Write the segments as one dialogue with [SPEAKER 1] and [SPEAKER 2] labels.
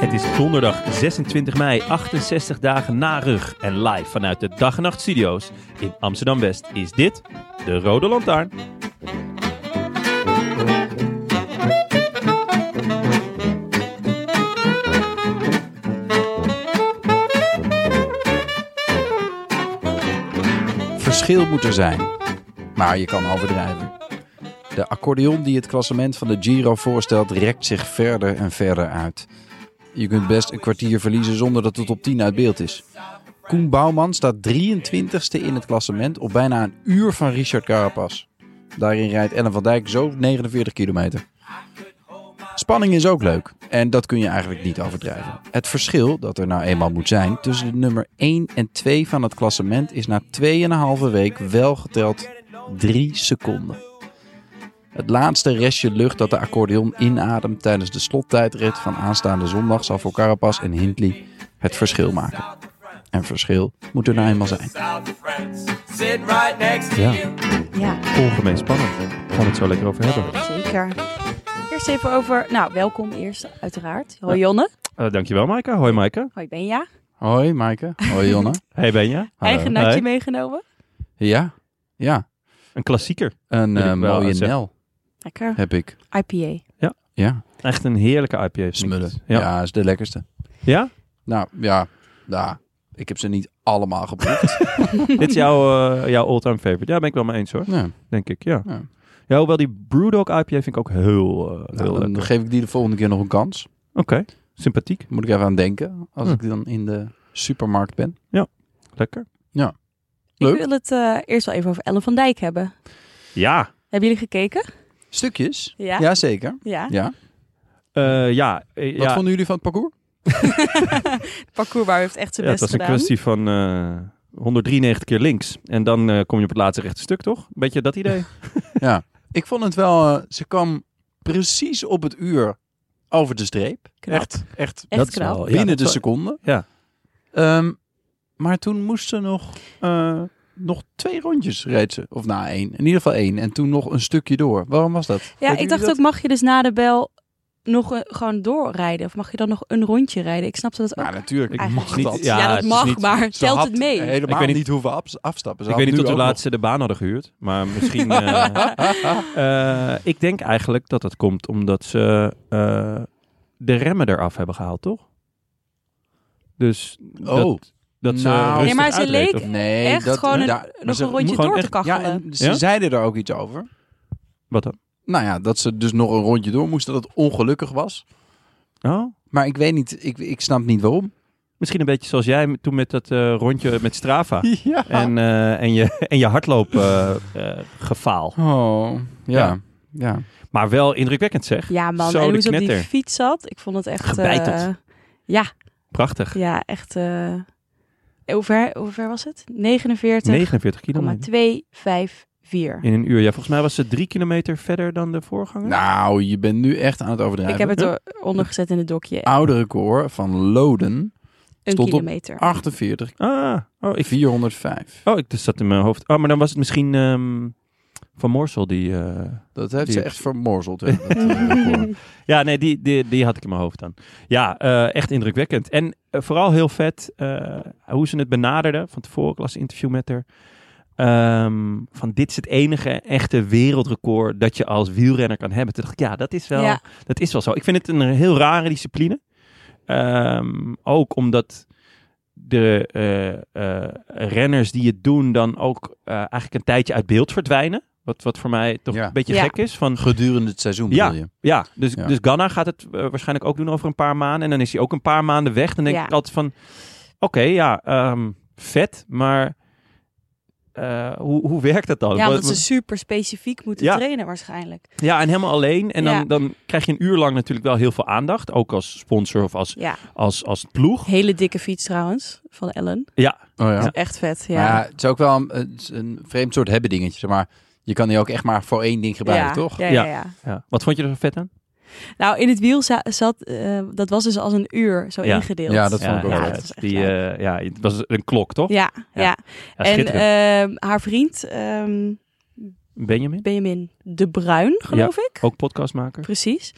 [SPEAKER 1] Het is donderdag 26 mei, 68 dagen na rug. En live vanuit de Dag en Nacht Studio's in Amsterdam West is dit de Rode Lantaarn.
[SPEAKER 2] Verschil moet er zijn, maar je kan overdrijven. De accordeon die het klassement van de Giro voorstelt, rekt zich verder en verder uit. Je kunt best een kwartier verliezen zonder dat het op 10 uit beeld is. Koen Bouwman staat 23ste in het klassement op bijna een uur van Richard Carapaz. Daarin rijdt Ellen van Dijk zo 49 kilometer. Spanning is ook leuk en dat kun je eigenlijk niet overdrijven. Het verschil dat er nou eenmaal moet zijn tussen de nummer 1 en 2 van het klassement is na 2,5 week wel geteld 3 seconden. Het laatste restje lucht dat de accordeon inademt tijdens de slottijdrit van aanstaande zondag zal voor Carapaz en Hindley het verschil maken. En verschil moet er nou eenmaal zijn.
[SPEAKER 1] Ja,
[SPEAKER 3] Ja,
[SPEAKER 1] ongemeen spannend. Gaan we het zo lekker over hebben.
[SPEAKER 3] zeker. Eerst even over... Nou, welkom eerst, uiteraard. Hoi Jonne.
[SPEAKER 1] Eh, dankjewel Maaike. Hoi Maaike.
[SPEAKER 3] Hoi Benja.
[SPEAKER 2] Hoi Maaike. Hoi Jonne.
[SPEAKER 1] Hey Benja.
[SPEAKER 2] Hallo.
[SPEAKER 3] Eigen natje
[SPEAKER 1] Hoi.
[SPEAKER 3] meegenomen.
[SPEAKER 2] Ja, ja.
[SPEAKER 1] Een klassieker.
[SPEAKER 2] Een
[SPEAKER 1] Wil ik
[SPEAKER 2] eh,
[SPEAKER 1] wel
[SPEAKER 2] mooie
[SPEAKER 1] zeggen.
[SPEAKER 2] Nel
[SPEAKER 3] Lekker.
[SPEAKER 2] heb ik.
[SPEAKER 3] IPA.
[SPEAKER 2] Ja,
[SPEAKER 1] Echt een heerlijke IPA.
[SPEAKER 2] smullen. Ja.
[SPEAKER 1] Ja? ja?
[SPEAKER 2] is de lekkerste. Nou ja, ja. ik heb ze niet allemaal geproefd.
[SPEAKER 1] Dit is jouw, eh, jouw all-time favorite. Ja, ben ik wel mee eens hoor.
[SPEAKER 2] ja. nou,
[SPEAKER 1] Denk ik, ja.
[SPEAKER 2] Ja.
[SPEAKER 1] Ja, hoewel die Brewdog IPA vind ik ook heel, eh, heel
[SPEAKER 2] Nou, dan
[SPEAKER 1] lekker.
[SPEAKER 2] geef ik die de volgende keer nog een kans.
[SPEAKER 1] Oké, sympathiek.
[SPEAKER 2] Moet ik even aan denken als
[SPEAKER 1] Hm.
[SPEAKER 2] ik dan in de supermarkt ben.
[SPEAKER 1] Lekker.
[SPEAKER 2] Leuk.
[SPEAKER 3] Ik wil het eh, eerst wel even over Ellen van Dijk hebben.
[SPEAKER 1] Ja,
[SPEAKER 3] Hebben jullie gekeken?
[SPEAKER 2] Stukjes?
[SPEAKER 3] Ja.
[SPEAKER 2] zeker.
[SPEAKER 3] Ja.
[SPEAKER 2] Ja.
[SPEAKER 1] Eh, ja. eh,
[SPEAKER 2] Wat
[SPEAKER 1] ja.
[SPEAKER 2] vonden jullie van het parcours?
[SPEAKER 3] Het parcours waar heeft echt zijn
[SPEAKER 1] Ja, het was
[SPEAKER 3] best
[SPEAKER 1] een
[SPEAKER 3] gedaan.
[SPEAKER 1] kwestie van eh 193 keer links. En dan eh, kom je op het laatste rechte stuk, toch? Beetje dat idee.
[SPEAKER 2] Ja, ik vond het wel. eh, ze kwam precies op het uur over de streep.
[SPEAKER 3] Knap.
[SPEAKER 2] Echt, echt
[SPEAKER 3] Echt
[SPEAKER 1] dat is
[SPEAKER 3] knap.
[SPEAKER 1] wel- ja,
[SPEAKER 2] binnen
[SPEAKER 1] dat
[SPEAKER 2] de
[SPEAKER 1] is wel-
[SPEAKER 2] seconde.
[SPEAKER 1] Ja.
[SPEAKER 2] Ehm, maar toen moest ze nog, eh, nog twee rondjes reed ze. Of na één. In ieder geval één. En toen nog een stukje door. Waarom was dat? Weet
[SPEAKER 3] Ja,
[SPEAKER 2] jullie
[SPEAKER 3] ik dacht
[SPEAKER 2] dat?
[SPEAKER 3] ook, mag je dus na de bel nog eh, gewoon doorrijden? Of mag je dan nog een rondje rijden? Ik snapte dat ook.
[SPEAKER 2] Maar natuurlijk, ik
[SPEAKER 3] Eigenlijk
[SPEAKER 2] mag
[SPEAKER 1] niet.
[SPEAKER 2] dat.
[SPEAKER 1] Ja,
[SPEAKER 3] Ja,
[SPEAKER 1] het
[SPEAKER 3] dat
[SPEAKER 1] is
[SPEAKER 3] mag,
[SPEAKER 1] niet-
[SPEAKER 3] maar
[SPEAKER 2] Ze
[SPEAKER 3] telt
[SPEAKER 2] had
[SPEAKER 3] het mee?
[SPEAKER 2] Helemaal
[SPEAKER 1] Ik weet
[SPEAKER 2] niet,
[SPEAKER 1] niet-
[SPEAKER 2] hoeven abs- afstappen. Ze
[SPEAKER 1] ik
[SPEAKER 2] had
[SPEAKER 1] weet niet
[SPEAKER 2] nu
[SPEAKER 1] of de
[SPEAKER 2] ook nog-
[SPEAKER 1] laatste de baan hadden gehuurd. Maar misschien... eh, eh, ik denk eigenlijk dat dat komt omdat ze eh, de remmen eraf hebben gehaald, toch? Dus
[SPEAKER 2] Oh.
[SPEAKER 1] dat, dat ze
[SPEAKER 2] Nou.
[SPEAKER 1] rustig
[SPEAKER 2] Nee,
[SPEAKER 3] maar ze
[SPEAKER 1] uitreed,
[SPEAKER 3] leek-
[SPEAKER 1] of-
[SPEAKER 2] Nee,
[SPEAKER 3] Echt
[SPEAKER 2] dat,
[SPEAKER 3] gewoon een-
[SPEAKER 2] daar- maar
[SPEAKER 3] nog
[SPEAKER 2] ze-
[SPEAKER 3] een rondje
[SPEAKER 1] gewoon
[SPEAKER 3] door te
[SPEAKER 1] echt-
[SPEAKER 3] kachelen.
[SPEAKER 2] Ja, en ze
[SPEAKER 1] Ja?
[SPEAKER 2] zeiden er ook iets over.
[SPEAKER 1] Wat dan?
[SPEAKER 2] Nou ja, dat ze dus nog een rondje door moest. Dat het ongelukkig was.
[SPEAKER 1] Oh?
[SPEAKER 2] Maar ik weet niet, ik, ik snap niet waarom.
[SPEAKER 1] Misschien een beetje zoals jij met- toen met dat eh, rondje met Strava.
[SPEAKER 2] Ja.
[SPEAKER 1] En, eh, en je, en je hardloop eh, eh, gefaal.
[SPEAKER 2] oh, ja.
[SPEAKER 1] Ja.
[SPEAKER 2] ja.
[SPEAKER 1] Maar wel indrukwekkend zeg.
[SPEAKER 3] Ja man,
[SPEAKER 1] Zo,
[SPEAKER 3] en
[SPEAKER 1] de
[SPEAKER 3] hoe ze op die
[SPEAKER 1] knetter.
[SPEAKER 3] fiets zat. Ik vond het echt... eh,
[SPEAKER 1] Gebeiteld.
[SPEAKER 3] ja,
[SPEAKER 1] Prachtig.
[SPEAKER 3] ja, echt... eh, hoe, ver, hoe ver was het? 49.
[SPEAKER 1] 49 kilometer.
[SPEAKER 3] 254.
[SPEAKER 1] In een uur. Ja, volgens mij was ze drie kilometer verder dan de voorganger.
[SPEAKER 2] Nou, je bent nu echt aan het overdrijven.
[SPEAKER 3] Ik heb het
[SPEAKER 1] Ja.
[SPEAKER 3] er ondergezet in het dokje.
[SPEAKER 2] oude record van Loden.
[SPEAKER 3] Een
[SPEAKER 2] Ah, stond op-
[SPEAKER 3] kilometer.
[SPEAKER 2] 48,
[SPEAKER 1] Ah, oh, ik,
[SPEAKER 2] 405.
[SPEAKER 1] oh, ik dus zat in mijn hoofd. Oh, maar dan was het misschien ehm, Van Morsel die... eh,
[SPEAKER 2] Dat heeft
[SPEAKER 1] Die
[SPEAKER 2] ze
[SPEAKER 1] heb-
[SPEAKER 2] echt vermorzeld. hè, dat, eh, record.
[SPEAKER 1] Ja, nee, die, die, die had ik in mijn hoofd dan. Ja, eh, echt indrukwekkend. En eh, vooral heel vet eh, hoe ze het benaderden. Van tevoren, ik las een interview met haar. Ehm, van dit is het enige echte wereldrecord dat je als wielrenner kan hebben. Toen dacht ik, ja, dat is wel,
[SPEAKER 3] Ja.
[SPEAKER 1] dat is wel zo. Ik vind het een heel rare discipline. Ehm, ook omdat de eh, eh, renners die het doen dan ook eh, eigenlijk een tijdje uit beeld verdwijnen. Wat, wat voor mij toch
[SPEAKER 2] Ja.
[SPEAKER 1] een beetje
[SPEAKER 3] Ja.
[SPEAKER 1] gek is. Van,
[SPEAKER 2] Gedurende het seizoen bedoel je?
[SPEAKER 1] ja, dus,
[SPEAKER 2] Ja.
[SPEAKER 1] dus Ghana gaat het eh, waarschijnlijk ook doen over een paar maanden. En dan is hij ook een paar maanden weg. Dan denk
[SPEAKER 3] Ja.
[SPEAKER 1] ik altijd van, oké, ja, ehm, vet. Maar eh, hoe, hoe werkt dat dan?
[SPEAKER 3] Ja,
[SPEAKER 1] Wat-
[SPEAKER 3] omdat ze super specifiek moeten
[SPEAKER 1] Ja.
[SPEAKER 3] trainen waarschijnlijk.
[SPEAKER 1] ja, en helemaal alleen. En dan,
[SPEAKER 3] Ja.
[SPEAKER 1] dan krijg je een uur lang natuurlijk wel heel veel aandacht. Ook als sponsor of als,
[SPEAKER 3] Ja,
[SPEAKER 1] als, als ploeg.
[SPEAKER 3] hele dikke fiets trouwens, van Ellen.
[SPEAKER 2] Oh ja.
[SPEAKER 3] Echt vet, ja.
[SPEAKER 2] Maar ja, het is ook wel een, het is een vreemd soort hebben dingetje. zeg Maar je kan die ook echt maar voor één ding gebruiken,
[SPEAKER 3] ja,
[SPEAKER 2] toch?
[SPEAKER 3] Ja, ja,
[SPEAKER 1] Ja.
[SPEAKER 3] ja.
[SPEAKER 1] Ja. Wat vond je er zo vet aan?
[SPEAKER 3] Nou, in het wiel za- zat, eh, dat was dus als een uur zo
[SPEAKER 1] Ja.
[SPEAKER 3] ingedeeld.
[SPEAKER 2] Ja, dat vond
[SPEAKER 1] ja,
[SPEAKER 2] ik ook
[SPEAKER 3] ja,
[SPEAKER 2] wel
[SPEAKER 1] ja,
[SPEAKER 3] dat
[SPEAKER 2] vet.
[SPEAKER 3] was echt
[SPEAKER 1] die,
[SPEAKER 3] leuk.
[SPEAKER 1] eh, ja, het was een klok, toch?
[SPEAKER 3] Ja, ja.
[SPEAKER 1] Ja,
[SPEAKER 3] en
[SPEAKER 1] schitterend.
[SPEAKER 3] ehm, haar vriend, ehm,
[SPEAKER 1] Benjamin,
[SPEAKER 3] Benjamin de Bruin, geloof ik.
[SPEAKER 1] ook podcastmaker.
[SPEAKER 3] Precies.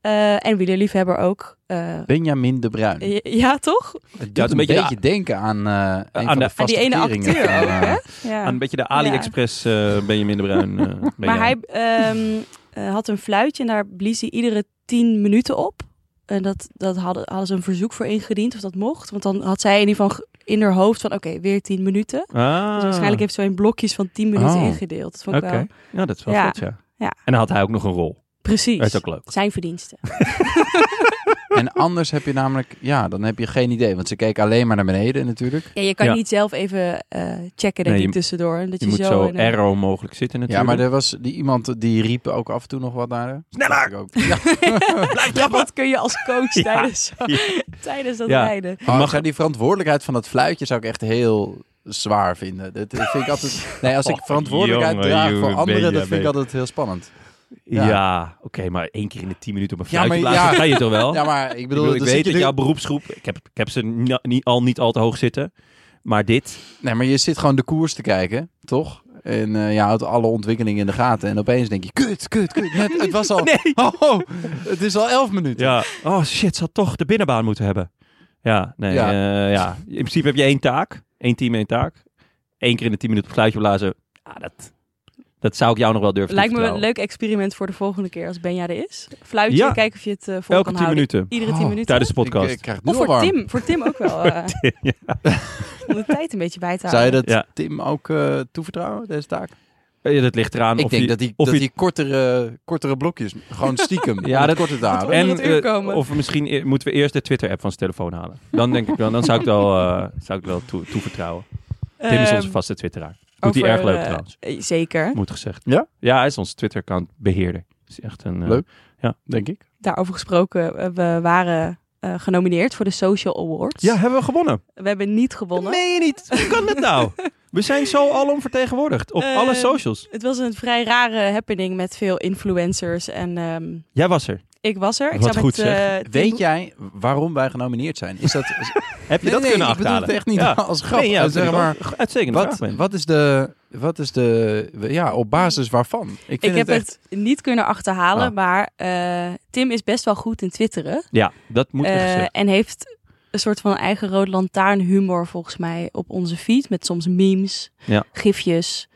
[SPEAKER 3] Eh en wielerliefhebber ook. eh,
[SPEAKER 2] Benjamin de Bruin.
[SPEAKER 3] j- ja, toch?
[SPEAKER 2] Het doet
[SPEAKER 1] Ja, het is
[SPEAKER 2] een
[SPEAKER 1] een
[SPEAKER 2] beetje,
[SPEAKER 1] beetje
[SPEAKER 2] denken aan, eh, een van
[SPEAKER 1] de-
[SPEAKER 2] de,
[SPEAKER 1] aan
[SPEAKER 3] Aan die
[SPEAKER 2] vaste
[SPEAKER 3] ene
[SPEAKER 2] keringen
[SPEAKER 3] acteur
[SPEAKER 2] van,
[SPEAKER 3] ook,
[SPEAKER 2] eh,
[SPEAKER 3] hè? Ja.
[SPEAKER 1] Aan een beetje de AliExpress eh Benjamin de Bruin. eh,
[SPEAKER 3] Maar
[SPEAKER 1] Benjamin.
[SPEAKER 3] hij ehm, eh, had een fluitje en daar blies hij iedere tien minuten op. En dat, dat hadden, hadden ze een verzoek voor ingediend of dat mocht. Want dan had zij in ieder geval ge- in haar hoofd van oké, weer tien minuten.
[SPEAKER 1] Ah,
[SPEAKER 3] Dus waarschijnlijk heeft ze in blokjes van tien minuten
[SPEAKER 2] Oh.
[SPEAKER 3] ingedeeld. Dat vond ik
[SPEAKER 1] Oké,
[SPEAKER 3] wel.
[SPEAKER 1] ja, dat is wel
[SPEAKER 3] Ja.
[SPEAKER 1] vet, ja.
[SPEAKER 3] Ja.
[SPEAKER 1] En dan had hij ook nog een rol. Dat
[SPEAKER 3] Precies.
[SPEAKER 1] is ook leuk.
[SPEAKER 3] Zijn verdiensten.
[SPEAKER 2] En anders heb je namelijk, ja, dan heb je geen idee. Want ze keken alleen maar naar beneden natuurlijk.
[SPEAKER 3] Ja, je kan
[SPEAKER 1] Ja.
[SPEAKER 3] niet zelf even eh, checken denk
[SPEAKER 1] Nee, je-
[SPEAKER 3] ik tussendoor. en Dat
[SPEAKER 1] Je
[SPEAKER 3] je,
[SPEAKER 1] moet
[SPEAKER 3] zo
[SPEAKER 1] zo
[SPEAKER 3] in een-
[SPEAKER 1] arrow mogelijk zitten
[SPEAKER 2] Ja,
[SPEAKER 1] natuurlijk.
[SPEAKER 2] maar er was die, iemand die riep ook af en toe nog wat naar haar. Sneller! Ook. Ja.
[SPEAKER 3] Ja, wat kun je als coach
[SPEAKER 1] Ja.
[SPEAKER 3] tijdens,
[SPEAKER 1] Ja.
[SPEAKER 3] tijdens dat
[SPEAKER 1] Ja.
[SPEAKER 3] rijden?
[SPEAKER 2] Oh,
[SPEAKER 1] mag-
[SPEAKER 2] zou die verantwoordelijkheid van dat fluitje zou ik echt heel zwaar vinden. Dat eh, vind ik altijd... Nee, als ik
[SPEAKER 1] Oh,
[SPEAKER 2] verantwoordelijkheid
[SPEAKER 1] jongen,
[SPEAKER 2] draag voor
[SPEAKER 1] jongen,
[SPEAKER 2] anderen, dat
[SPEAKER 1] Benjamin.
[SPEAKER 2] vind ik altijd heel spannend.
[SPEAKER 1] Ja,
[SPEAKER 2] Ja.
[SPEAKER 1] oké, maar één keer in de tien minuten op een
[SPEAKER 2] Ja, maar
[SPEAKER 1] fluitje blazen,
[SPEAKER 2] ja.
[SPEAKER 1] dat ga je toch wel?
[SPEAKER 2] Ja, maar ik
[SPEAKER 1] Oh. ik, bedoel,
[SPEAKER 2] bedoel...
[SPEAKER 1] ik
[SPEAKER 2] dan
[SPEAKER 1] weet
[SPEAKER 2] zit je
[SPEAKER 1] dat
[SPEAKER 2] nu-
[SPEAKER 1] jouw beroepsgroep... Ik heb, ik heb ze ni- niet- al niet al te hoog zitten, maar dit...
[SPEAKER 2] Nee, maar je zit gewoon de koers te kijken, toch? En eh, je houdt alle ontwikkelingen in de gaten. En opeens denk je, kut, kut, kut. Net, het was al... Oh, oh, het is al elf minuten.
[SPEAKER 1] Ja, oh shit, ze had toch de binnenbaan moeten hebben. Ja, nee,
[SPEAKER 2] Ja.
[SPEAKER 1] ja. ja. In principe heb je één taak, één team, één taak. Eén keer in de tien minuten op het fluitje blazen, ja, dat, dat zou ik jou nog wel durven
[SPEAKER 3] Ah, Lijkt me een
[SPEAKER 1] toevertrouwen.
[SPEAKER 3] leuk experiment voor de volgende keer als Benja er is. Fluitje,
[SPEAKER 1] Ja.
[SPEAKER 3] kijken of je het eh, vol
[SPEAKER 1] Elke
[SPEAKER 3] kan
[SPEAKER 1] tien
[SPEAKER 3] houden.
[SPEAKER 1] minuten,
[SPEAKER 3] Iedere tien
[SPEAKER 2] Oh,
[SPEAKER 3] minuten.
[SPEAKER 1] tijdens de
[SPEAKER 2] Ik, eh,
[SPEAKER 1] podcast.
[SPEAKER 2] krijg het nu
[SPEAKER 3] Of
[SPEAKER 2] al
[SPEAKER 3] voor
[SPEAKER 2] warm.
[SPEAKER 3] Tim. Voor Tim ook wel. eh,
[SPEAKER 1] Ja.
[SPEAKER 3] om de tijd een beetje bij te
[SPEAKER 2] Zou je
[SPEAKER 3] houden.
[SPEAKER 2] dat
[SPEAKER 1] Ja.
[SPEAKER 2] Tim ook eh, toevertrouwen, deze taak?
[SPEAKER 1] Ja, dat ligt eraan
[SPEAKER 2] Ik
[SPEAKER 1] of
[SPEAKER 2] denk
[SPEAKER 1] je-
[SPEAKER 2] dat die,
[SPEAKER 1] of
[SPEAKER 2] dat
[SPEAKER 1] je-
[SPEAKER 2] die kortere, kortere blokjes, gewoon stiekem,
[SPEAKER 1] Ja,
[SPEAKER 2] ja,
[SPEAKER 1] dat-
[SPEAKER 2] dat korte te houden.
[SPEAKER 3] onder het
[SPEAKER 1] eh,
[SPEAKER 3] uur komen.
[SPEAKER 1] of misschien e- moeten we eerst de Twitter-app van zijn telefoon halen. Dan denk ik wel, dan zou ik wel, eh, zou ik wel toe, toevertrouwen. Tim is onze
[SPEAKER 3] Ehm,
[SPEAKER 1] vaste twitteraar. Doet hij
[SPEAKER 3] over,
[SPEAKER 1] erg leuk
[SPEAKER 3] eh,
[SPEAKER 1] trouwens,
[SPEAKER 3] eh, Zeker.
[SPEAKER 1] moet gezegd.
[SPEAKER 2] Ja?
[SPEAKER 1] Ja, hij is onze Twitter-account beheerder. Is echt een, eh,
[SPEAKER 2] Leuk. Denk ik.
[SPEAKER 3] Daarover gesproken, eh, we waren eh, genomineerd voor de Social Awards.
[SPEAKER 1] Ja, hebben we gewonnen?
[SPEAKER 3] We hebben niet gewonnen.
[SPEAKER 1] Nee, niet. Hoe kan dat nou? We zijn zo alom vertegenwoordigd op
[SPEAKER 3] Eh,
[SPEAKER 1] alle
[SPEAKER 2] Ehm,
[SPEAKER 1] socials.
[SPEAKER 3] Het was een vrij rare happening met veel influencers en ehm,
[SPEAKER 1] Jij was er.
[SPEAKER 3] ik was er. Ik
[SPEAKER 1] Wat
[SPEAKER 3] zat
[SPEAKER 1] goed,
[SPEAKER 3] met,
[SPEAKER 1] zeg.
[SPEAKER 3] eh, Tim-
[SPEAKER 2] Weet jij waarom wij genomineerd zijn? Is dat... Heb
[SPEAKER 1] Heb je dat kunnen
[SPEAKER 2] ik bedoel
[SPEAKER 1] achterhalen?
[SPEAKER 2] het echt niet
[SPEAKER 1] Ja.
[SPEAKER 2] als grap.
[SPEAKER 1] Nee, ja,
[SPEAKER 2] Eh, zeg
[SPEAKER 1] natuurlijk
[SPEAKER 2] maar,
[SPEAKER 1] ook. Uitstekende
[SPEAKER 2] wat,
[SPEAKER 1] vraag, Ben.
[SPEAKER 2] wat is de... Wat is de... Ja, op basis waarvan? Ik, vind
[SPEAKER 3] Ik heb
[SPEAKER 2] het echt...
[SPEAKER 3] het niet kunnen achterhalen,
[SPEAKER 1] Ah.
[SPEAKER 3] maar eh, Tim is best wel goed in twitteren.
[SPEAKER 1] Ja, dat moet
[SPEAKER 3] Eh,
[SPEAKER 1] echt gezegd.
[SPEAKER 3] en heeft een soort van eigen rood lantaarn humor volgens mij op onze feed. Met soms memes,
[SPEAKER 1] Ja.
[SPEAKER 3] gifjes,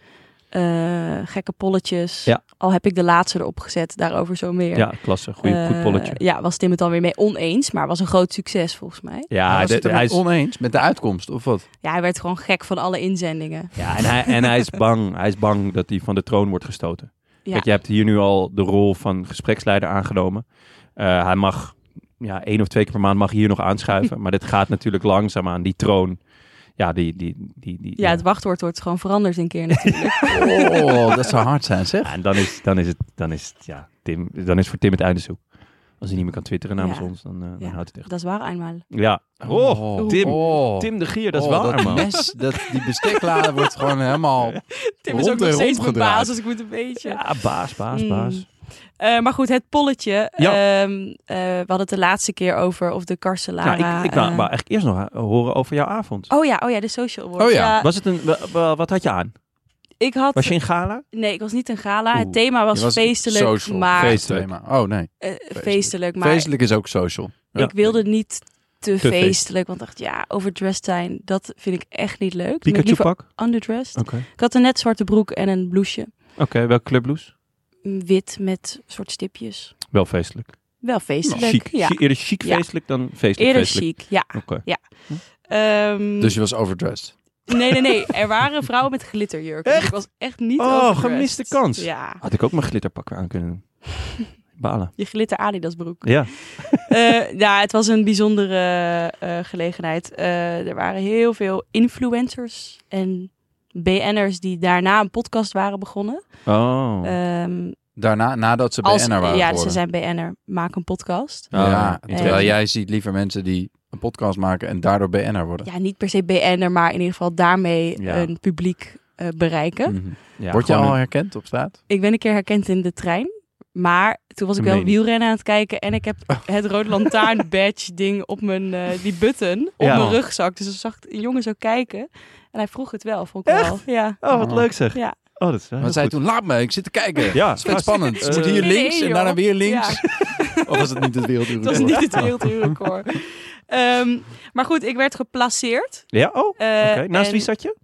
[SPEAKER 3] eh, gekke polletjes.
[SPEAKER 1] Ja.
[SPEAKER 3] Al heb ik de laatste erop gezet, daarover zo
[SPEAKER 2] Eh,
[SPEAKER 3] meer.
[SPEAKER 1] Ja, klasse. Goeie, goed
[SPEAKER 3] Eh,
[SPEAKER 1] polletje.
[SPEAKER 3] Ja, was Tim het dan weer mee oneens, maar was een groot succes volgens mij.
[SPEAKER 1] Ja,
[SPEAKER 2] was
[SPEAKER 1] de-
[SPEAKER 2] het er
[SPEAKER 1] hij
[SPEAKER 2] met
[SPEAKER 1] is
[SPEAKER 2] oneens met de uitkomst, of wat?
[SPEAKER 3] Ja, hij werd gewoon gek van alle inzendingen.
[SPEAKER 1] Ja, en hij, en hij is bang. Hij is bang dat hij van de troon wordt gestoten.
[SPEAKER 3] Ja.
[SPEAKER 1] Kijk, je hebt hier nu al de rol van gespreksleider aangenomen. Eh, hij mag ja, één of twee keer per maand mag hij hier nog aanschuiven. maar dit gaat natuurlijk langzaamaan. Die troon, ja, die... die, die, die
[SPEAKER 3] Ja, het wachtwoord wordt gewoon veranderd een keer natuurlijk.
[SPEAKER 2] Oh, dat zou hard zijn, zeg.
[SPEAKER 1] Ja, en dan is, dan is het, dan is het, ja, Tim, dan is voor Tim het einde zoek. Als hij niet meer kan twitteren namens
[SPEAKER 3] Ja.
[SPEAKER 1] ons, dan, eh, dan
[SPEAKER 3] Ja.
[SPEAKER 1] houdt het echt.
[SPEAKER 3] dat is waar eenmaal.
[SPEAKER 1] Ja. Oh, Tim.
[SPEAKER 2] Oh.
[SPEAKER 1] Tim de Gier, dat is
[SPEAKER 2] Oh,
[SPEAKER 1] waar,
[SPEAKER 2] dat
[SPEAKER 1] man.
[SPEAKER 2] mes, dat, die besteklade wordt gewoon helemaal...
[SPEAKER 3] Tim is ook
[SPEAKER 2] Rond
[SPEAKER 3] nog
[SPEAKER 2] en
[SPEAKER 3] steeds
[SPEAKER 2] rond
[SPEAKER 3] mijn baas,
[SPEAKER 2] gedraaid.
[SPEAKER 3] dus ik moet een beetje...
[SPEAKER 1] Ja, baas, baas,
[SPEAKER 3] Mm.
[SPEAKER 1] baas.
[SPEAKER 3] Eh, maar goed, het polletje.
[SPEAKER 1] Ja.
[SPEAKER 3] Ehm, eh, we hadden het de laatste keer over of de Carcelara...
[SPEAKER 1] Nou, ik, ik wou,
[SPEAKER 3] eh,
[SPEAKER 1] wou eigenlijk eerst nog eh, horen over jouw avond.
[SPEAKER 3] Oh ja, oh ja, de social awards.
[SPEAKER 2] Oh ja.
[SPEAKER 1] Was het een, wa- wa- wat had je aan?
[SPEAKER 3] ik had,
[SPEAKER 1] Was je in gala?
[SPEAKER 3] nee, ik was niet een gala.
[SPEAKER 1] Oeh,
[SPEAKER 3] het thema was,
[SPEAKER 2] Je was
[SPEAKER 3] feestelijk,
[SPEAKER 2] social.
[SPEAKER 3] maar
[SPEAKER 1] Feest-
[SPEAKER 2] Feestelijk. maar- Oh, nee.
[SPEAKER 3] eh, feestelijk, maar
[SPEAKER 2] Feestelijk is ook social.
[SPEAKER 1] Ja.
[SPEAKER 3] ik wilde niet te,
[SPEAKER 1] feest.
[SPEAKER 3] feestelijk, want ik dacht ja, overdressed zijn, dat vind ik echt niet leuk. Dan ben ik
[SPEAKER 1] Pikachu
[SPEAKER 3] liever
[SPEAKER 1] pak?
[SPEAKER 3] underdressed.
[SPEAKER 1] Oké.
[SPEAKER 3] Ik had een net zwarte broek en een blouseje,
[SPEAKER 1] Oké, welke clubblouse?
[SPEAKER 3] Mm, wit met soort stipjes.
[SPEAKER 1] Wel feestelijk. Nou,
[SPEAKER 3] Wel feestelijk,
[SPEAKER 1] Chic.
[SPEAKER 3] ja.
[SPEAKER 1] Chi- Eerder chic
[SPEAKER 3] Ja.
[SPEAKER 1] feestelijk Dus- dan feestelijk
[SPEAKER 3] Eerder
[SPEAKER 1] feestelijk.
[SPEAKER 3] chic, ja.
[SPEAKER 1] Oké.
[SPEAKER 3] Ehm,
[SPEAKER 2] Dus je was overdressed.
[SPEAKER 3] Nee, nee, nee. Er waren vrouwen met glitterjurken. Dus ik was echt niet
[SPEAKER 1] Oh,
[SPEAKER 3] overdressed.
[SPEAKER 1] gemiste kans.
[SPEAKER 3] Ja,
[SPEAKER 1] Had ik ook mijn glitterpak aan kunnen doen. Balen.
[SPEAKER 3] je glitter Adidas broek.
[SPEAKER 1] Ja.
[SPEAKER 3] Eh, ja, het was een bijzondere eh, gelegenheid. Eh, er waren heel veel influencers en BN'ers die daarna een podcast waren begonnen.
[SPEAKER 1] Oh.
[SPEAKER 3] Ehm,
[SPEAKER 2] Daarna, nadat ze
[SPEAKER 3] als,
[SPEAKER 2] BN'er waren
[SPEAKER 3] ja,
[SPEAKER 2] geworden.
[SPEAKER 3] ze zijn BN'er, maak een podcast.
[SPEAKER 1] Oh,
[SPEAKER 2] ja,
[SPEAKER 1] interessant.
[SPEAKER 2] terwijl
[SPEAKER 3] En-
[SPEAKER 2] jij ziet liever mensen die een podcast maken en daardoor BN'er worden.
[SPEAKER 3] Ja, niet per se BN'er, maar in ieder geval daarmee
[SPEAKER 1] Ja.
[SPEAKER 3] een publiek eh, bereiken.
[SPEAKER 2] Mhm.
[SPEAKER 1] Ja,
[SPEAKER 2] Word je
[SPEAKER 1] gewoon
[SPEAKER 2] al
[SPEAKER 1] een-
[SPEAKER 2] herkend op straat?
[SPEAKER 3] Ik ben een keer herkend in de trein. Maar toen was ik wel
[SPEAKER 1] Meen je?
[SPEAKER 3] wielrennen aan het kijken. En ik heb het rode lantaarn badge ding op mijn, eh, die button, op
[SPEAKER 1] Ja.
[SPEAKER 3] mijn rugzak. Dus dan zag ik een jongen zo kijken. En hij vroeg het wel, vond ik wel. Ja.
[SPEAKER 1] Oh, wat
[SPEAKER 2] Oh.
[SPEAKER 1] leuk zeg.
[SPEAKER 3] Ja.
[SPEAKER 1] Oh, dat is wel heel
[SPEAKER 2] Want zij
[SPEAKER 1] goed.
[SPEAKER 2] toen, laat me, ik zit te kijken. Ja.
[SPEAKER 1] Ja,
[SPEAKER 2] Het is vet Ah, spannend.
[SPEAKER 1] Eh,
[SPEAKER 2] Ze moet hier
[SPEAKER 3] Nee, nee,
[SPEAKER 2] links en
[SPEAKER 3] joh.
[SPEAKER 2] daarna weer links.
[SPEAKER 3] Ja,
[SPEAKER 2] Of was het niet het werelduur?
[SPEAKER 3] het was niet het wereldrecord. Ehm maar goed, ik werd geplaceerd.
[SPEAKER 1] Ja, oh, oké.
[SPEAKER 3] Eh,
[SPEAKER 1] Naast
[SPEAKER 3] en-
[SPEAKER 1] wie zat je?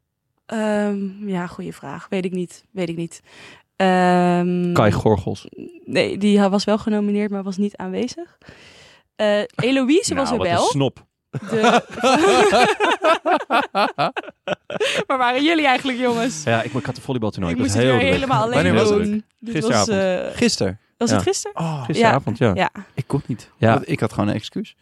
[SPEAKER 3] Ehm, ja, goede vraag. Weet ik niet. Weet ik niet. Ehm,
[SPEAKER 1] Kai Gorgels.
[SPEAKER 3] Nee, die was wel genomineerd, maar was niet aanwezig. Eh Eloïse was er
[SPEAKER 1] Nou, wat
[SPEAKER 3] wel.
[SPEAKER 1] een snop.
[SPEAKER 3] De- Waar waren jullie eigenlijk, jongens?
[SPEAKER 1] Ja, ik, ik had een volleybaltoernooi.
[SPEAKER 3] ik
[SPEAKER 1] dat
[SPEAKER 3] moest
[SPEAKER 1] was
[SPEAKER 3] het weer
[SPEAKER 1] heel druk.
[SPEAKER 3] helemaal alleen
[SPEAKER 2] Wanneer was het?
[SPEAKER 3] doen. Dit was,
[SPEAKER 1] Gisteravond.
[SPEAKER 3] eh,
[SPEAKER 2] Gisteren.
[SPEAKER 3] was
[SPEAKER 1] Ja.
[SPEAKER 3] het gisteren?
[SPEAKER 2] Oh,
[SPEAKER 1] Gisteravond, ja. Ja,
[SPEAKER 3] Ja.
[SPEAKER 2] ik kon niet.
[SPEAKER 1] Ja.
[SPEAKER 2] Want Ik had gewoon een excuus.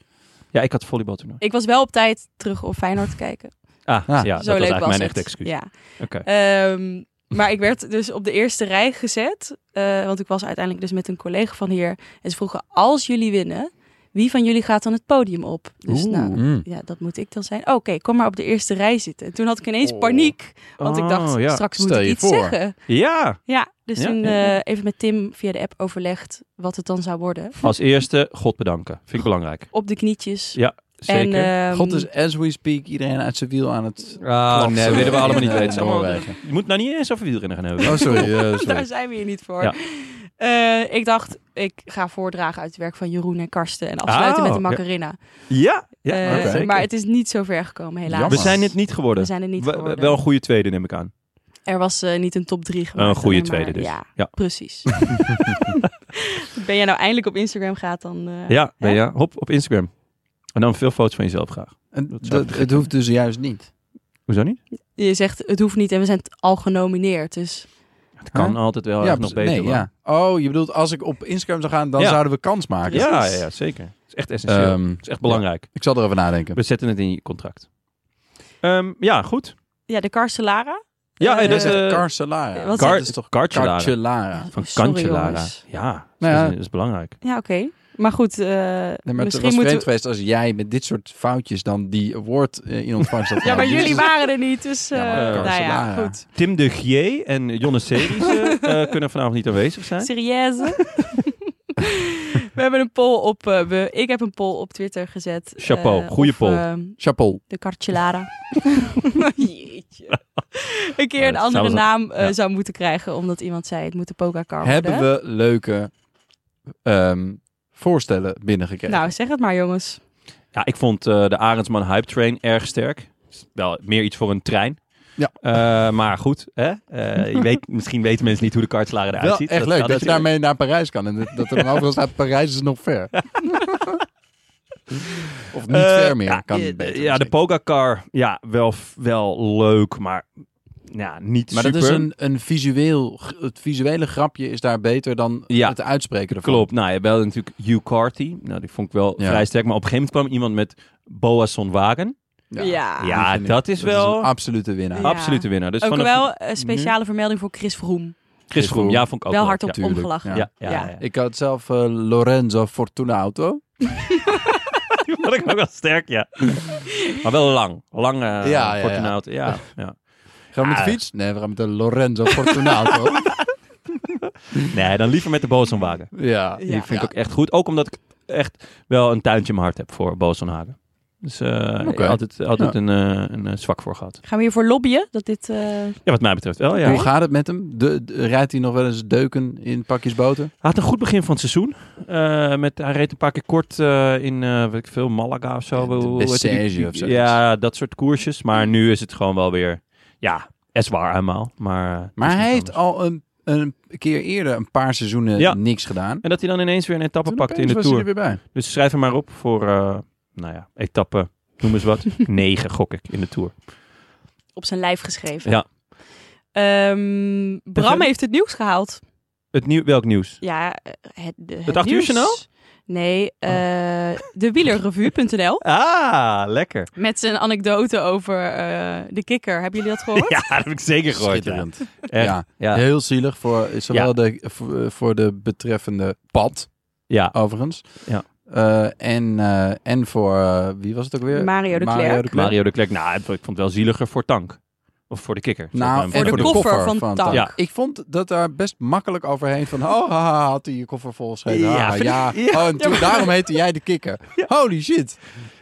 [SPEAKER 1] ik had volleybaltoernooi.
[SPEAKER 3] Ik was wel op tijd terug op Feyenoord kijken.
[SPEAKER 1] Ah,
[SPEAKER 2] Ah.
[SPEAKER 1] ja,
[SPEAKER 3] Zo
[SPEAKER 1] dat was
[SPEAKER 3] leuk
[SPEAKER 1] eigenlijk
[SPEAKER 3] was
[SPEAKER 1] mijn
[SPEAKER 3] het.
[SPEAKER 1] echte excuus.
[SPEAKER 3] Ja.
[SPEAKER 1] Oké.
[SPEAKER 3] Ehm, maar ik werd dus op de eerste rij gezet. eh, want ik was uiteindelijk dus met een collega van hier. En ze vroegen, als jullie winnen, wie van jullie gaat dan het podium op? Dus nou,
[SPEAKER 1] Mm.
[SPEAKER 3] ja, dat moet ik dan zijn. Oh, Oké, kom maar op de eerste rij zitten. En toen had ik ineens
[SPEAKER 2] Oh.
[SPEAKER 3] paniek, want ik dacht,
[SPEAKER 1] Oh, ja.
[SPEAKER 3] straks
[SPEAKER 2] Stel
[SPEAKER 3] moet ik
[SPEAKER 2] je
[SPEAKER 3] iets
[SPEAKER 2] voor.
[SPEAKER 3] zeggen.
[SPEAKER 1] Ja,
[SPEAKER 3] Ja, dus
[SPEAKER 1] Ja,
[SPEAKER 3] toen
[SPEAKER 1] ja, ja.
[SPEAKER 3] eh, even met Tim via de app overlegd wat het dan zou worden.
[SPEAKER 1] als eerste God bedanken. Vind ik belangrijk.
[SPEAKER 3] Op de knietjes.
[SPEAKER 1] Ja, Zeker.
[SPEAKER 3] En, ehm,
[SPEAKER 2] God is, as we speak, iedereen uit zijn wiel aan het...
[SPEAKER 1] Ah, nee,
[SPEAKER 2] Klasse.
[SPEAKER 1] willen we allemaal niet
[SPEAKER 2] Ja,
[SPEAKER 1] weten. Het is allemaal-
[SPEAKER 2] Noorwegen.
[SPEAKER 1] Je moet nou niet eens over wielrennen gaan hebben.
[SPEAKER 2] Oh, sorry. eh,
[SPEAKER 3] daar
[SPEAKER 2] sorry.
[SPEAKER 3] zijn we hier niet voor.
[SPEAKER 1] Ja.
[SPEAKER 3] Eh, ik dacht, ik ga voordragen uit het werk van Jeroen en Karsten en afsluiten
[SPEAKER 1] Oh,
[SPEAKER 3] met de
[SPEAKER 1] ja.
[SPEAKER 3] Macarena.
[SPEAKER 1] Ja,
[SPEAKER 3] Eh,
[SPEAKER 2] oké.
[SPEAKER 3] Maar het is niet zo ver gekomen, helaas.
[SPEAKER 2] Jammer.
[SPEAKER 1] we zijn het niet
[SPEAKER 3] We
[SPEAKER 1] geworden.
[SPEAKER 3] zijn er niet
[SPEAKER 1] We-
[SPEAKER 3] geworden.
[SPEAKER 1] Wel een goede tweede, neem ik aan.
[SPEAKER 3] Er was eh, niet een top 3
[SPEAKER 1] Een
[SPEAKER 3] gemaakt.
[SPEAKER 1] goede
[SPEAKER 3] alleen maar-
[SPEAKER 1] tweede dus.
[SPEAKER 3] Ja,
[SPEAKER 1] Ja.
[SPEAKER 3] precies. ben jij nou eindelijk op Instagram gaat, dan... eh,
[SPEAKER 1] Ja, ben
[SPEAKER 3] hè?
[SPEAKER 1] je? Hop, op Instagram. En dan veel foto's van jezelf graag.
[SPEAKER 2] En
[SPEAKER 1] Dat zou Oh,
[SPEAKER 2] dat-
[SPEAKER 1] ik
[SPEAKER 2] het hoeft dus juist niet.
[SPEAKER 1] Hoezo niet?
[SPEAKER 3] Je zegt, het hoeft niet en we zijn t- al genomineerd. Dus
[SPEAKER 1] Het kan altijd wel echt nog
[SPEAKER 2] precies.
[SPEAKER 1] beter
[SPEAKER 2] nee,
[SPEAKER 1] worden.
[SPEAKER 2] ja. Oh, je bedoelt als ik op Instagram zou gaan, dan
[SPEAKER 1] Ja.
[SPEAKER 2] zouden we kans maken.
[SPEAKER 1] Ja, ja, ja, zeker. Het is echt essentieel.
[SPEAKER 2] Ehm,
[SPEAKER 1] het is echt belangrijk.
[SPEAKER 2] Ik zal erover nadenken.
[SPEAKER 1] We zetten het in je contract. Ehm, ja, goed.
[SPEAKER 3] ja, de Carcelara.
[SPEAKER 1] Ja,
[SPEAKER 3] Eh,
[SPEAKER 1] en
[SPEAKER 2] Dat
[SPEAKER 1] dat
[SPEAKER 2] is
[SPEAKER 1] eh,
[SPEAKER 2] echt Carcelara.
[SPEAKER 3] wat-
[SPEAKER 1] Car-
[SPEAKER 2] dat is toch
[SPEAKER 1] Carcelara.
[SPEAKER 2] Carcelara.
[SPEAKER 1] Van
[SPEAKER 3] Sorry,
[SPEAKER 1] Cancellara.
[SPEAKER 3] jongens.
[SPEAKER 1] Ja, dat is-
[SPEAKER 2] Nou ja.
[SPEAKER 1] dat, is, belangrijk.
[SPEAKER 3] Ja, oké. Maar goed, eh,
[SPEAKER 2] Nee, maar het
[SPEAKER 3] misschien
[SPEAKER 2] was
[SPEAKER 3] moeten
[SPEAKER 2] vreemd
[SPEAKER 3] we...
[SPEAKER 2] geweest als jij met dit soort foutjes dan die award eh, in ontvangst had
[SPEAKER 3] Ja, maar
[SPEAKER 2] genomen.
[SPEAKER 3] jullie
[SPEAKER 2] Dus-
[SPEAKER 3] waren er niet, dus eh,
[SPEAKER 2] Ja, maar
[SPEAKER 1] de
[SPEAKER 3] nou ja,
[SPEAKER 2] Carcelara.
[SPEAKER 3] goed.
[SPEAKER 1] Tim de Gier en Jonne Series eh, kunnen vanavond niet aanwezig zijn.
[SPEAKER 3] Serieuze. we hebben een poll op... eh, we, ik heb een poll op Twitter gezet.
[SPEAKER 1] Chapeau,
[SPEAKER 3] eh,
[SPEAKER 1] goede
[SPEAKER 3] of,
[SPEAKER 1] poll.
[SPEAKER 3] eh,
[SPEAKER 2] Chapeau.
[SPEAKER 3] de Carcelara. Jeetje. Een keer
[SPEAKER 1] Ja,
[SPEAKER 3] een
[SPEAKER 1] dat
[SPEAKER 3] andere
[SPEAKER 1] zou-
[SPEAKER 3] naam eh,
[SPEAKER 1] ja.
[SPEAKER 3] zou moeten krijgen, omdat iemand zei het moet de
[SPEAKER 1] Oh,
[SPEAKER 3] Pogacar
[SPEAKER 2] Hebben
[SPEAKER 3] worden.
[SPEAKER 2] we leuke ehm, voorstellen binnengekregen?
[SPEAKER 3] Nou, zeg het maar jongens.
[SPEAKER 1] Ja, ik vond eh, de Arendsman Hype Train erg sterk. Is Wel meer iets voor een trein.
[SPEAKER 2] Ja.
[SPEAKER 1] Eh, maar goed, hè? Eh, je weet, misschien weten mensen niet hoe de kartslager eruit
[SPEAKER 2] Wel
[SPEAKER 1] ziet.
[SPEAKER 2] echt leuk
[SPEAKER 1] staat
[SPEAKER 2] dat je
[SPEAKER 1] natuurlijk-
[SPEAKER 2] daarmee naar Parijs kan. En dat, dat er dan overal staat, Parijs is nog ver. of niet
[SPEAKER 1] Eh,
[SPEAKER 2] ver meer,
[SPEAKER 1] ja,
[SPEAKER 2] kan
[SPEAKER 1] eh,
[SPEAKER 2] beter.
[SPEAKER 1] Ja, de
[SPEAKER 2] misschien.
[SPEAKER 1] Pogacar, ja, wel, f- wel leuk, maar ja, niet
[SPEAKER 2] Maar
[SPEAKER 1] super.
[SPEAKER 2] dat is een, een visueel, g- het visuele grapje is daar beter dan
[SPEAKER 1] Ja.
[SPEAKER 2] het uitspreken ervan.
[SPEAKER 1] Klopt, nou, je belde natuurlijk Hugh Carty. Nou, die vond ik wel
[SPEAKER 2] Ja.
[SPEAKER 1] vrij sterk. Maar op een gegeven moment kwam iemand met Boasson Wagen.
[SPEAKER 3] Ja.
[SPEAKER 1] Ja,
[SPEAKER 2] vind ik-
[SPEAKER 1] dat is
[SPEAKER 2] dat
[SPEAKER 1] wel-
[SPEAKER 2] een absolute winnaar.
[SPEAKER 3] Ja.
[SPEAKER 1] Absolute winnaar. Dus
[SPEAKER 3] Ook
[SPEAKER 1] vanaf
[SPEAKER 3] wel een speciale vermelding voor Chris Vroom.
[SPEAKER 1] Chris Froome. Ja, vond ik ook
[SPEAKER 3] Wel
[SPEAKER 1] leuk,
[SPEAKER 3] hard op
[SPEAKER 1] ja.
[SPEAKER 2] tuurlijk.
[SPEAKER 3] omgelachen.
[SPEAKER 2] Ja.
[SPEAKER 1] Ja, ja, ja.
[SPEAKER 3] Ja.
[SPEAKER 1] ja.
[SPEAKER 2] Ik had zelf eh, Lorenzo Fortuna Auto.
[SPEAKER 1] Die vond ik ook wel sterk, ja. maar wel lang. Lang eh
[SPEAKER 2] ja, ja.
[SPEAKER 1] Fortunaut. Ja, ja.
[SPEAKER 2] Gaan we met
[SPEAKER 1] Ah.
[SPEAKER 2] de fiets? Nee, we gaan met de Lorenzo Fortuna Auto.
[SPEAKER 1] Nee, dan liever met de Boasson-wagen.
[SPEAKER 2] ja.
[SPEAKER 3] Ja.
[SPEAKER 1] Die vind ik ook echt goed. Ook omdat ik echt wel een tuintje in mijn hart heb voor Boasson-Hagen. Dus eh
[SPEAKER 2] Oké.
[SPEAKER 1] altijd, altijd
[SPEAKER 2] Ja.
[SPEAKER 1] een, eh, een eh, zwak voor gehad.
[SPEAKER 3] Gaan we hiervoor lobbyen? Dat dit, eh,
[SPEAKER 1] Ja, wat mij betreft wel, ja.
[SPEAKER 2] Hoe gaat het met hem? De, de- rijdt hij nog wel eens deuken in pakjes boter?
[SPEAKER 1] Hij had een goed begin van het seizoen. Eh, met, hij reed een paar keer kort eh, in, eh, weet ik veel, Malaga of zo.
[SPEAKER 2] Ja, de
[SPEAKER 1] Hoe- hoe heet die-
[SPEAKER 2] Bessèges
[SPEAKER 1] die-
[SPEAKER 2] of zo.
[SPEAKER 1] Ja, dat soort koersjes. Maar nu is het gewoon wel weer, ja, es waar eenmaal. Maar, eh, het is
[SPEAKER 2] Maar hij
[SPEAKER 1] niet
[SPEAKER 2] heeft
[SPEAKER 1] anders.
[SPEAKER 2] al een, een keer eerder een paar seizoenen
[SPEAKER 1] Ja.
[SPEAKER 2] niks gedaan.
[SPEAKER 1] En dat hij dan ineens weer een etappe
[SPEAKER 2] Toen
[SPEAKER 1] pakte in
[SPEAKER 2] opeens
[SPEAKER 1] de
[SPEAKER 2] was hij
[SPEAKER 1] Tour.
[SPEAKER 2] er weer bij.
[SPEAKER 1] Dus schrijf hem maar op voor, eh, nou ja, etappe, noem eens wat. Negen, gok ik, in de Tour.
[SPEAKER 3] op zijn lijf geschreven.
[SPEAKER 1] Ja.
[SPEAKER 3] Ehm, Bram
[SPEAKER 1] Even-
[SPEAKER 3] heeft het nieuws gehaald.
[SPEAKER 1] Het nieuw, welk nieuws?
[SPEAKER 3] Ja, eh, het, de- het,
[SPEAKER 1] Het acht uur
[SPEAKER 3] nieuws.
[SPEAKER 1] journaal?
[SPEAKER 3] Nee,
[SPEAKER 2] Oh.
[SPEAKER 3] eh de wielerrevue.nl
[SPEAKER 1] Ah, lekker.
[SPEAKER 3] met zijn anekdote over eh, de kikker. Hebben jullie dat gehoord?
[SPEAKER 1] Ja, dat heb ik zeker gehoord. Ja.
[SPEAKER 2] Schitterend.
[SPEAKER 1] Echt,
[SPEAKER 2] Ja.
[SPEAKER 1] ja.
[SPEAKER 2] Heel zielig voor zowel
[SPEAKER 1] Ja.
[SPEAKER 2] de, voor, voor de betreffende pad,
[SPEAKER 1] Ja.
[SPEAKER 2] overigens.
[SPEAKER 1] Ja.
[SPEAKER 2] Eh, en, eh, en voor, eh, wie was het ook weer?
[SPEAKER 3] Mario de Klerk.
[SPEAKER 1] Mario de Klerk. Nou, ik vond het wel zieliger voor Tank. Of voor de kikker. zou ik
[SPEAKER 2] Nou,
[SPEAKER 1] maar
[SPEAKER 2] en
[SPEAKER 3] de
[SPEAKER 2] voor de
[SPEAKER 1] zeggen.
[SPEAKER 3] kop.
[SPEAKER 2] koffer,
[SPEAKER 3] koffer van
[SPEAKER 2] van
[SPEAKER 3] Tank.
[SPEAKER 1] Ja.
[SPEAKER 2] Ik vond dat daar best makkelijk overheen van... Oh, haha, had hij je koffer vol gescheten.
[SPEAKER 1] Ja,
[SPEAKER 2] Ah,
[SPEAKER 1] vind ik-
[SPEAKER 2] ja.
[SPEAKER 1] ja.
[SPEAKER 2] Oh, en toen, daarom heette jij de kikker. Holy shit.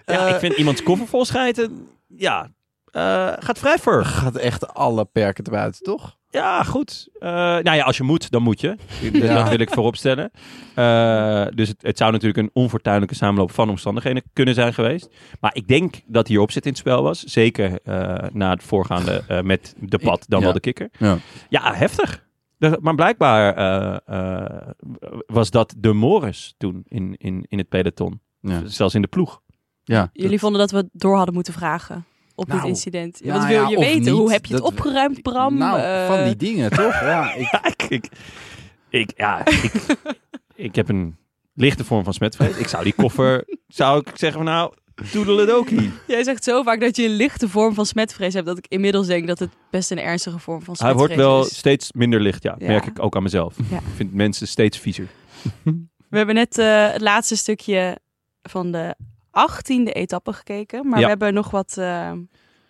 [SPEAKER 1] Ja,
[SPEAKER 2] Eh,
[SPEAKER 1] ik vind iemands koffer vol schijten. Ja, eh, gaat vrij ver.
[SPEAKER 2] Gaat echt alle perken te buiten, toch?
[SPEAKER 1] Ja, goed. Eh, nou ja, als je moet, dan moet je. Dus
[SPEAKER 2] Ja.
[SPEAKER 1] Dat wil ik vooropstellen. Eh, dus het, het zou natuurlijk een onfortuinlijke samenloop van omstandigheden kunnen zijn geweest. Maar ik denk dat hierop zit in het spel was. Zeker eh, na het voorgaande eh, met de pad, dan
[SPEAKER 2] Ja.
[SPEAKER 1] wel de kikker.
[SPEAKER 2] Ja.
[SPEAKER 1] Ja, heftig. Dus- Maar blijkbaar eh, eh, was dat de Morris toen in, in, in het peloton.
[SPEAKER 2] Ja.
[SPEAKER 1] Zelfs in de ploeg.
[SPEAKER 2] Ja.
[SPEAKER 3] Jullie vonden dat we het door hadden moeten vragen op
[SPEAKER 2] Nou,
[SPEAKER 3] dit incident.
[SPEAKER 2] nou
[SPEAKER 3] Wat wil
[SPEAKER 2] ja,
[SPEAKER 3] je
[SPEAKER 2] of
[SPEAKER 3] weten?
[SPEAKER 2] niet,
[SPEAKER 3] Hoe heb je het
[SPEAKER 2] dat-
[SPEAKER 3] opgeruimd, Bram?
[SPEAKER 2] Nou,
[SPEAKER 3] Eh,
[SPEAKER 2] van die dingen, toch? Ja, ik,
[SPEAKER 1] Ja, ik, ik, ik- ja, ik, ik heb een lichte vorm van smetvrees. Ik zou die koffer, zou ik zeggen van nou, toedeledokie.
[SPEAKER 3] Jij zegt zo vaak dat je een lichte vorm van smetvrees hebt... dat ik inmiddels denk dat het best een ernstige vorm van
[SPEAKER 1] Hij
[SPEAKER 3] smetvrees
[SPEAKER 1] wordt wel
[SPEAKER 3] is.
[SPEAKER 1] steeds minder licht, ja.
[SPEAKER 3] Ja.
[SPEAKER 1] Merk ik ook aan mezelf.
[SPEAKER 3] Ja.
[SPEAKER 1] Ik vind mensen steeds viezer.
[SPEAKER 3] We hebben net eh, het laatste stukje van de achttiende etappe gekeken. Maar
[SPEAKER 1] Ja.
[SPEAKER 3] we hebben nog wat, eh,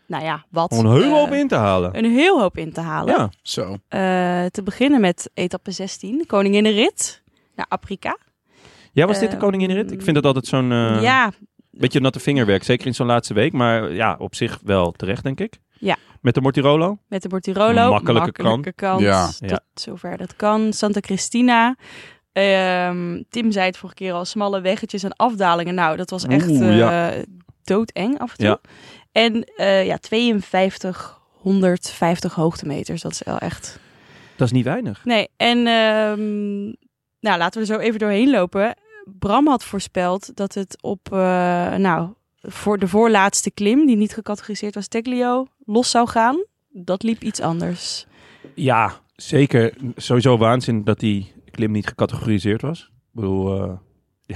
[SPEAKER 3] nou ja, wat.
[SPEAKER 1] Om een
[SPEAKER 3] eh,
[SPEAKER 1] heuvel op in te halen.
[SPEAKER 3] Een heel hoop in te halen.
[SPEAKER 1] Ja,
[SPEAKER 2] zo.
[SPEAKER 3] Eh, te beginnen met etappe 16, de Koninginnenrit naar Afrika.
[SPEAKER 1] ja, was dit de
[SPEAKER 3] Eh,
[SPEAKER 1] koninginrit? Ik vind dat altijd zo'n eh,
[SPEAKER 3] ja,
[SPEAKER 1] beetje natte vingerwerk. Zeker in zo'n laatste week. Maar eh, ja, op zich wel terecht, denk ik.
[SPEAKER 3] Ja.
[SPEAKER 1] Met de Mortirolo.
[SPEAKER 3] met de Bortirolo.
[SPEAKER 1] Makkelijke
[SPEAKER 3] kant.
[SPEAKER 2] Ja.
[SPEAKER 3] Tot
[SPEAKER 1] Ja.
[SPEAKER 3] zover dat kan. Santa Cristina. Ehm, Tim zei het vorige keer al, smalle weggetjes en afdalingen. Nou, dat was echt
[SPEAKER 1] Oeh,
[SPEAKER 3] eh,
[SPEAKER 1] ja.
[SPEAKER 3] doodeng af en toe.
[SPEAKER 1] Ja.
[SPEAKER 3] En eh, ja, 52, 150 hoogtemeters. Dat is wel echt...
[SPEAKER 1] Dat is niet weinig.
[SPEAKER 3] Nee, en ehm, nou, laten we er zo even doorheen lopen. Bram had voorspeld dat het op, eh, nou, voor de voorlaatste klim, die niet gecategoriseerd was, Teglio, los zou gaan. Dat liep iets anders.
[SPEAKER 1] Ja, zeker. Sowieso waanzin dat die klim niet gecategoriseerd was. Ik bedoel, eh,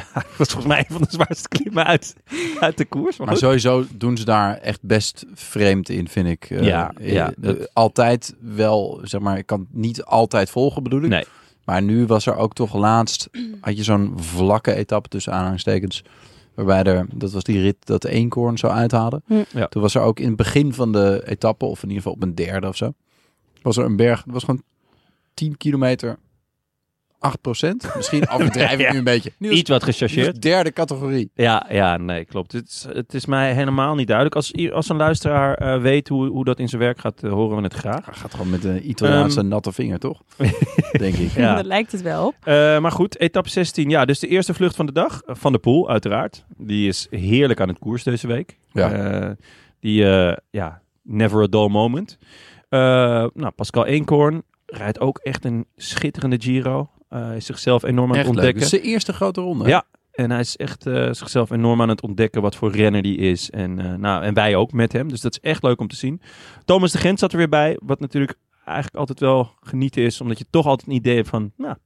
[SPEAKER 1] ja, het was volgens mij een van de zwaarste klimmen uit, uit de koers. Maar
[SPEAKER 2] Maar
[SPEAKER 1] goed.
[SPEAKER 2] sowieso doen ze daar echt best vreemd in, vind ik. Eh,
[SPEAKER 1] Ja,
[SPEAKER 2] eh,
[SPEAKER 1] ja,
[SPEAKER 2] eh,
[SPEAKER 1] dat-
[SPEAKER 2] Altijd wel, zeg maar, ik kan het niet altijd volgen, bedoel ik.
[SPEAKER 1] Nee.
[SPEAKER 2] Maar nu was er ook toch laatst, had je zo'n vlakke etappe tussen aanhalingstekens. Waarbij er, dat was die rit dat de eenkoorn zou uithalen.
[SPEAKER 3] Hm.
[SPEAKER 1] Ja.
[SPEAKER 2] Toen was er ook in het begin van de etappe, of in ieder geval op een derde of zo. Was er een berg, dat was gewoon 10 kilometer, 8 procent. Misschien overdrijf ik
[SPEAKER 1] Ja.
[SPEAKER 2] nu een beetje. Nu was-
[SPEAKER 1] Iets wat
[SPEAKER 2] nu was
[SPEAKER 1] gechargeerd.
[SPEAKER 2] derde categorie.
[SPEAKER 1] Dus- Ja, ja, nee, klopt. Het is, het is mij helemaal niet duidelijk. Als, i- als een luisteraar eh, weet hoe, hoe dat in zijn werk gaat, eh, horen we het graag.
[SPEAKER 2] Hij gaat gewoon met een Italiaanse
[SPEAKER 1] Ehm.
[SPEAKER 2] natte vinger, toch? Denk ik.
[SPEAKER 1] Ja.
[SPEAKER 3] Dat lijkt het wel op.
[SPEAKER 1] Eh, maar goed, etappe 16. Ja, dus de eerste vlucht van de dag. eh, Van de Poel, uiteraard. Die is heerlijk aan het koers deze week.
[SPEAKER 2] Ja.
[SPEAKER 1] Eh, die, eh, ja, never a dull moment. Eh, nou, Pascal Eenkorn rijdt ook echt een schitterende Giro. Eh, is zichzelf enorm aan het
[SPEAKER 2] Echt leuk. Het
[SPEAKER 1] ontdekken.
[SPEAKER 2] is de eerste grote ronde.
[SPEAKER 1] Ja. En hij is echt eh, zichzelf enorm aan het ontdekken wat voor renner die is. En, eh, nou, en wij ook met hem. Dus dat is echt leuk om te zien. Thomas de Gent zat er weer bij. Wat natuurlijk eigenlijk altijd wel genieten is. Omdat je toch altijd een idee hebt van... Nou,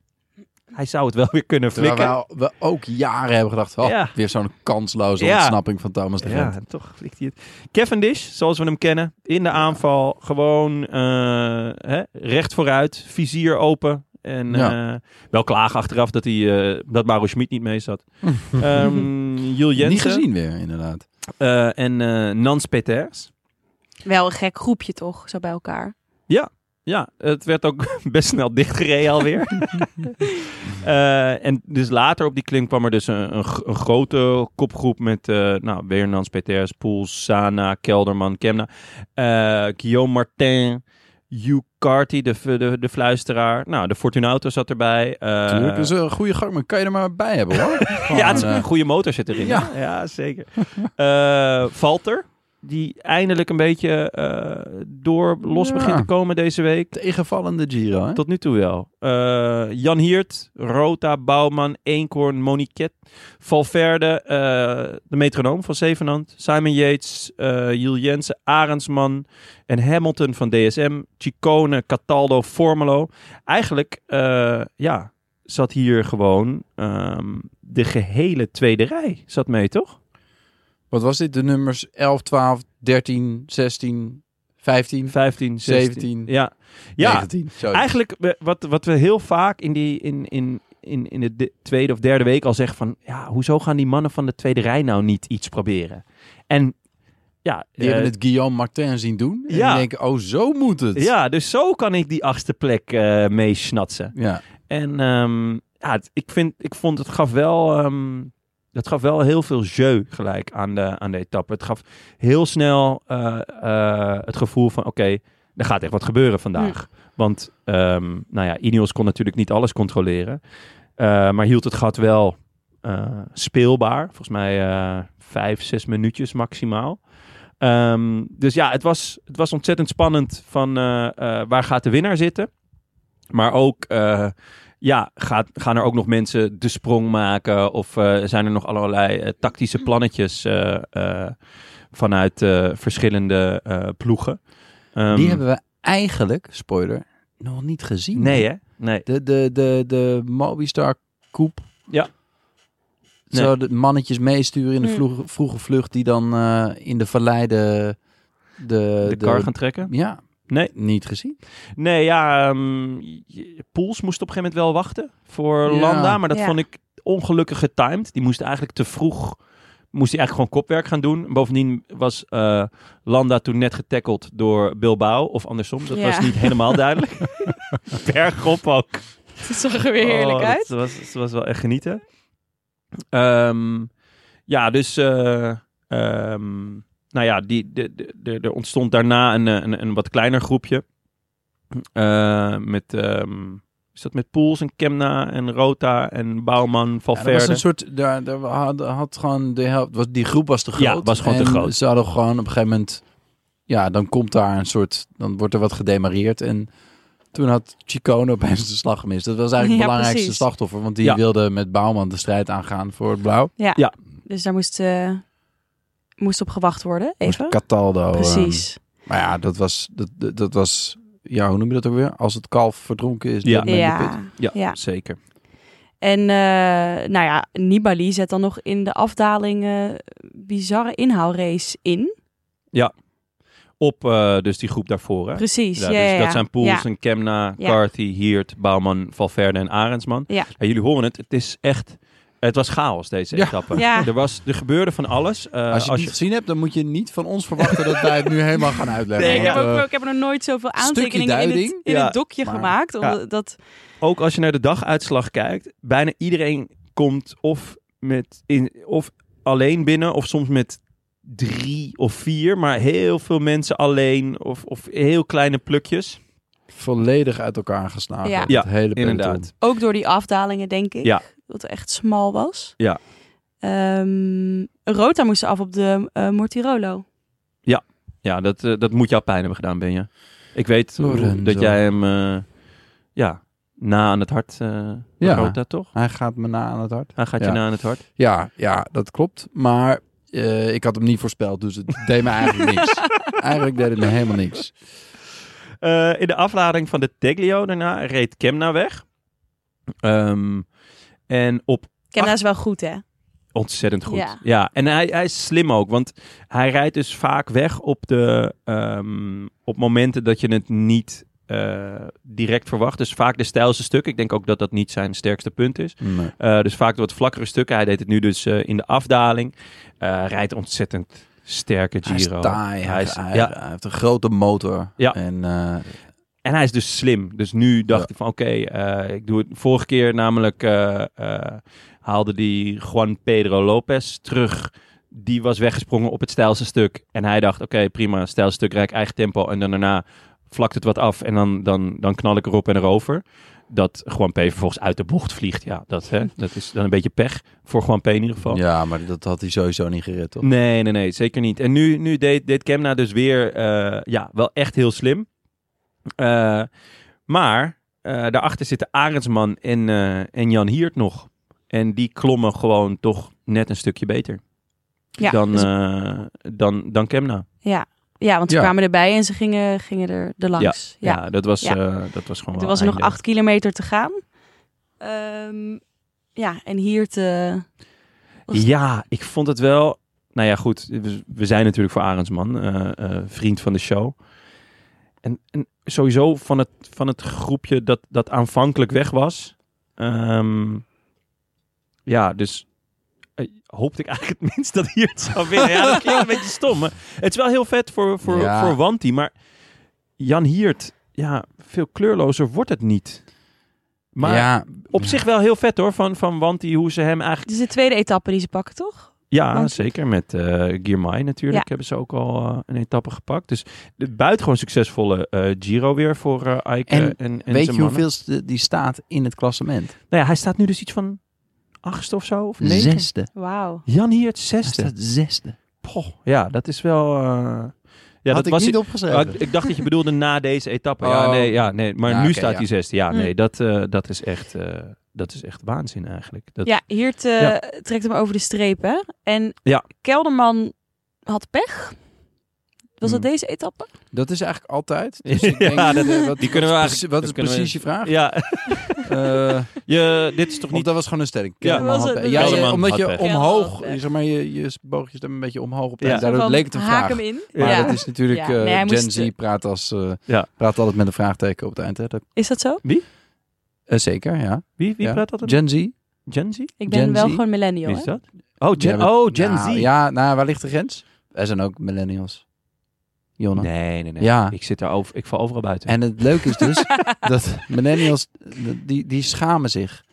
[SPEAKER 1] hij zou het wel weer kunnen
[SPEAKER 2] Terwijl
[SPEAKER 1] flikken.
[SPEAKER 2] we, we ook jaren hebben gedacht, oh,
[SPEAKER 1] Ja.
[SPEAKER 2] weer zo'n kansloze
[SPEAKER 1] Ja.
[SPEAKER 2] ontsnapping van Thomas de
[SPEAKER 1] Ja,
[SPEAKER 2] Gent.
[SPEAKER 1] en toch flikt hij het. Cavendish, zoals we hem kennen. In de aanval. Gewoon eh, hè, recht vooruit. Vizier open. En
[SPEAKER 2] Ja.
[SPEAKER 1] eh, wel klagen achteraf dat, hij, eh, dat Mauro Schmid niet mee zat. Ehm Jules Jensen.
[SPEAKER 2] Niet gezien weer, inderdaad.
[SPEAKER 1] Eh, en eh Nans Peters.
[SPEAKER 3] Wel een gek groepje toch, zo bij elkaar.
[SPEAKER 1] Ja, het werd ook best snel dichtgereden alweer. Eh, en dus later op die klim kwam er dus een, een, gro- een grote kopgroep met eh nou, weer Nans Peters, Poels, Sana, Kelderman, Kemna, eh, Guillaume Martin, Hugh Carty, de, v- de, de fluisteraar. Nou, de Fortunato zat erbij. eh,
[SPEAKER 2] Tuurlijk, dat is een goede gang, maar kan je er maar bij hebben, hoor. Gewoon,
[SPEAKER 1] ja, het is
[SPEAKER 2] eh,
[SPEAKER 1] een goede motor zit erin.
[SPEAKER 2] Ja.
[SPEAKER 1] Ja, ja zeker. Eh Valter, die eindelijk een beetje eh, door los
[SPEAKER 2] Ja.
[SPEAKER 1] begint te komen deze week.
[SPEAKER 2] Tegenvallende Giro, hè?
[SPEAKER 1] Tot nu toe wel. Eh, Jan Hiert, Rota, Bouwman, Eenkorn, Moniquet, Valverde, eh, de metronoom van Zevenand, Simon Yates, eh Jules Jensen, Arendsman en Hamilton van DSM, Chicone, Cataldo, Formelo. Eigenlijk, eh, ja, zat hier gewoon ehm, de gehele tweede rij zat mee, toch?
[SPEAKER 2] Wat was dit? De nummers 11, 12, 13, 16, 15,
[SPEAKER 1] 15,
[SPEAKER 2] 17.
[SPEAKER 1] Ja, ja
[SPEAKER 2] 19. Zo.
[SPEAKER 1] Eigenlijk we- wat, wat we heel vaak in, die, in, in, in, in de de tweede of derde week al zeggen van... Ja, hoezo gaan die mannen van de tweede rij nou niet iets proberen? En ja...
[SPEAKER 2] Die
[SPEAKER 1] eh,
[SPEAKER 2] hebben het Guillaume Martin zien doen. En
[SPEAKER 1] ja.
[SPEAKER 2] die denken, oh, zo moet het.
[SPEAKER 1] ja, dus zo kan ik die achtste plek eh meesnatsen.
[SPEAKER 2] Ja.
[SPEAKER 1] En ehm, ja, het- ik, vind, ik vond het gaf wel... ehm, dat gaf wel heel veel jeu gelijk aan de, aan de etappe. Het gaf heel snel eh, eh, het gevoel van... Oké, er gaat echt wat gebeuren vandaag. Want ehm, nou ja, Ineos kon natuurlijk niet alles controleren. Eh, maar hield het gat wel eh, speelbaar. Volgens mij eh, vijf, zes minuutjes maximaal. Ehm, dus ja, het was, het was ontzettend spannend van eh, eh, waar gaat de winnaar zitten. Maar ook, eh, ja, gaat, gaan er ook nog mensen de sprong maken? Of eh, zijn er nog allerlei eh, tactische plannetjes eh, eh, vanuit eh, verschillende eh, ploegen? Ehm,
[SPEAKER 2] Die hebben we eigenlijk, spoiler, nog niet gezien.
[SPEAKER 1] Nee, hè? Nee.
[SPEAKER 2] De, de, de, de Mobistar Coupe.
[SPEAKER 1] Ja. Nee.
[SPEAKER 2] Zou de mannetjes meesturen in de
[SPEAKER 3] Hmm.
[SPEAKER 2] vroege, vroege vlucht die dan eh, in de vallei de... De,
[SPEAKER 1] De kar gaan trekken?
[SPEAKER 2] Ja.
[SPEAKER 1] Nee.
[SPEAKER 2] Niet gezien.
[SPEAKER 1] Nee, ja, ehm, je- Poels moest op een gegeven moment wel wachten voor
[SPEAKER 2] Ja.
[SPEAKER 1] Landa, maar dat
[SPEAKER 3] Ja.
[SPEAKER 1] vond ik ongelukkig getimed. Die moest eigenlijk te vroeg, moest hij eigenlijk gewoon kopwerk gaan doen. Bovendien was eh, Landa toen net getackled door Bilbao, of andersom. Dat
[SPEAKER 3] Ja.
[SPEAKER 1] was niet helemaal duidelijk. Bergop ook.
[SPEAKER 3] Het zag er weer heerlijk
[SPEAKER 1] Oh,
[SPEAKER 3] uit.
[SPEAKER 1] Het was, het was wel echt genieten. Ehm, ja, dus. eh, ehm, nou ja, die, de, de, de- er ontstond daarna een, eh, een, een wat kleiner groepje. Eh, met. ehm, is dat met Poels en Kemna en Rota en Bouwman,
[SPEAKER 2] Ja, er was
[SPEAKER 1] Valverde?
[SPEAKER 2] een soort... Daar, daar had, had gewoon de helft... Was, die groep was te groot.
[SPEAKER 1] Ja, was gewoon te
[SPEAKER 2] En
[SPEAKER 1] groot.
[SPEAKER 2] Ze hadden gewoon op een gegeven moment... Ja, dan komt daar een soort... Dan wordt er wat gedemareerd. En toen had Chicone opeens de slag gemist. Dat was eigenlijk het
[SPEAKER 3] Ja,
[SPEAKER 2] belangrijkste
[SPEAKER 3] precies.
[SPEAKER 2] slachtoffer. Want die
[SPEAKER 1] Ja.
[SPEAKER 2] wilde met Bouwman de strijd aangaan voor het blauw.
[SPEAKER 3] Dus daar moest, eh, moest op gewacht worden, even.
[SPEAKER 2] Cataldo.
[SPEAKER 1] eh,
[SPEAKER 2] ehm,
[SPEAKER 3] Precies.
[SPEAKER 2] Maar ja, dat was, dat, dat, dat was, ja, hoe noem je dat ook weer? Als het kalf verdronken is.
[SPEAKER 1] Ja.
[SPEAKER 2] dan ben je de put.
[SPEAKER 3] ja.
[SPEAKER 1] Ja,
[SPEAKER 3] ja.
[SPEAKER 1] zeker.
[SPEAKER 3] En eh, nou ja, Nibali zet dan nog in de afdaling eh, bizarre inhaalrace in.
[SPEAKER 1] Op eh, dus die groep daarvoor. Hè?
[SPEAKER 3] Precies.
[SPEAKER 1] Ja,
[SPEAKER 3] Ja, ja,
[SPEAKER 1] dus dat
[SPEAKER 3] ja.
[SPEAKER 1] zijn Poels
[SPEAKER 3] Ja.
[SPEAKER 1] en Kemna,
[SPEAKER 3] Ja.
[SPEAKER 1] Carthy, Hiert, Bouwman, Valverde en Arendsman.
[SPEAKER 3] Ja.
[SPEAKER 1] jullie horen het, het is echt... Het was chaos deze
[SPEAKER 2] Ja.
[SPEAKER 1] etappe.
[SPEAKER 3] Ja.
[SPEAKER 1] Er, was, er gebeurde van alles. Eh,
[SPEAKER 2] Als je het niet gezien hebt, dan moet je niet van ons verwachten dat wij het nu helemaal gaan uitleggen.
[SPEAKER 3] Nee, ik, heb
[SPEAKER 2] want,
[SPEAKER 3] ook,
[SPEAKER 2] eh,
[SPEAKER 3] ik heb er nog nooit zoveel
[SPEAKER 2] stukje
[SPEAKER 3] aantekeningen in, het,
[SPEAKER 2] duiding,
[SPEAKER 3] in
[SPEAKER 1] ja,
[SPEAKER 3] het dokje
[SPEAKER 2] maar-
[SPEAKER 3] gemaakt. Omdat dat,
[SPEAKER 1] ook als je naar de daguitslag kijkt, bijna iedereen komt of, met in, of alleen binnen of soms met drie of vier. Maar heel veel mensen alleen of, of heel kleine plukjes.
[SPEAKER 2] volledig uit elkaar geslagen.
[SPEAKER 3] Ja.
[SPEAKER 1] Ja,
[SPEAKER 2] het hele peloton.
[SPEAKER 1] inderdaad.
[SPEAKER 3] ook door die afdalingen, denk ik.
[SPEAKER 1] Ja.
[SPEAKER 3] Dat het echt smal was.
[SPEAKER 1] Ja.
[SPEAKER 3] Ehm, Rota moest af op de eh, Mortirolo.
[SPEAKER 1] Ja, dat, eh, dat moet jou pijn hebben gedaan, Benja. Ik weet hoe-
[SPEAKER 2] Lorenzo.
[SPEAKER 1] dat jij hem eh, ja, na aan het hart eh
[SPEAKER 2] Ja.
[SPEAKER 1] rood daar toch?
[SPEAKER 2] Hij gaat me na aan het hart.
[SPEAKER 1] Hij gaat
[SPEAKER 2] Ja.
[SPEAKER 1] je na aan het hart.
[SPEAKER 2] Ja, ja, dat klopt. Maar eh, ik had hem niet voorspeld, dus het deed me eigenlijk niks. Eigenlijk deed het me helemaal niks.
[SPEAKER 1] Eh, in de aflading van de Teglio daarna reed Kemna weg. Ehm, en op
[SPEAKER 3] Kemna is wel goed, hè?
[SPEAKER 1] Ontzettend goed. Ja,
[SPEAKER 3] Ja.
[SPEAKER 1] en hij, hij is slim ook, want hij rijdt dus vaak weg op, de, ehm, op momenten dat je het niet eh, direct verwacht. Dus vaak de stijlste stukken. Ik denk ook dat dat niet zijn sterkste punt is.
[SPEAKER 2] Nee.
[SPEAKER 1] Eh, dus vaak de wat vlakkere stukken. Hij deed het nu dus eh, in de afdaling. Eh, rijdt ontzettend sterke Giro.
[SPEAKER 2] Hij is taai, hij,
[SPEAKER 1] Hij is-
[SPEAKER 2] hij-
[SPEAKER 1] ja.
[SPEAKER 2] hij heeft een grote motor.
[SPEAKER 1] Ja.
[SPEAKER 2] En, eh,
[SPEAKER 1] En hij is dus slim. Dus nu dacht
[SPEAKER 2] Ja.
[SPEAKER 1] ik van oké, eh, ik doe het vorige keer namelijk eh, eh, haalde die Juan Pedro Lopez terug. Die was weggesprongen op het stijlste stuk. En hij dacht oké, prima, stijlste stuk, rijk eigen tempo. En dan daarna vlakt het wat af en dan, dan, dan knal ik erop en erover. dat Juan P. vervolgens uit de bocht vliegt. Ja, dat, hè, dat is dan een beetje pech voor Juan P. in ieder geval.
[SPEAKER 2] Ja, maar dat had hij sowieso niet gered, toch?
[SPEAKER 1] Nee, nee, nee, zeker niet. En nu, nu deed, deed Kemna dus weer, eh, ja, wel echt heel slim. Eh, maar eh, daarachter zitten Arendsman en, eh, en Jan Hiert nog. En die klommen gewoon toch net een stukje beter
[SPEAKER 3] Ja,
[SPEAKER 1] dan,
[SPEAKER 3] dus-
[SPEAKER 1] eh, dan, dan Kemna.
[SPEAKER 3] ja. ja want ze
[SPEAKER 2] Ja.
[SPEAKER 3] kwamen erbij en ze gingen, gingen er, er langs. Ja,
[SPEAKER 1] Ja, dat, was,
[SPEAKER 3] Ja.
[SPEAKER 1] eh, dat was gewoon
[SPEAKER 3] Toen
[SPEAKER 1] wel
[SPEAKER 3] was er nog
[SPEAKER 1] einde.
[SPEAKER 3] acht kilometer te gaan. Ehm, ja, en hier te... Was-
[SPEAKER 1] Ja, ik vond het wel. Nou ja, goed. we- We zijn natuurlijk voor Arendsman, eh, eh, vriend van de show. En, en sowieso van het, van het groepje dat, dat aanvankelijk weg was. Ehm, ja, dus eh, hoopte ik eigenlijk het minst dat hier het zou winnen. Ja, dat klinkt een beetje stom. maar het is wel heel vet voor, voor,
[SPEAKER 2] Ja.
[SPEAKER 1] voor Wanti. Maar Jan Hiert, ja, veel kleurlozer wordt het niet. Maar
[SPEAKER 2] ja,
[SPEAKER 1] op
[SPEAKER 2] ja.
[SPEAKER 1] zich wel heel vet hoor, van, van Wanti, hoe ze hem eigenlijk
[SPEAKER 3] Dit is de tweede etappe die ze pakken, toch?
[SPEAKER 1] ja,
[SPEAKER 3] Want-
[SPEAKER 1] zeker. Met eh Girmay natuurlijk
[SPEAKER 3] Ja.
[SPEAKER 1] hebben ze ook al eh, een etappe gepakt. Dus de buitengewoon succesvolle eh, Giro weer voor eh Eike
[SPEAKER 2] En
[SPEAKER 1] en, en,
[SPEAKER 2] Weet je
[SPEAKER 1] zijn mannen.
[SPEAKER 2] hoeveel die staat in het klassement?
[SPEAKER 1] Nou ja, hij staat nu dus iets van achtste of zo, of negen.
[SPEAKER 2] Zesde.
[SPEAKER 3] Wauw.
[SPEAKER 1] Jan Hiert,
[SPEAKER 2] Hij
[SPEAKER 1] zesde.
[SPEAKER 2] staat zesde.
[SPEAKER 1] Poh, ja, dat is wel... eh, Ja,
[SPEAKER 2] Had
[SPEAKER 1] dat
[SPEAKER 2] ik
[SPEAKER 1] was
[SPEAKER 2] niet
[SPEAKER 1] Ah,
[SPEAKER 2] opgeschreven.
[SPEAKER 1] ik, ik dacht dat je bedoelde na deze etappe. Ja,
[SPEAKER 2] Oh.
[SPEAKER 1] nee, ja, nee. Maar
[SPEAKER 2] Ja,
[SPEAKER 1] nu
[SPEAKER 2] oké,
[SPEAKER 1] staat
[SPEAKER 2] ja. Hm.
[SPEAKER 1] hij zesde. Ja,
[SPEAKER 3] Mm.
[SPEAKER 1] nee, dat, eh, dat, is echt, eh, dat is echt waanzin eigenlijk. Dat,
[SPEAKER 3] Ja, hier te,
[SPEAKER 1] Ja.
[SPEAKER 3] trekt hem over de streep, hè? En
[SPEAKER 1] Ja.
[SPEAKER 3] Kelderman had pech. Was dat
[SPEAKER 1] Hmm.
[SPEAKER 3] deze etappe?
[SPEAKER 2] Dat is eigenlijk altijd.
[SPEAKER 1] Dus ik denk, Ja, dat- eh, wat- die kunnen we wat is eigenlijk- precie-
[SPEAKER 2] Wat,
[SPEAKER 1] wat dat
[SPEAKER 2] is
[SPEAKER 1] is kunnen we-
[SPEAKER 2] precies
[SPEAKER 1] precies
[SPEAKER 2] je vraag? Eh,
[SPEAKER 1] Ja, je, dit is toch
[SPEAKER 2] Want
[SPEAKER 1] niet...
[SPEAKER 2] dat was gewoon een stelling.
[SPEAKER 1] Ja.
[SPEAKER 2] Kelderman
[SPEAKER 3] Was
[SPEAKER 2] had-
[SPEAKER 3] het-
[SPEAKER 2] ja, je-
[SPEAKER 1] Kelderman
[SPEAKER 2] omdat
[SPEAKER 1] had
[SPEAKER 2] je
[SPEAKER 1] pech.
[SPEAKER 2] omhoog,
[SPEAKER 3] Kelderman had pech.
[SPEAKER 2] zeg maar, je, je boogjes staan een beetje omhoog op.
[SPEAKER 1] Ja.
[SPEAKER 2] Ja. Daardoor
[SPEAKER 3] Van,
[SPEAKER 2] leek het een
[SPEAKER 3] haak
[SPEAKER 2] vraag.
[SPEAKER 3] hem in.
[SPEAKER 1] Ja.
[SPEAKER 3] Ja.
[SPEAKER 2] Maar dat is natuurlijk,
[SPEAKER 3] Ja.
[SPEAKER 2] eh,
[SPEAKER 3] Nee, hij
[SPEAKER 2] Gen
[SPEAKER 3] moest-
[SPEAKER 2] Z praat, als, eh,
[SPEAKER 1] Ja.
[SPEAKER 2] praat altijd met een vraagteken op het eind. Hè? Dat,
[SPEAKER 3] Is dat zo?
[SPEAKER 2] eh, zeker, ja.
[SPEAKER 1] Wie, wie
[SPEAKER 2] Ja.
[SPEAKER 1] praat dat? Oh,
[SPEAKER 2] Gen Z?
[SPEAKER 1] Gen Z?
[SPEAKER 3] Ik ben
[SPEAKER 2] Gen
[SPEAKER 3] wel
[SPEAKER 2] Z?
[SPEAKER 3] gewoon millennial,
[SPEAKER 1] Wie
[SPEAKER 3] hè?
[SPEAKER 1] is dat? Oh, Gen,
[SPEAKER 2] Ja,
[SPEAKER 1] oh, Gen
[SPEAKER 2] Nou,
[SPEAKER 1] Z.
[SPEAKER 2] Ja, nou, waar ligt de grens? Wij zijn ook millennials. Jonne.
[SPEAKER 1] Nee, nee, nee.
[SPEAKER 2] Ja.
[SPEAKER 1] Ik zit daar over, ik val overal buiten.
[SPEAKER 2] En het leuke is dus dat millennials, die, die schamen zich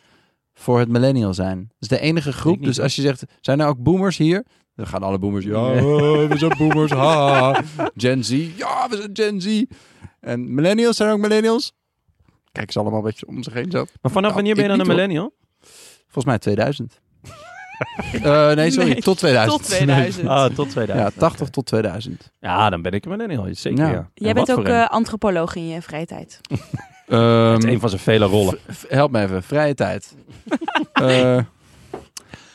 [SPEAKER 2] voor het millennial zijn. Dat is de enige groep.
[SPEAKER 1] niet,
[SPEAKER 2] dus
[SPEAKER 1] hoor.
[SPEAKER 2] als je zegt, zijn er ook boomers hier? Dan gaan alle boomers, ja,
[SPEAKER 1] Nee.
[SPEAKER 2] we zijn boomers, ha. Gen Z, ja, we zijn Gen Z. En millennials zijn ook millennials. Kijk ze allemaal een beetje om zich heen zo.
[SPEAKER 1] maar vanaf
[SPEAKER 2] Ja,
[SPEAKER 1] wanneer ben je
[SPEAKER 2] Oh, ik
[SPEAKER 1] dan een
[SPEAKER 2] niet, hoor.
[SPEAKER 1] millennial?
[SPEAKER 2] Volgens mij 2000. Eh, nee, sorry,
[SPEAKER 3] Nee,
[SPEAKER 2] tot 2000.
[SPEAKER 3] tot 2000.
[SPEAKER 1] Ah, tot 2000.
[SPEAKER 2] Ja, 80
[SPEAKER 1] Oké.
[SPEAKER 2] tot 2000.
[SPEAKER 1] Ja, dan ben ik een millennial. Zeker,
[SPEAKER 2] Ja.
[SPEAKER 1] ja.
[SPEAKER 3] Jij
[SPEAKER 1] En
[SPEAKER 3] bent
[SPEAKER 1] wat
[SPEAKER 3] ook
[SPEAKER 1] voor een?
[SPEAKER 3] eh, antropoloog in je vrije tijd.
[SPEAKER 2] Ehm,
[SPEAKER 1] Het is een van zijn vele rollen.
[SPEAKER 2] V- Help me even, vrije tijd. Eh,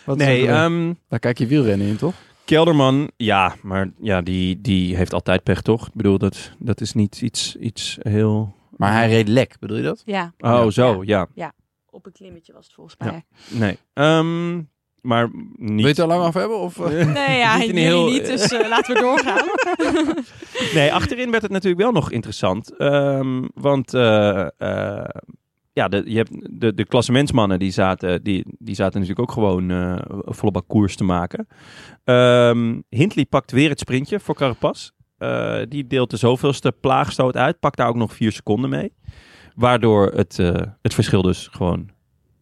[SPEAKER 2] wat is
[SPEAKER 1] Nee,
[SPEAKER 2] het?
[SPEAKER 1] ehm,
[SPEAKER 2] Daar kijk je wielrennen in, toch?
[SPEAKER 1] Kelderman, ja, maar ja, die, die heeft altijd pech, toch? Ik bedoel, dat, dat is niet iets, iets heel...
[SPEAKER 2] Maar hij reed lek, bedoel je dat?
[SPEAKER 3] Ja,
[SPEAKER 1] Oh, zo, ja.
[SPEAKER 3] op een klimmetje was het volgens
[SPEAKER 1] Ja.
[SPEAKER 3] mij.
[SPEAKER 1] Nee. Ehm, maar niet...
[SPEAKER 2] Wil je het er lang af hebben? Of, eh?
[SPEAKER 3] Nee, ja,
[SPEAKER 1] Niet een
[SPEAKER 3] jullie
[SPEAKER 1] heel-
[SPEAKER 3] niet, dus eh, laten we doorgaan.
[SPEAKER 1] Nee, achterin werd het natuurlijk wel nog interessant. Ehm, want eh, eh, ja, de, je hebt de, de klassementsmannen die zaten, die, die zaten natuurlijk ook gewoon eh volle bak koers te maken. Ehm Hindley pakt weer het sprintje voor Carapaz. Eh, die deelt de zoveelste plaagstoot uit. Pakt daar ook nog vier seconden mee. Waardoor het, eh, het verschil dus gewoon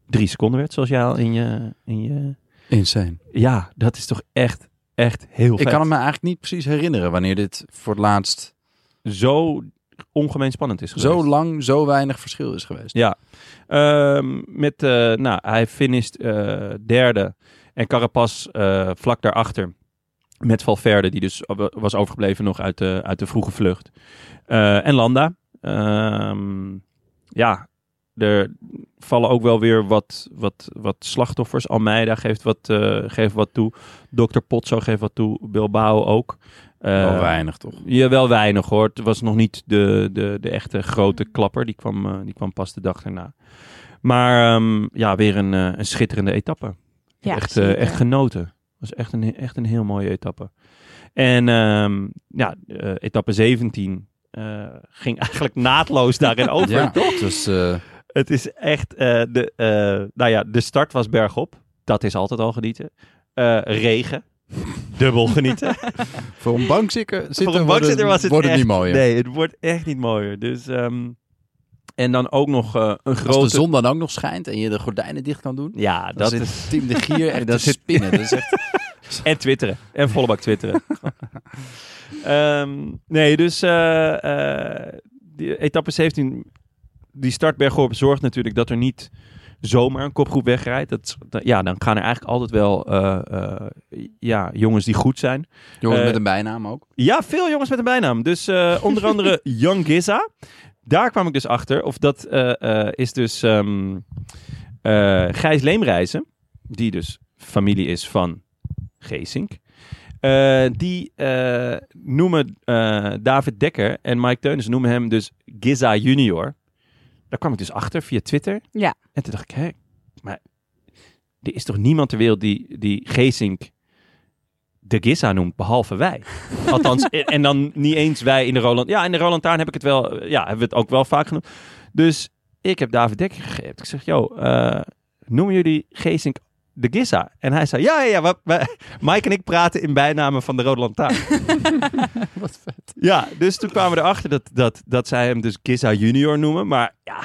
[SPEAKER 1] drie seconden werd. Zoals jij al in je... In je...
[SPEAKER 2] Insane.
[SPEAKER 1] Ja, dat is toch echt, echt heel
[SPEAKER 2] Ik
[SPEAKER 1] vet.
[SPEAKER 2] kan me eigenlijk niet precies herinneren wanneer dit voor het laatst
[SPEAKER 1] Zo ongemeen spannend is geweest.
[SPEAKER 2] zo lang, zo weinig verschil is geweest.
[SPEAKER 1] Ja. Ehm, met, eh, nou, hij finisht eh, derde. En Carapaz eh, vlak daarachter. Met Valverde, die dus wa- was overgebleven nog uit de, uit de vroege vlucht. Eh, en Landa. Ehm, ja, er vallen ook wel weer wat, wat, wat slachtoffers. Almeida geeft wat, eh, geeft wat toe. Dr. Potso geeft wat toe. Bilbao ook.
[SPEAKER 2] Wel
[SPEAKER 1] Eh,
[SPEAKER 2] weinig, toch?
[SPEAKER 1] ja, wel weinig hoor. Het was nog niet de, de, de echte grote klapper. Die kwam, eh, die kwam pas de dag daarna. Maar ehm, ja, weer een, eh, een schitterende etappe. Ik heb
[SPEAKER 3] Ja,
[SPEAKER 1] echt, eh,
[SPEAKER 3] zeker.
[SPEAKER 1] echt genoten. was echt een, echt een heel mooie etappe. En ehm, ja, eh, etappe 17 eh, ging eigenlijk naadloos daarin over.
[SPEAKER 2] Ja, dus eh,
[SPEAKER 1] Het is echt, eh, de, eh, nou ja, de start was bergop. Dat is altijd al genieten. Eh, regen. Dubbel genieten.
[SPEAKER 2] voor een bankzitter,
[SPEAKER 1] Voor een
[SPEAKER 2] wordt
[SPEAKER 1] bankzitter was het
[SPEAKER 2] wordt
[SPEAKER 1] echt,
[SPEAKER 2] niet mooier.
[SPEAKER 1] Nee, het wordt echt niet mooier. Dus, ehm, en dan ook nog eh, een
[SPEAKER 2] Als
[SPEAKER 1] grote...
[SPEAKER 2] de zon dan ook nog schijnt en je de gordijnen dicht kan doen,
[SPEAKER 1] Ja,
[SPEAKER 2] dan
[SPEAKER 1] dat
[SPEAKER 2] zit
[SPEAKER 1] is...
[SPEAKER 2] Team de Gier echt
[SPEAKER 1] Dat
[SPEAKER 2] te
[SPEAKER 1] zit-
[SPEAKER 2] spinnen. Dat is echt
[SPEAKER 1] En twitteren. En volle bak twitteren. Ehm, nee, dus eh, eh, die etappe 17 die start bergop zorgt natuurlijk dat er niet zomaar een kopgroep wegrijdt. Dat, dat- ja, dan gaan er eigenlijk altijd wel eh, eh, ja, jongens die goed zijn.
[SPEAKER 2] Jongens
[SPEAKER 1] Eh,
[SPEAKER 2] met een bijnaam ook.
[SPEAKER 1] Ja, veel jongens met een bijnaam. Dus eh, onder andere Young Giza. Daar kwam ik dus achter. Of dat eh, eh, is dus ehm, eh, Gijs Leemreizen. Die dus familie is van Geesink. Eh, die eh, noemen eh, David Dekker en Mike Teunis noemen hem dus Giza Junior. Daar kwam ik dus achter via Twitter.
[SPEAKER 3] Ja.
[SPEAKER 1] En toen dacht ik, hé, maar er is toch niemand ter wereld die, die Geesink de Giza noemt, behalve wij. Althans, en- en dan niet eens wij in de Roland. Ja, in de Roland Taan heb ik het wel, eh, ja, hebben we het ook wel vaak genoemd. Dus ik heb David Dekker gegeven. Ik zeg, joh, eh, noemen jullie Geesink de Giza? En hij zei, ja, ja, ja. we- we- Mike en ik praten in bijnamen van de Rode Lantaarn.
[SPEAKER 2] Wat vet.
[SPEAKER 1] ja, dus toen kwamen we erachter dat, dat, dat zij hem dus Giza Junior noemen. Maar ja,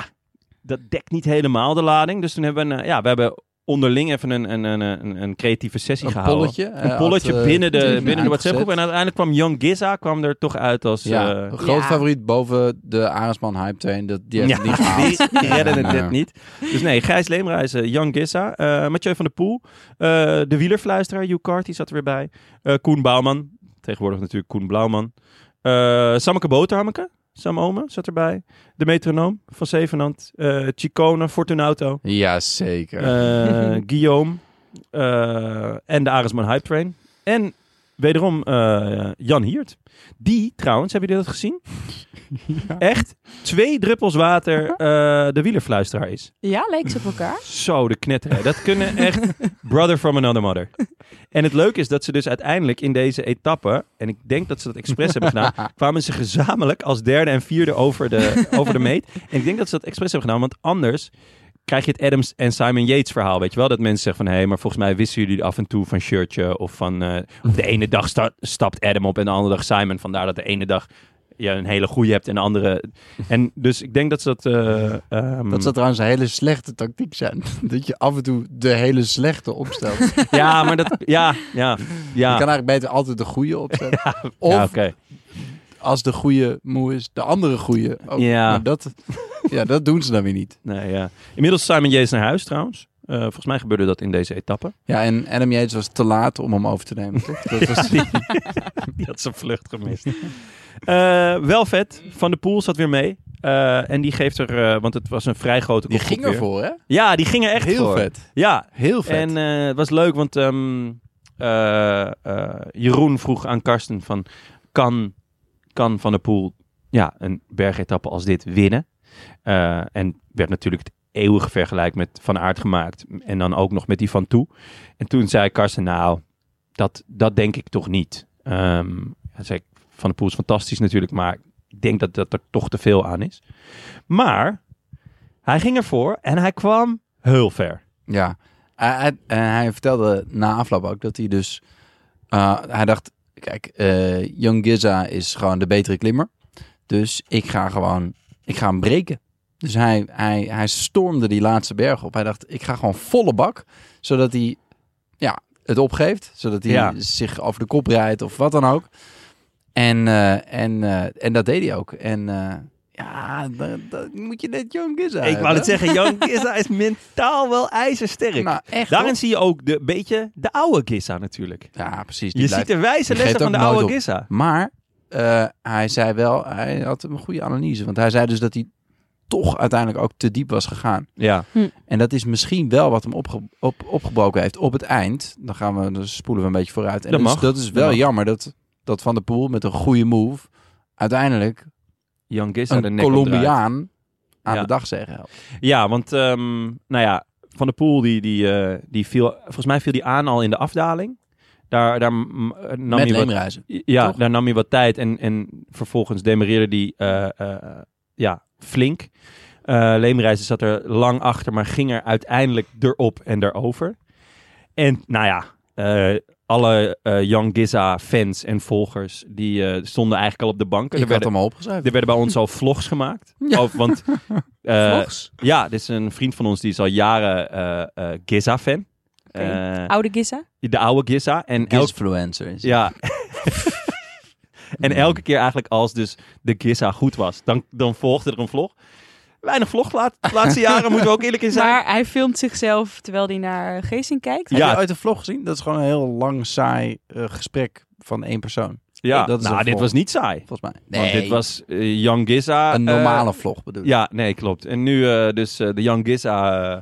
[SPEAKER 1] dat dekt niet helemaal de lading. Dus toen hebben we, een, eh, ja, we hebben onderling even een, een, een, een, een creatieve sessie
[SPEAKER 2] Een
[SPEAKER 1] gehouden.
[SPEAKER 2] polletje. eh,
[SPEAKER 1] Een polletje binnen de, binnen de WhatsApp-groep. En
[SPEAKER 2] En
[SPEAKER 1] uiteindelijk kwam Young Giza kwam er toch uit als...
[SPEAKER 2] ja,
[SPEAKER 1] eh,
[SPEAKER 2] een groot
[SPEAKER 3] Ja.
[SPEAKER 2] favoriet boven de Arendsman Hype Train. Dat, die heeft het niet gehaald.
[SPEAKER 1] die redden het
[SPEAKER 2] Ja.
[SPEAKER 1] dit niet. Dus nee, Gijs Leemreizen, Jan Gissa, eh, Mathieu van der Poel, eh, de wielerfluisteraar, Hugh Carty zat er weer bij, eh, Koen Bouwman, tegenwoordig natuurlijk Koen Blauwman, eh Sammeke Boterhammeke, Sam Omen zat erbij, de metronoom van Zevenand, eh Chicone, Fortunato,
[SPEAKER 2] Jazeker.
[SPEAKER 1] eh, Guillaume eh, en de Arisman Hype Train. En wederom eh, Jan Hiert. Die trouwens, hebben jullie dat gezien? Echt twee druppels water eh, de wielerfluisteraar is.
[SPEAKER 3] Ja, lijkt ze op elkaar.
[SPEAKER 1] Zo, de knetteren. Dat kunnen echt brother from another mother. En het leuke is dat ze dus uiteindelijk in deze etappe, en ik denk dat ze dat expres hebben gedaan, kwamen ze gezamenlijk als derde en vierde over de, over de meet. En ik denk dat ze dat expres hebben gedaan, want anders krijg je het Adams en Simon Yates verhaal, weet je wel? Dat mensen zeggen van, hé, maar volgens mij wisten jullie af en toe van shirtje of van... eh, of de ene dag sta- stapt Adam op en de andere dag Simon. Vandaar dat de ene dag je een hele goede hebt en de andere... En dus ik denk dat ze dat... eh, ehm,
[SPEAKER 2] Dat zou trouwens een hele slechte tactiek zijn. Dat je af en toe de hele slechte opstelt.
[SPEAKER 1] Ja, maar dat... Ja, ja,
[SPEAKER 2] Je
[SPEAKER 1] ja.
[SPEAKER 2] kan eigenlijk beter altijd de goede opstellen. Of
[SPEAKER 1] ja, oké.
[SPEAKER 2] als de goede moe is, de andere goede. ook.
[SPEAKER 1] Ja.
[SPEAKER 2] Maar dat, ja, dat doen ze dan weer niet.
[SPEAKER 1] Nee, ja. Inmiddels is Simon Yates naar huis trouwens. Eh, volgens mij gebeurde dat in deze etappe.
[SPEAKER 2] Ja, en Adam Yates was te laat om hem over te nemen. Toch? Dat was,
[SPEAKER 1] Die had zijn vlucht gemist. Eh, wel vet. Van de Poel zat weer mee. Eh, en die geeft er... eh, want het was een vrij grote
[SPEAKER 2] die
[SPEAKER 1] kopgroep
[SPEAKER 2] ging
[SPEAKER 1] weer.
[SPEAKER 2] ervoor, hè?
[SPEAKER 1] Ja, die ging er echt
[SPEAKER 2] Heel
[SPEAKER 1] voor.
[SPEAKER 2] vet.
[SPEAKER 1] Ja,
[SPEAKER 2] Heel vet.
[SPEAKER 1] En eh, het was leuk, want ehm, eh, eh, Jeroen vroeg aan Karsten van... Kan, kan Van der Poel ja, een bergetappe als dit winnen? Eh, en werd natuurlijk het eeuwige vergelijk met Van Aert gemaakt. En dan ook nog met die Van Toe. En toen zei Karsten, nou, dat, dat denk ik toch niet. Ehm, hij zei, Van der Poel is fantastisch natuurlijk, maar ik denk dat, dat er toch te veel aan is. Maar hij ging ervoor en hij kwam heel ver.
[SPEAKER 2] Ja, hij, hij- en hij vertelde na afloop ook dat hij dus... eh, hij dacht, kijk, eh Young Giza is gewoon de betere klimmer. Dus ik ga gewoon, ik ga hem breken. Dus hij, hij, hij stormde die laatste berg op. Hij dacht, ik ga gewoon volle bak, zodat hij ja, het opgeeft. Zodat hij
[SPEAKER 1] Ja.
[SPEAKER 2] zich over de kop rijdt of wat dan ook. En, eh, en, eh, en dat deed hij ook. En eh, ja, dat, dat moet je net Young Giza
[SPEAKER 1] Ik wou
[SPEAKER 2] hebben.
[SPEAKER 1] het zeggen, Jan Gissa is mentaal wel ijzersterk.
[SPEAKER 2] Nou, echt
[SPEAKER 1] Daarin
[SPEAKER 2] hoor.
[SPEAKER 1] zie je ook de beetje de oude Gissa natuurlijk.
[SPEAKER 2] Ja, precies. Dus die
[SPEAKER 1] Je
[SPEAKER 2] blijft-
[SPEAKER 1] ziet de wijze
[SPEAKER 2] die
[SPEAKER 1] lessen van
[SPEAKER 2] geeft
[SPEAKER 1] de
[SPEAKER 2] ook nooit
[SPEAKER 1] oude
[SPEAKER 2] op.
[SPEAKER 1] Gissa.
[SPEAKER 2] Maar eh, hij zei wel, hij had een goede analyse. Want hij zei dus dat hij toch uiteindelijk ook te diep was gegaan.
[SPEAKER 1] Ja.
[SPEAKER 2] En dat is misschien wel wat hem opge- op, opgebroken heeft op het eind. Dan gaan we, dan spoelen we een beetje vooruit. En
[SPEAKER 1] Dat
[SPEAKER 2] is-
[SPEAKER 1] mag.
[SPEAKER 2] dat is wel
[SPEAKER 1] Dat mag.
[SPEAKER 2] jammer dat, dat Van der Poel met een goede move uiteindelijk
[SPEAKER 1] Jan Gissa de
[SPEAKER 2] een
[SPEAKER 1] nek omdraait.
[SPEAKER 2] Colombiaan aan
[SPEAKER 1] Ja.
[SPEAKER 2] de dag zeggen helpt.
[SPEAKER 1] Ja, want ehm, nou ja, Van der Poel die, die, eh, die viel, volgens mij viel die aan al in de afdaling. Daar, daar mm, eh, nam
[SPEAKER 2] Met
[SPEAKER 1] hij wat
[SPEAKER 2] leemreizen.
[SPEAKER 1] Ja,
[SPEAKER 2] Toch?
[SPEAKER 1] daar nam hij wat tijd en, en vervolgens demereerde die eh, eh, ja, flink. Eh Leemreizen zat er lang achter, maar ging er uiteindelijk erop en erover. En nou ja, eh, alle eh Young Giza fans en volgers, die eh, stonden eigenlijk al op de banken.
[SPEAKER 2] Ik
[SPEAKER 1] Er
[SPEAKER 2] had
[SPEAKER 1] werden,
[SPEAKER 2] hem al opgeschreven.
[SPEAKER 1] er werden bij ons al vlogs gemaakt.
[SPEAKER 2] Ja.
[SPEAKER 1] Of, want, eh,
[SPEAKER 2] Vlogs?
[SPEAKER 1] Ja, dit is een vriend van ons, die is al jaren eh Giza-fan.
[SPEAKER 3] Oké. Oude Giza.
[SPEAKER 1] de oude Giza. En elk
[SPEAKER 2] Influencer is.
[SPEAKER 1] ja. en elke keer eigenlijk als dus de Giza goed was, dan, dan volgde er een vlog. Weinig vlog laat, de laatste jaren, moeten we ook eerlijk in zijn.
[SPEAKER 3] Maar hij filmt zichzelf terwijl hij naar Geesink kijkt.
[SPEAKER 1] Ja.
[SPEAKER 2] Heb je uit de vlog gezien? Dat is gewoon een heel lang, saai eh, gesprek van één persoon.
[SPEAKER 1] ja,
[SPEAKER 2] dat is
[SPEAKER 1] nou,
[SPEAKER 2] een
[SPEAKER 1] dit
[SPEAKER 2] vlog.
[SPEAKER 1] was niet saai.
[SPEAKER 2] Volgens mij.
[SPEAKER 1] Want dit was eh, Young Giza.
[SPEAKER 2] een
[SPEAKER 1] eh,
[SPEAKER 2] normale vlog bedoel ik.
[SPEAKER 1] ja, nee, klopt. En nu eh, dus eh, de Young Giza, eh,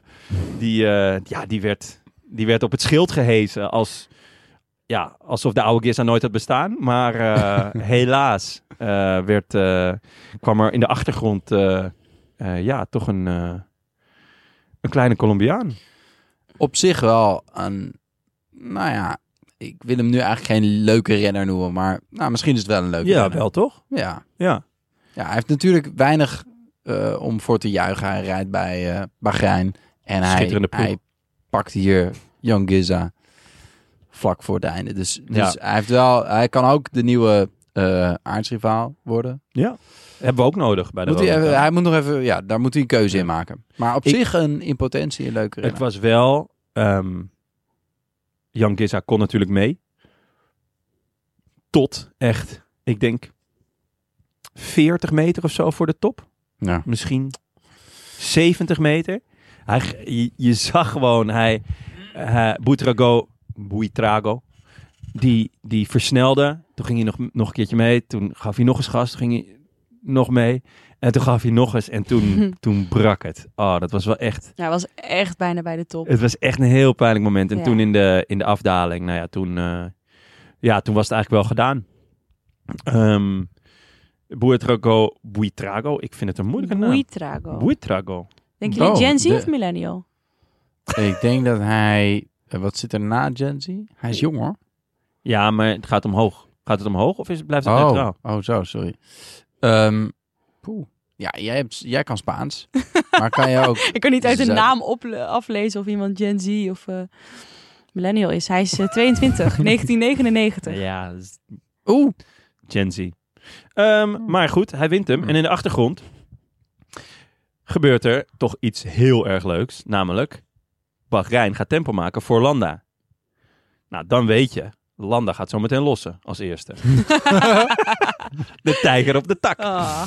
[SPEAKER 1] die, eh, ja, die, werd, die werd op het schild gehezen als... Ja, alsof de oude Giza nooit had bestaan. Maar eh, helaas eh, werd, eh, kwam er in de achtergrond eh, eh, ja, toch een, eh, een kleine Colombiaan.
[SPEAKER 2] Op zich wel een... Nou ja, ik wil hem nu eigenlijk geen leuke renner noemen. Maar nou, misschien is het wel een leuke renner.
[SPEAKER 1] toch?
[SPEAKER 2] Ja.
[SPEAKER 1] Ja.
[SPEAKER 2] ja, hij heeft natuurlijk weinig eh, om voor te juichen. Hij rijdt bij eh Bahrein. En hij,
[SPEAKER 1] Schitterende ploeg.
[SPEAKER 2] hij pakt hier Jan Giza vlak voor het einde. Dus, dus hij, heeft wel, hij kan ook de nieuwe eh aardsrivaal worden.
[SPEAKER 1] Hebben we ook nodig bij de
[SPEAKER 2] Moet hij,
[SPEAKER 1] Rode
[SPEAKER 2] even-
[SPEAKER 1] Kamer.
[SPEAKER 2] hij moet nog even, ja, daar moet hij een keuze
[SPEAKER 1] Ja.
[SPEAKER 2] in maken. Maar op
[SPEAKER 1] Ik-
[SPEAKER 2] zich een in potentie een leuke
[SPEAKER 1] Het
[SPEAKER 2] renner.
[SPEAKER 1] was wel... ehm Jan Giza kon natuurlijk mee. Tot echt, ik denk, 40 meter of zo voor de top.
[SPEAKER 2] Ja.
[SPEAKER 1] Misschien 70 meter. Hij, g- je, je zag gewoon, hij, eh Boetrago, Boeitrago, die, die versnelde. Toen ging hij nog, nog een keertje mee. Toen gaf hij nog eens gas. Toen ging hij nog mee. En toen gaf hij nog eens. En toen, toen brak het. Oh, dat was wel echt...
[SPEAKER 3] Ja, hij was echt bijna bij de top.
[SPEAKER 1] Het was echt een heel pijnlijk moment. En
[SPEAKER 3] Ja.
[SPEAKER 1] toen in de, in de afdaling, nou ja, toen, eh, ja, toen was het eigenlijk wel gedaan. Ehm Buitrago, Buitrago, ik vind het een moeilijke naam.
[SPEAKER 3] Buitrago.
[SPEAKER 1] Buitrago.
[SPEAKER 3] Denken jullie
[SPEAKER 2] Oh,
[SPEAKER 3] Gen Z
[SPEAKER 2] de-
[SPEAKER 3] of millennial?
[SPEAKER 2] Ik denk dat hij... eh, Wat zit er na Gen Z? Hij is jong hoor.
[SPEAKER 1] Ja, maar het gaat omhoog. Gaat het omhoog of is het, blijft het
[SPEAKER 2] Oh,
[SPEAKER 1] neutraal?
[SPEAKER 2] oh, zo, sorry. Ehm, poeh. Ja, jij, hebt, jij kan Spaans. maar kan je ook...
[SPEAKER 3] Ik kan niet uit
[SPEAKER 2] Ze
[SPEAKER 3] een
[SPEAKER 2] zijn-
[SPEAKER 3] naam op, aflezen of iemand Gen Z of eh, millennial is. Hij is eh, 22, 1999.
[SPEAKER 1] Ja, dat is
[SPEAKER 2] Oeh,
[SPEAKER 1] Gen Z. Ehm, Maar goed, hij wint hem. En in de achtergrond gebeurt er toch iets heel erg leuks. Namelijk, Bahrein gaat tempo maken voor Landa. Nou, dan weet je, Landa gaat zo meteen lossen als eerste. de tijger op de tak.
[SPEAKER 3] Ah.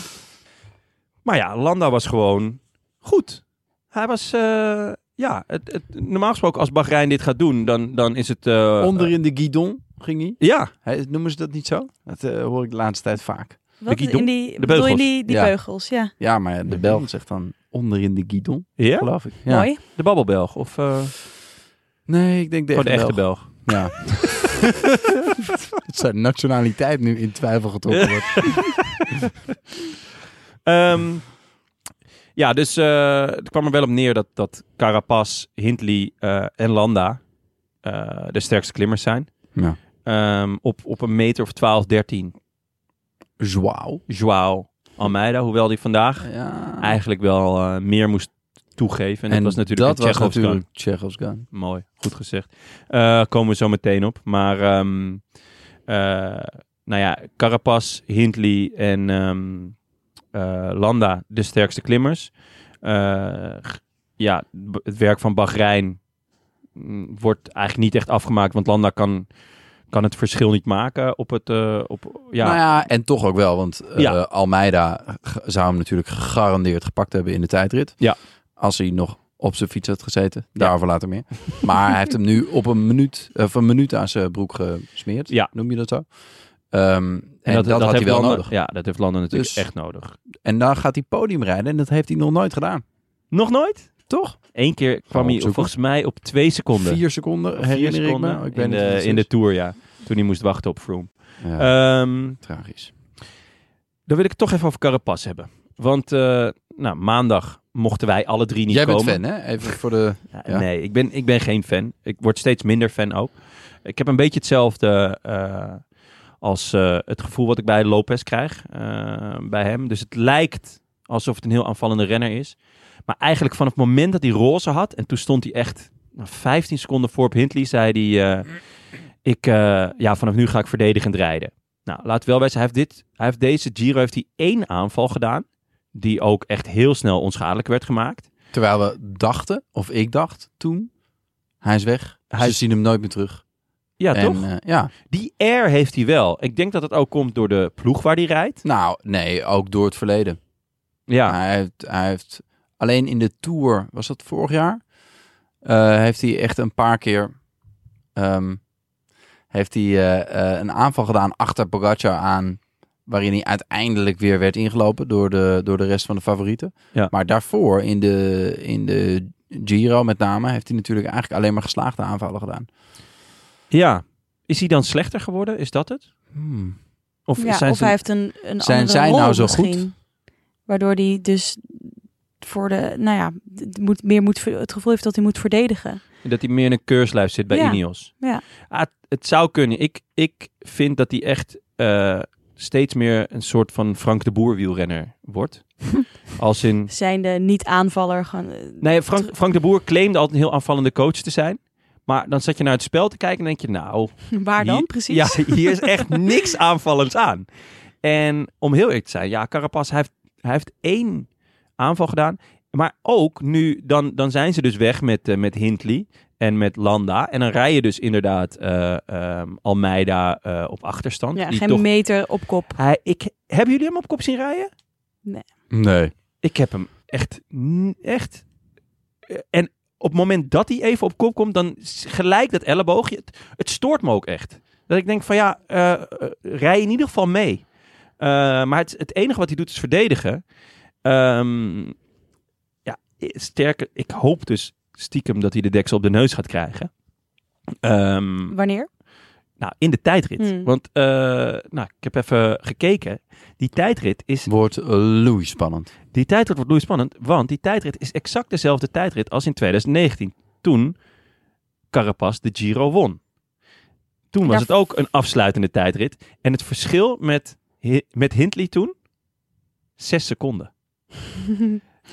[SPEAKER 1] Maar ja, Landa was gewoon goed. Hij was, eh, ja, het, het, normaal gesproken als Bahrein dit gaat doen, dan, dan is het... eh,
[SPEAKER 2] onder in de guidon ging hij.
[SPEAKER 1] ja,
[SPEAKER 2] Hij- Noemen ze dat niet zo? Dat eh, hoor ik de laatste tijd vaak.
[SPEAKER 3] Wat
[SPEAKER 1] guidon?
[SPEAKER 3] in
[SPEAKER 1] De
[SPEAKER 3] die, bedoel je
[SPEAKER 1] beugels.
[SPEAKER 3] die, die
[SPEAKER 2] Ja.
[SPEAKER 3] beugels, ja.
[SPEAKER 2] Ja, maar de Belg zegt dan onder in de guidon,
[SPEAKER 1] ja?
[SPEAKER 2] geloof ik. Ja.
[SPEAKER 3] Mooi.
[SPEAKER 1] de babbelbelg of eh
[SPEAKER 2] Nee, ik denk de
[SPEAKER 1] gewoon de
[SPEAKER 2] echte,
[SPEAKER 1] echte
[SPEAKER 2] Belg.
[SPEAKER 1] Belg.
[SPEAKER 2] Ja. Dat zijn nationaliteit nu in twijfel getrokken wordt.
[SPEAKER 1] Ehm, ja, dus eh, het kwam er wel op neer dat, dat Carapaz, Hindley eh, en Landa eh, de sterkste klimmers zijn.
[SPEAKER 2] Ja.
[SPEAKER 1] Ehm, op, op een meter of 12, 13.
[SPEAKER 2] Zwauw.
[SPEAKER 1] Joao Almeida, hoewel die vandaag
[SPEAKER 2] Ja.
[SPEAKER 1] eigenlijk wel eh, meer moest toegeven. En, dat was natuurlijk
[SPEAKER 2] dat
[SPEAKER 1] een
[SPEAKER 2] was
[SPEAKER 1] Tsjechovs gun.
[SPEAKER 2] natuurlijk Tsjechovs gun.
[SPEAKER 1] Mooi, goed gezegd. Eh, komen we zo meteen op. Maar ehm, eh, nou ja, Carapaz, Hindley en ehm, eh, Landa, de sterkste klimmers. Eh, g- ja, b- het werk van Bahrein mm, wordt eigenlijk niet echt afgemaakt, want Landa kan, kan het verschil niet maken op het... eh, op, ja,
[SPEAKER 2] Nou ja, en toch ook wel, want eh,
[SPEAKER 1] Ja.
[SPEAKER 2] Almeida g- zou hem natuurlijk gegarandeerd gepakt hebben in de tijdrit.
[SPEAKER 1] Ja.
[SPEAKER 2] Als hij nog op zijn fiets had gezeten. Daarover later meer. Maar hij heeft hem nu op een minuut, of een minuut aan zijn broek gesmeerd.
[SPEAKER 1] Ja.
[SPEAKER 2] Noem je dat zo? Ehm, en, dat, had hij
[SPEAKER 1] heeft
[SPEAKER 2] wel
[SPEAKER 1] Landa,
[SPEAKER 2] nodig.
[SPEAKER 1] Ja, dat heeft Landa natuurlijk
[SPEAKER 2] Dus-
[SPEAKER 1] echt nodig.
[SPEAKER 2] En dan gaat hij podium rijden en dat heeft hij nog nooit gedaan.
[SPEAKER 1] Nog nooit?
[SPEAKER 2] Toch?
[SPEAKER 1] Eén keer kwam hij
[SPEAKER 2] opzoeken.
[SPEAKER 1] volgens mij op twee seconden.
[SPEAKER 2] Vier seconden, herinner
[SPEAKER 1] Vier
[SPEAKER 2] ik
[SPEAKER 1] seconden
[SPEAKER 2] me. Ik
[SPEAKER 1] in,
[SPEAKER 2] weet niet
[SPEAKER 1] de,
[SPEAKER 2] wat het
[SPEAKER 1] in de
[SPEAKER 2] is.
[SPEAKER 1] Tour, ja. Toen hij moest wachten op Froome.
[SPEAKER 2] Ja,
[SPEAKER 1] Ehm,
[SPEAKER 2] tragisch.
[SPEAKER 1] dan wil ik het toch even over Carapaz hebben. Want eh, nou, maandag mochten wij alle drie niet
[SPEAKER 2] Jij
[SPEAKER 1] komen.
[SPEAKER 2] bent fan, hè? Even voor de...
[SPEAKER 1] Ja,
[SPEAKER 2] Ja.
[SPEAKER 1] Nee, ik ben, ik ben geen fan. Ik word steeds minder fan ook. Ik heb een beetje hetzelfde eh, als eh, het gevoel wat ik bij Lopez krijg. eh, bij hem. Dus het lijkt alsof het een heel aanvallende renner is. Maar eigenlijk vanaf het moment dat hij roze had... en toen stond hij echt nou, 15 seconden voor op Hindley... zei hij, eh, ik, eh, ja, vanaf nu ga ik verdedigend rijden. Nou, laat wel wijzen, hij heeft, dit, hij heeft deze Giro heeft hij één aanval gedaan... die ook echt heel snel onschadelijk werd gemaakt.
[SPEAKER 2] Terwijl we dachten, of ik dacht toen, hij is weg.
[SPEAKER 1] Hij
[SPEAKER 2] Ze
[SPEAKER 1] is-
[SPEAKER 2] zien hem nooit meer terug.
[SPEAKER 1] Ja,
[SPEAKER 2] en,
[SPEAKER 1] toch?
[SPEAKER 2] eh, ja.
[SPEAKER 1] Die air heeft hij wel. Ik denk dat het ook komt door de ploeg waar hij rijdt.
[SPEAKER 2] Nou, nee, ook door het verleden.
[SPEAKER 1] Ja.
[SPEAKER 2] Maar Hij, heeft, hij heeft alleen in de Tour, was dat vorig jaar? Eh, heeft hij echt een paar keer ehm, heeft hij, eh, eh, een aanval gedaan achter Pogacar aan. Waarin hij uiteindelijk weer werd ingelopen door de, door de rest van de favorieten.
[SPEAKER 1] Ja.
[SPEAKER 2] Maar daarvoor in de, in de Giro met name heeft hij natuurlijk eigenlijk alleen maar geslaagde aanvallen gedaan.
[SPEAKER 1] ja. Is hij dan slechter geworden? Is dat het? Hmm. Of
[SPEAKER 3] ja,
[SPEAKER 1] zijn
[SPEAKER 3] of
[SPEAKER 1] ze...
[SPEAKER 3] hij heeft een, een
[SPEAKER 2] zijn
[SPEAKER 3] andere
[SPEAKER 2] zij
[SPEAKER 3] rol
[SPEAKER 2] nou zo
[SPEAKER 3] misschien.
[SPEAKER 2] goed?
[SPEAKER 3] Waardoor hij dus voor de, nou ja, d- moet, meer moet, ver- het gevoel heeft dat hij moet verdedigen.
[SPEAKER 1] Dat hij meer in een keurslijf zit bij
[SPEAKER 3] Ja.
[SPEAKER 1] Ineos.
[SPEAKER 3] Ja.
[SPEAKER 1] Ah, het- het zou kunnen. Ik, ik vind dat hij echt eh, steeds meer een soort van Frank de Boer wielrenner wordt. Als in...
[SPEAKER 3] Zijnde niet-aanvaller. Gewoon, eh,
[SPEAKER 1] Nee, Frank, Frank de Boer claimde altijd een heel aanvallende coach te zijn. Maar dan zat je naar het spel te kijken en denk je, nou,
[SPEAKER 3] waar dan
[SPEAKER 1] Hier-
[SPEAKER 3] precies?
[SPEAKER 1] Ja, hier is echt niks aanvallends aan. En om heel eerlijk te zijn, ja, Carapaz, hij heeft, hij heeft één aanval gedaan. Maar ook nu, dan, dan zijn ze dus weg met, eh, met Hindley en met Landa. En dan rij je dus inderdaad eh, ehm, Almeida eh, op achterstand.
[SPEAKER 3] Ja,
[SPEAKER 1] die
[SPEAKER 3] geen
[SPEAKER 1] toch-
[SPEAKER 3] meter op kop.
[SPEAKER 1] hij, ik, hebben jullie hem op kop zien rijden?
[SPEAKER 2] Nee.
[SPEAKER 1] Ik heb hem echt, n- echt. eh, En op het moment dat hij even op kop komt, dan s- gelijk dat elleboogje. Het, het stoort me ook echt. Dat ik denk van ja, eh, eh, rij in ieder geval mee. Eh, maar het, het enige wat hij doet is verdedigen. Ehm, ja, i- sterker, ik hoop dus stiekem dat hij de deksel op de neus gaat krijgen. Ehm,
[SPEAKER 3] Wanneer?
[SPEAKER 1] nou, in de tijdrit.
[SPEAKER 3] Hmm.
[SPEAKER 1] Want eh, nou, ik heb even gekeken. Die tijdrit is
[SPEAKER 2] Wordt eh, loei spannend.
[SPEAKER 1] die tijdrit wordt spannend, want die tijdrit is exact dezelfde tijdrit als in 2019. Toen Carapaz de Giro won. Toen was
[SPEAKER 3] Daar-
[SPEAKER 1] het ook een afsluitende tijdrit. En het verschil met, Hi- met Hindley toen? Zes seconden.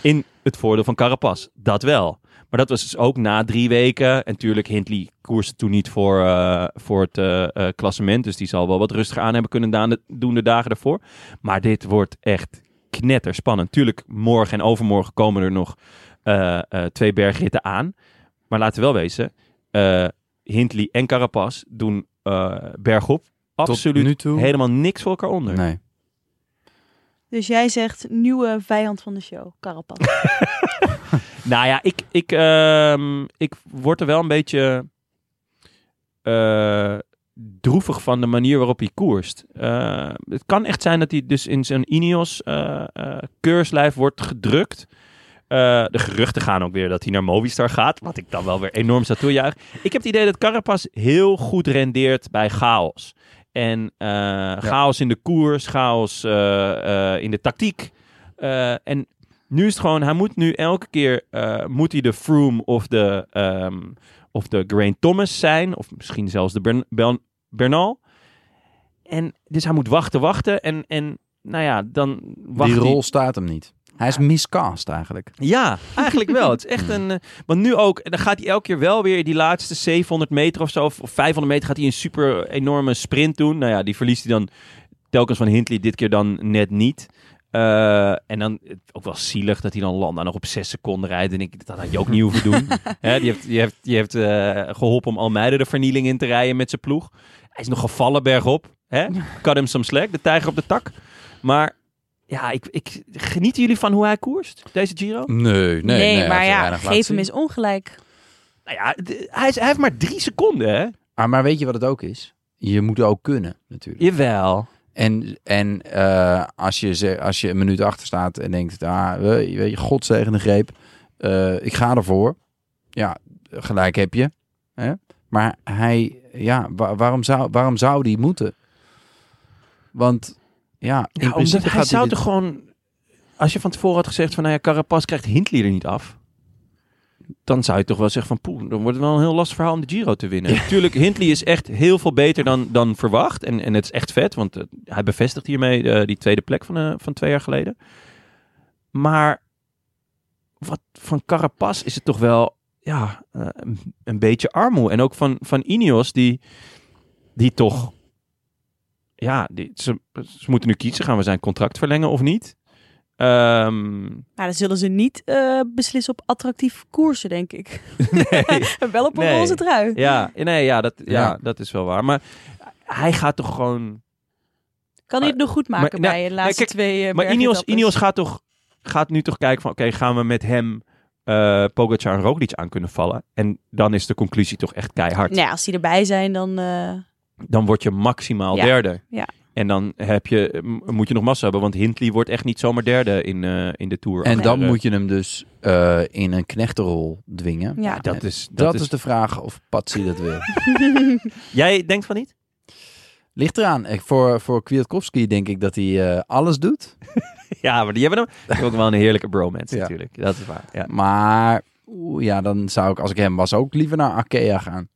[SPEAKER 1] In het voordeel van Carapaz. Dat wel. Maar dat was dus ook na drie weken. En tuurlijk, Hindley koerste toen niet voor, eh, voor het eh, eh, klassement. Dus die zal wel wat rustiger aan hebben kunnen daan- doen de dagen daarvoor. Maar dit wordt echt knetterspannend. Tuurlijk, morgen en overmorgen komen er nog eh, eh, twee bergritten aan. Maar laten we wel wezen, eh, Hindley en Carapaz doen eh, bergop absoluut
[SPEAKER 2] nu toe?
[SPEAKER 1] helemaal niks voor elkaar onder.
[SPEAKER 2] Nee.
[SPEAKER 3] Dus jij zegt nieuwe vijand van de show, Carapaz.
[SPEAKER 1] Nou ja, ik, ik, ehm, ik word er wel een beetje eh, droevig van de manier waarop hij koerst. Eh, het kan echt zijn dat hij dus in zijn Ineos-keurslijf wordt gedrukt. Eh, de geruchten gaan ook weer dat hij naar Movistar gaat, wat ik dan wel weer enorm zou toejuichen. Ik heb het idee dat Carapaz heel goed rendeert bij chaos. En eh, chaos in de koers, chaos eh, eh, in de tactiek. Eh, en nu is het gewoon, hij moet nu elke keer, eh, moet hij de Froome of de, ehm, of de Grain Thomas zijn. Of misschien zelfs de Bern- Bern- Bernal. En dus hij moet wachten, wachten. En, en nou ja, dan wacht
[SPEAKER 2] Die
[SPEAKER 1] hij-
[SPEAKER 2] rol staat hem niet. Hij is miscast eigenlijk.
[SPEAKER 1] ja, eigenlijk wel. Het is echt een. eh, want nu ook, en dan gaat hij elke keer wel weer die laatste 700 meter of zo, of of 500 meter, gaat hij een super enorme sprint doen. Nou ja, die verliest hij dan telkens van Hindley, dit keer dan net niet. Eh, en dan eh, ook wel zielig dat hij dan Landa nog op 6 seconden rijdt. En ik, dat had je ook niet hoeven doen. Hè, die heeft, die heeft, die heeft eh, geholpen om Almeida de vernieling in te rijden met zijn ploeg. Hij is nog gevallen bergop. Hè? Cut him some slack, de tijger op de tak. Maar ja, ik, ik, genieten jullie van hoe hij koerst, deze Giro?
[SPEAKER 2] Nee, nee,
[SPEAKER 3] maar ja, geef hem eens ongelijk.
[SPEAKER 1] Nou ja, d- hij, is, hij heeft maar drie seconden, hè?
[SPEAKER 2] Ah, maar weet je wat het ook is? Je moet ook kunnen, natuurlijk.
[SPEAKER 1] Jawel.
[SPEAKER 2] En, en eh, als, je ze, als je een minuut achter staat en denkt, ah, we- weet je, godzegende greep, eh, ik ga ervoor. Ja, gelijk heb je. Hè? Maar hij, ja, wa- waarom, zou, waarom zou die moeten? Want, ja, in principe gaat
[SPEAKER 1] hij zou
[SPEAKER 2] dit-
[SPEAKER 1] toch gewoon... Als je van tevoren had gezegd van, nou ja, Carapaz krijgt Hindley er niet af. Dan zou je toch wel zeggen van, poeh, dan wordt het wel een heel lastig verhaal om de Giro te winnen. Natuurlijk, Hindley is echt heel veel beter dan, dan verwacht. En, en het is echt vet, want eh, hij bevestigt hiermee eh, die tweede plek van, eh, van twee jaar geleden. Maar wat van Carapaz is het toch wel ja, eh, een, een beetje armoe. En ook van, van Ineos, die, die toch... Ja, die, ze, ze moeten nu kiezen, gaan we zijn contract verlengen of niet? Ehm,
[SPEAKER 3] Maar dan zullen ze niet eh, beslissen op attractief koersen, denk ik.
[SPEAKER 1] nee,
[SPEAKER 3] Wel op een
[SPEAKER 1] Nee.
[SPEAKER 3] roze trui.
[SPEAKER 1] ja, nee, ja, dat, ja,
[SPEAKER 2] Ja.
[SPEAKER 1] dat is wel waar. Maar hij gaat toch gewoon...
[SPEAKER 3] Kan hij het nog goed maken
[SPEAKER 1] Maar-
[SPEAKER 3] bij
[SPEAKER 1] nou,
[SPEAKER 3] de laatste
[SPEAKER 1] kijk,
[SPEAKER 3] twee eh
[SPEAKER 1] Maar Ineos,
[SPEAKER 3] bergetappes?
[SPEAKER 1] Ineos gaat toch gaat nu toch kijken van... Oké, gaan we met hem eh Pogacar en Roglic aan kunnen vallen? En dan is de conclusie toch echt keihard.
[SPEAKER 3] Nou ja, als die erbij zijn, dan... eh,
[SPEAKER 1] Dan word je maximaal
[SPEAKER 3] Ja,
[SPEAKER 1] derde.
[SPEAKER 3] ja.
[SPEAKER 1] En dan heb je, m- moet je nog massa hebben. Want Hindley wordt echt niet zomaar derde in, eh, in de Tour.
[SPEAKER 2] En
[SPEAKER 1] Maar,
[SPEAKER 2] dan
[SPEAKER 1] eh,
[SPEAKER 2] moet je hem dus eh, in een knechtenrol dwingen.
[SPEAKER 3] ja.
[SPEAKER 1] Dat is, dat
[SPEAKER 2] Dat,
[SPEAKER 1] is,
[SPEAKER 2] is de vraag of Patsy dat wil.
[SPEAKER 1] Jij denkt van niet?
[SPEAKER 2] Ligt eraan. Ik, voor, voor Kwiatkowski denk ik dat hij eh, alles doet.
[SPEAKER 1] Ja, maar die hebben, hem, die hebben ook wel een heerlijke bromance
[SPEAKER 2] Ja.
[SPEAKER 1] natuurlijk. Dat is waar. Ja.
[SPEAKER 2] Maar oeh, ja, dan zou ik als ik hem was ook liever naar Arkea gaan.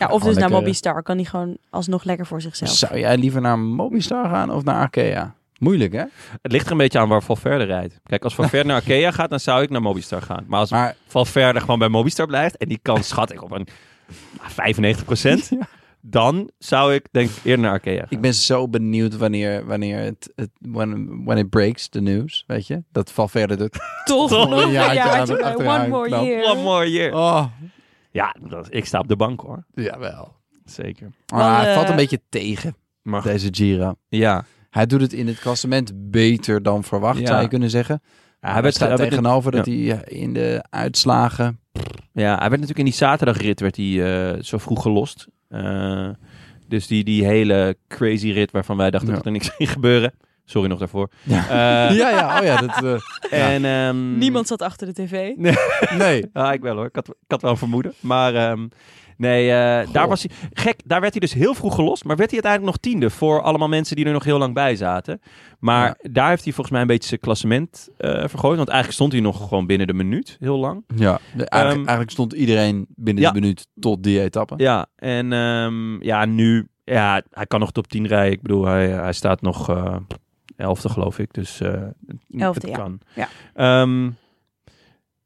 [SPEAKER 3] Ja, of
[SPEAKER 2] gewoon
[SPEAKER 3] dus naar
[SPEAKER 2] lekker-
[SPEAKER 1] eh,
[SPEAKER 3] Mobistar. Kan die gewoon alsnog lekker voor zichzelf.
[SPEAKER 2] Zou jij liever naar Mobistar gaan of naar Arkea? Moeilijk hè?
[SPEAKER 1] Het ligt er een beetje aan waar Valverde rijdt. Kijk, als Valverde naar Arkea gaat, dan zou ik naar Mobistar gaan. Maar als
[SPEAKER 2] Maar
[SPEAKER 1] Valverde gewoon bij Mobistar blijft... en die kans schat ik op een nou, 95 dan zou ik denk ik eerder naar Arkea gaan.
[SPEAKER 2] ik ben zo benieuwd wanneer, wanneer het, het when, when it breaks the news, weet je? Dat Valverde doet.
[SPEAKER 3] Toch
[SPEAKER 2] nog een jaartje aan-
[SPEAKER 3] One
[SPEAKER 2] achteraan
[SPEAKER 3] more
[SPEAKER 2] knap.
[SPEAKER 3] year.
[SPEAKER 1] One more year.
[SPEAKER 2] Oh,
[SPEAKER 1] Ja, dat, ik sta op de bank hoor.
[SPEAKER 2] jawel.
[SPEAKER 1] Zeker.
[SPEAKER 2] Maar
[SPEAKER 3] Wel,
[SPEAKER 2] hij
[SPEAKER 3] eh,
[SPEAKER 2] valt een beetje tegen,
[SPEAKER 1] Maar
[SPEAKER 2] deze Gira.
[SPEAKER 1] ja,
[SPEAKER 2] Hij doet het in het klassement beter dan verwacht,
[SPEAKER 1] Ja.
[SPEAKER 2] zou je kunnen zeggen.
[SPEAKER 1] hij
[SPEAKER 2] hij
[SPEAKER 1] werd-
[SPEAKER 2] staat
[SPEAKER 1] hij werd-
[SPEAKER 2] tegenover dat hij eh, in de uitslagen
[SPEAKER 1] Ja, hij werd natuurlijk in die zaterdagrit werd hij, eh, zo vroeg gelost. Eh, dus die, die hele crazy rit waarvan wij dachten
[SPEAKER 2] Ja.
[SPEAKER 1] dat er niks ging gebeuren. Sorry nog daarvoor.
[SPEAKER 2] Ja.
[SPEAKER 1] Eh,
[SPEAKER 2] ja, ja, oh ja. Dat, ja.
[SPEAKER 1] En, ehm,
[SPEAKER 3] Niemand zat achter de tv.
[SPEAKER 2] nee.
[SPEAKER 1] Ah, ik wel hoor. Ik had, ik had wel een vermoeden. Maar ehm, nee, eh, daar was hij... Gek, daar werd hij dus heel vroeg gelost. Maar werd hij uiteindelijk nog tiende voor allemaal mensen die er nog heel lang bij zaten. Maar daar heeft hij volgens mij een beetje zijn klassement eh, vergooid. Want eigenlijk stond hij nog gewoon binnen de minuut heel lang.
[SPEAKER 2] Ja. Eigenlijk, eigenlijk stond iedereen binnen
[SPEAKER 1] Ehm, ja.
[SPEAKER 2] de minuut tot die etappe.
[SPEAKER 1] Ja, en ehm, ja, nu... Ja, hij kan nog top 10 rijden. Ik bedoel, hij, hij staat nog eh elfde, geloof ik. Dus eh, het-
[SPEAKER 3] Elfde,
[SPEAKER 1] het
[SPEAKER 3] ja.
[SPEAKER 1] kan.
[SPEAKER 3] Ja.
[SPEAKER 1] Ehm,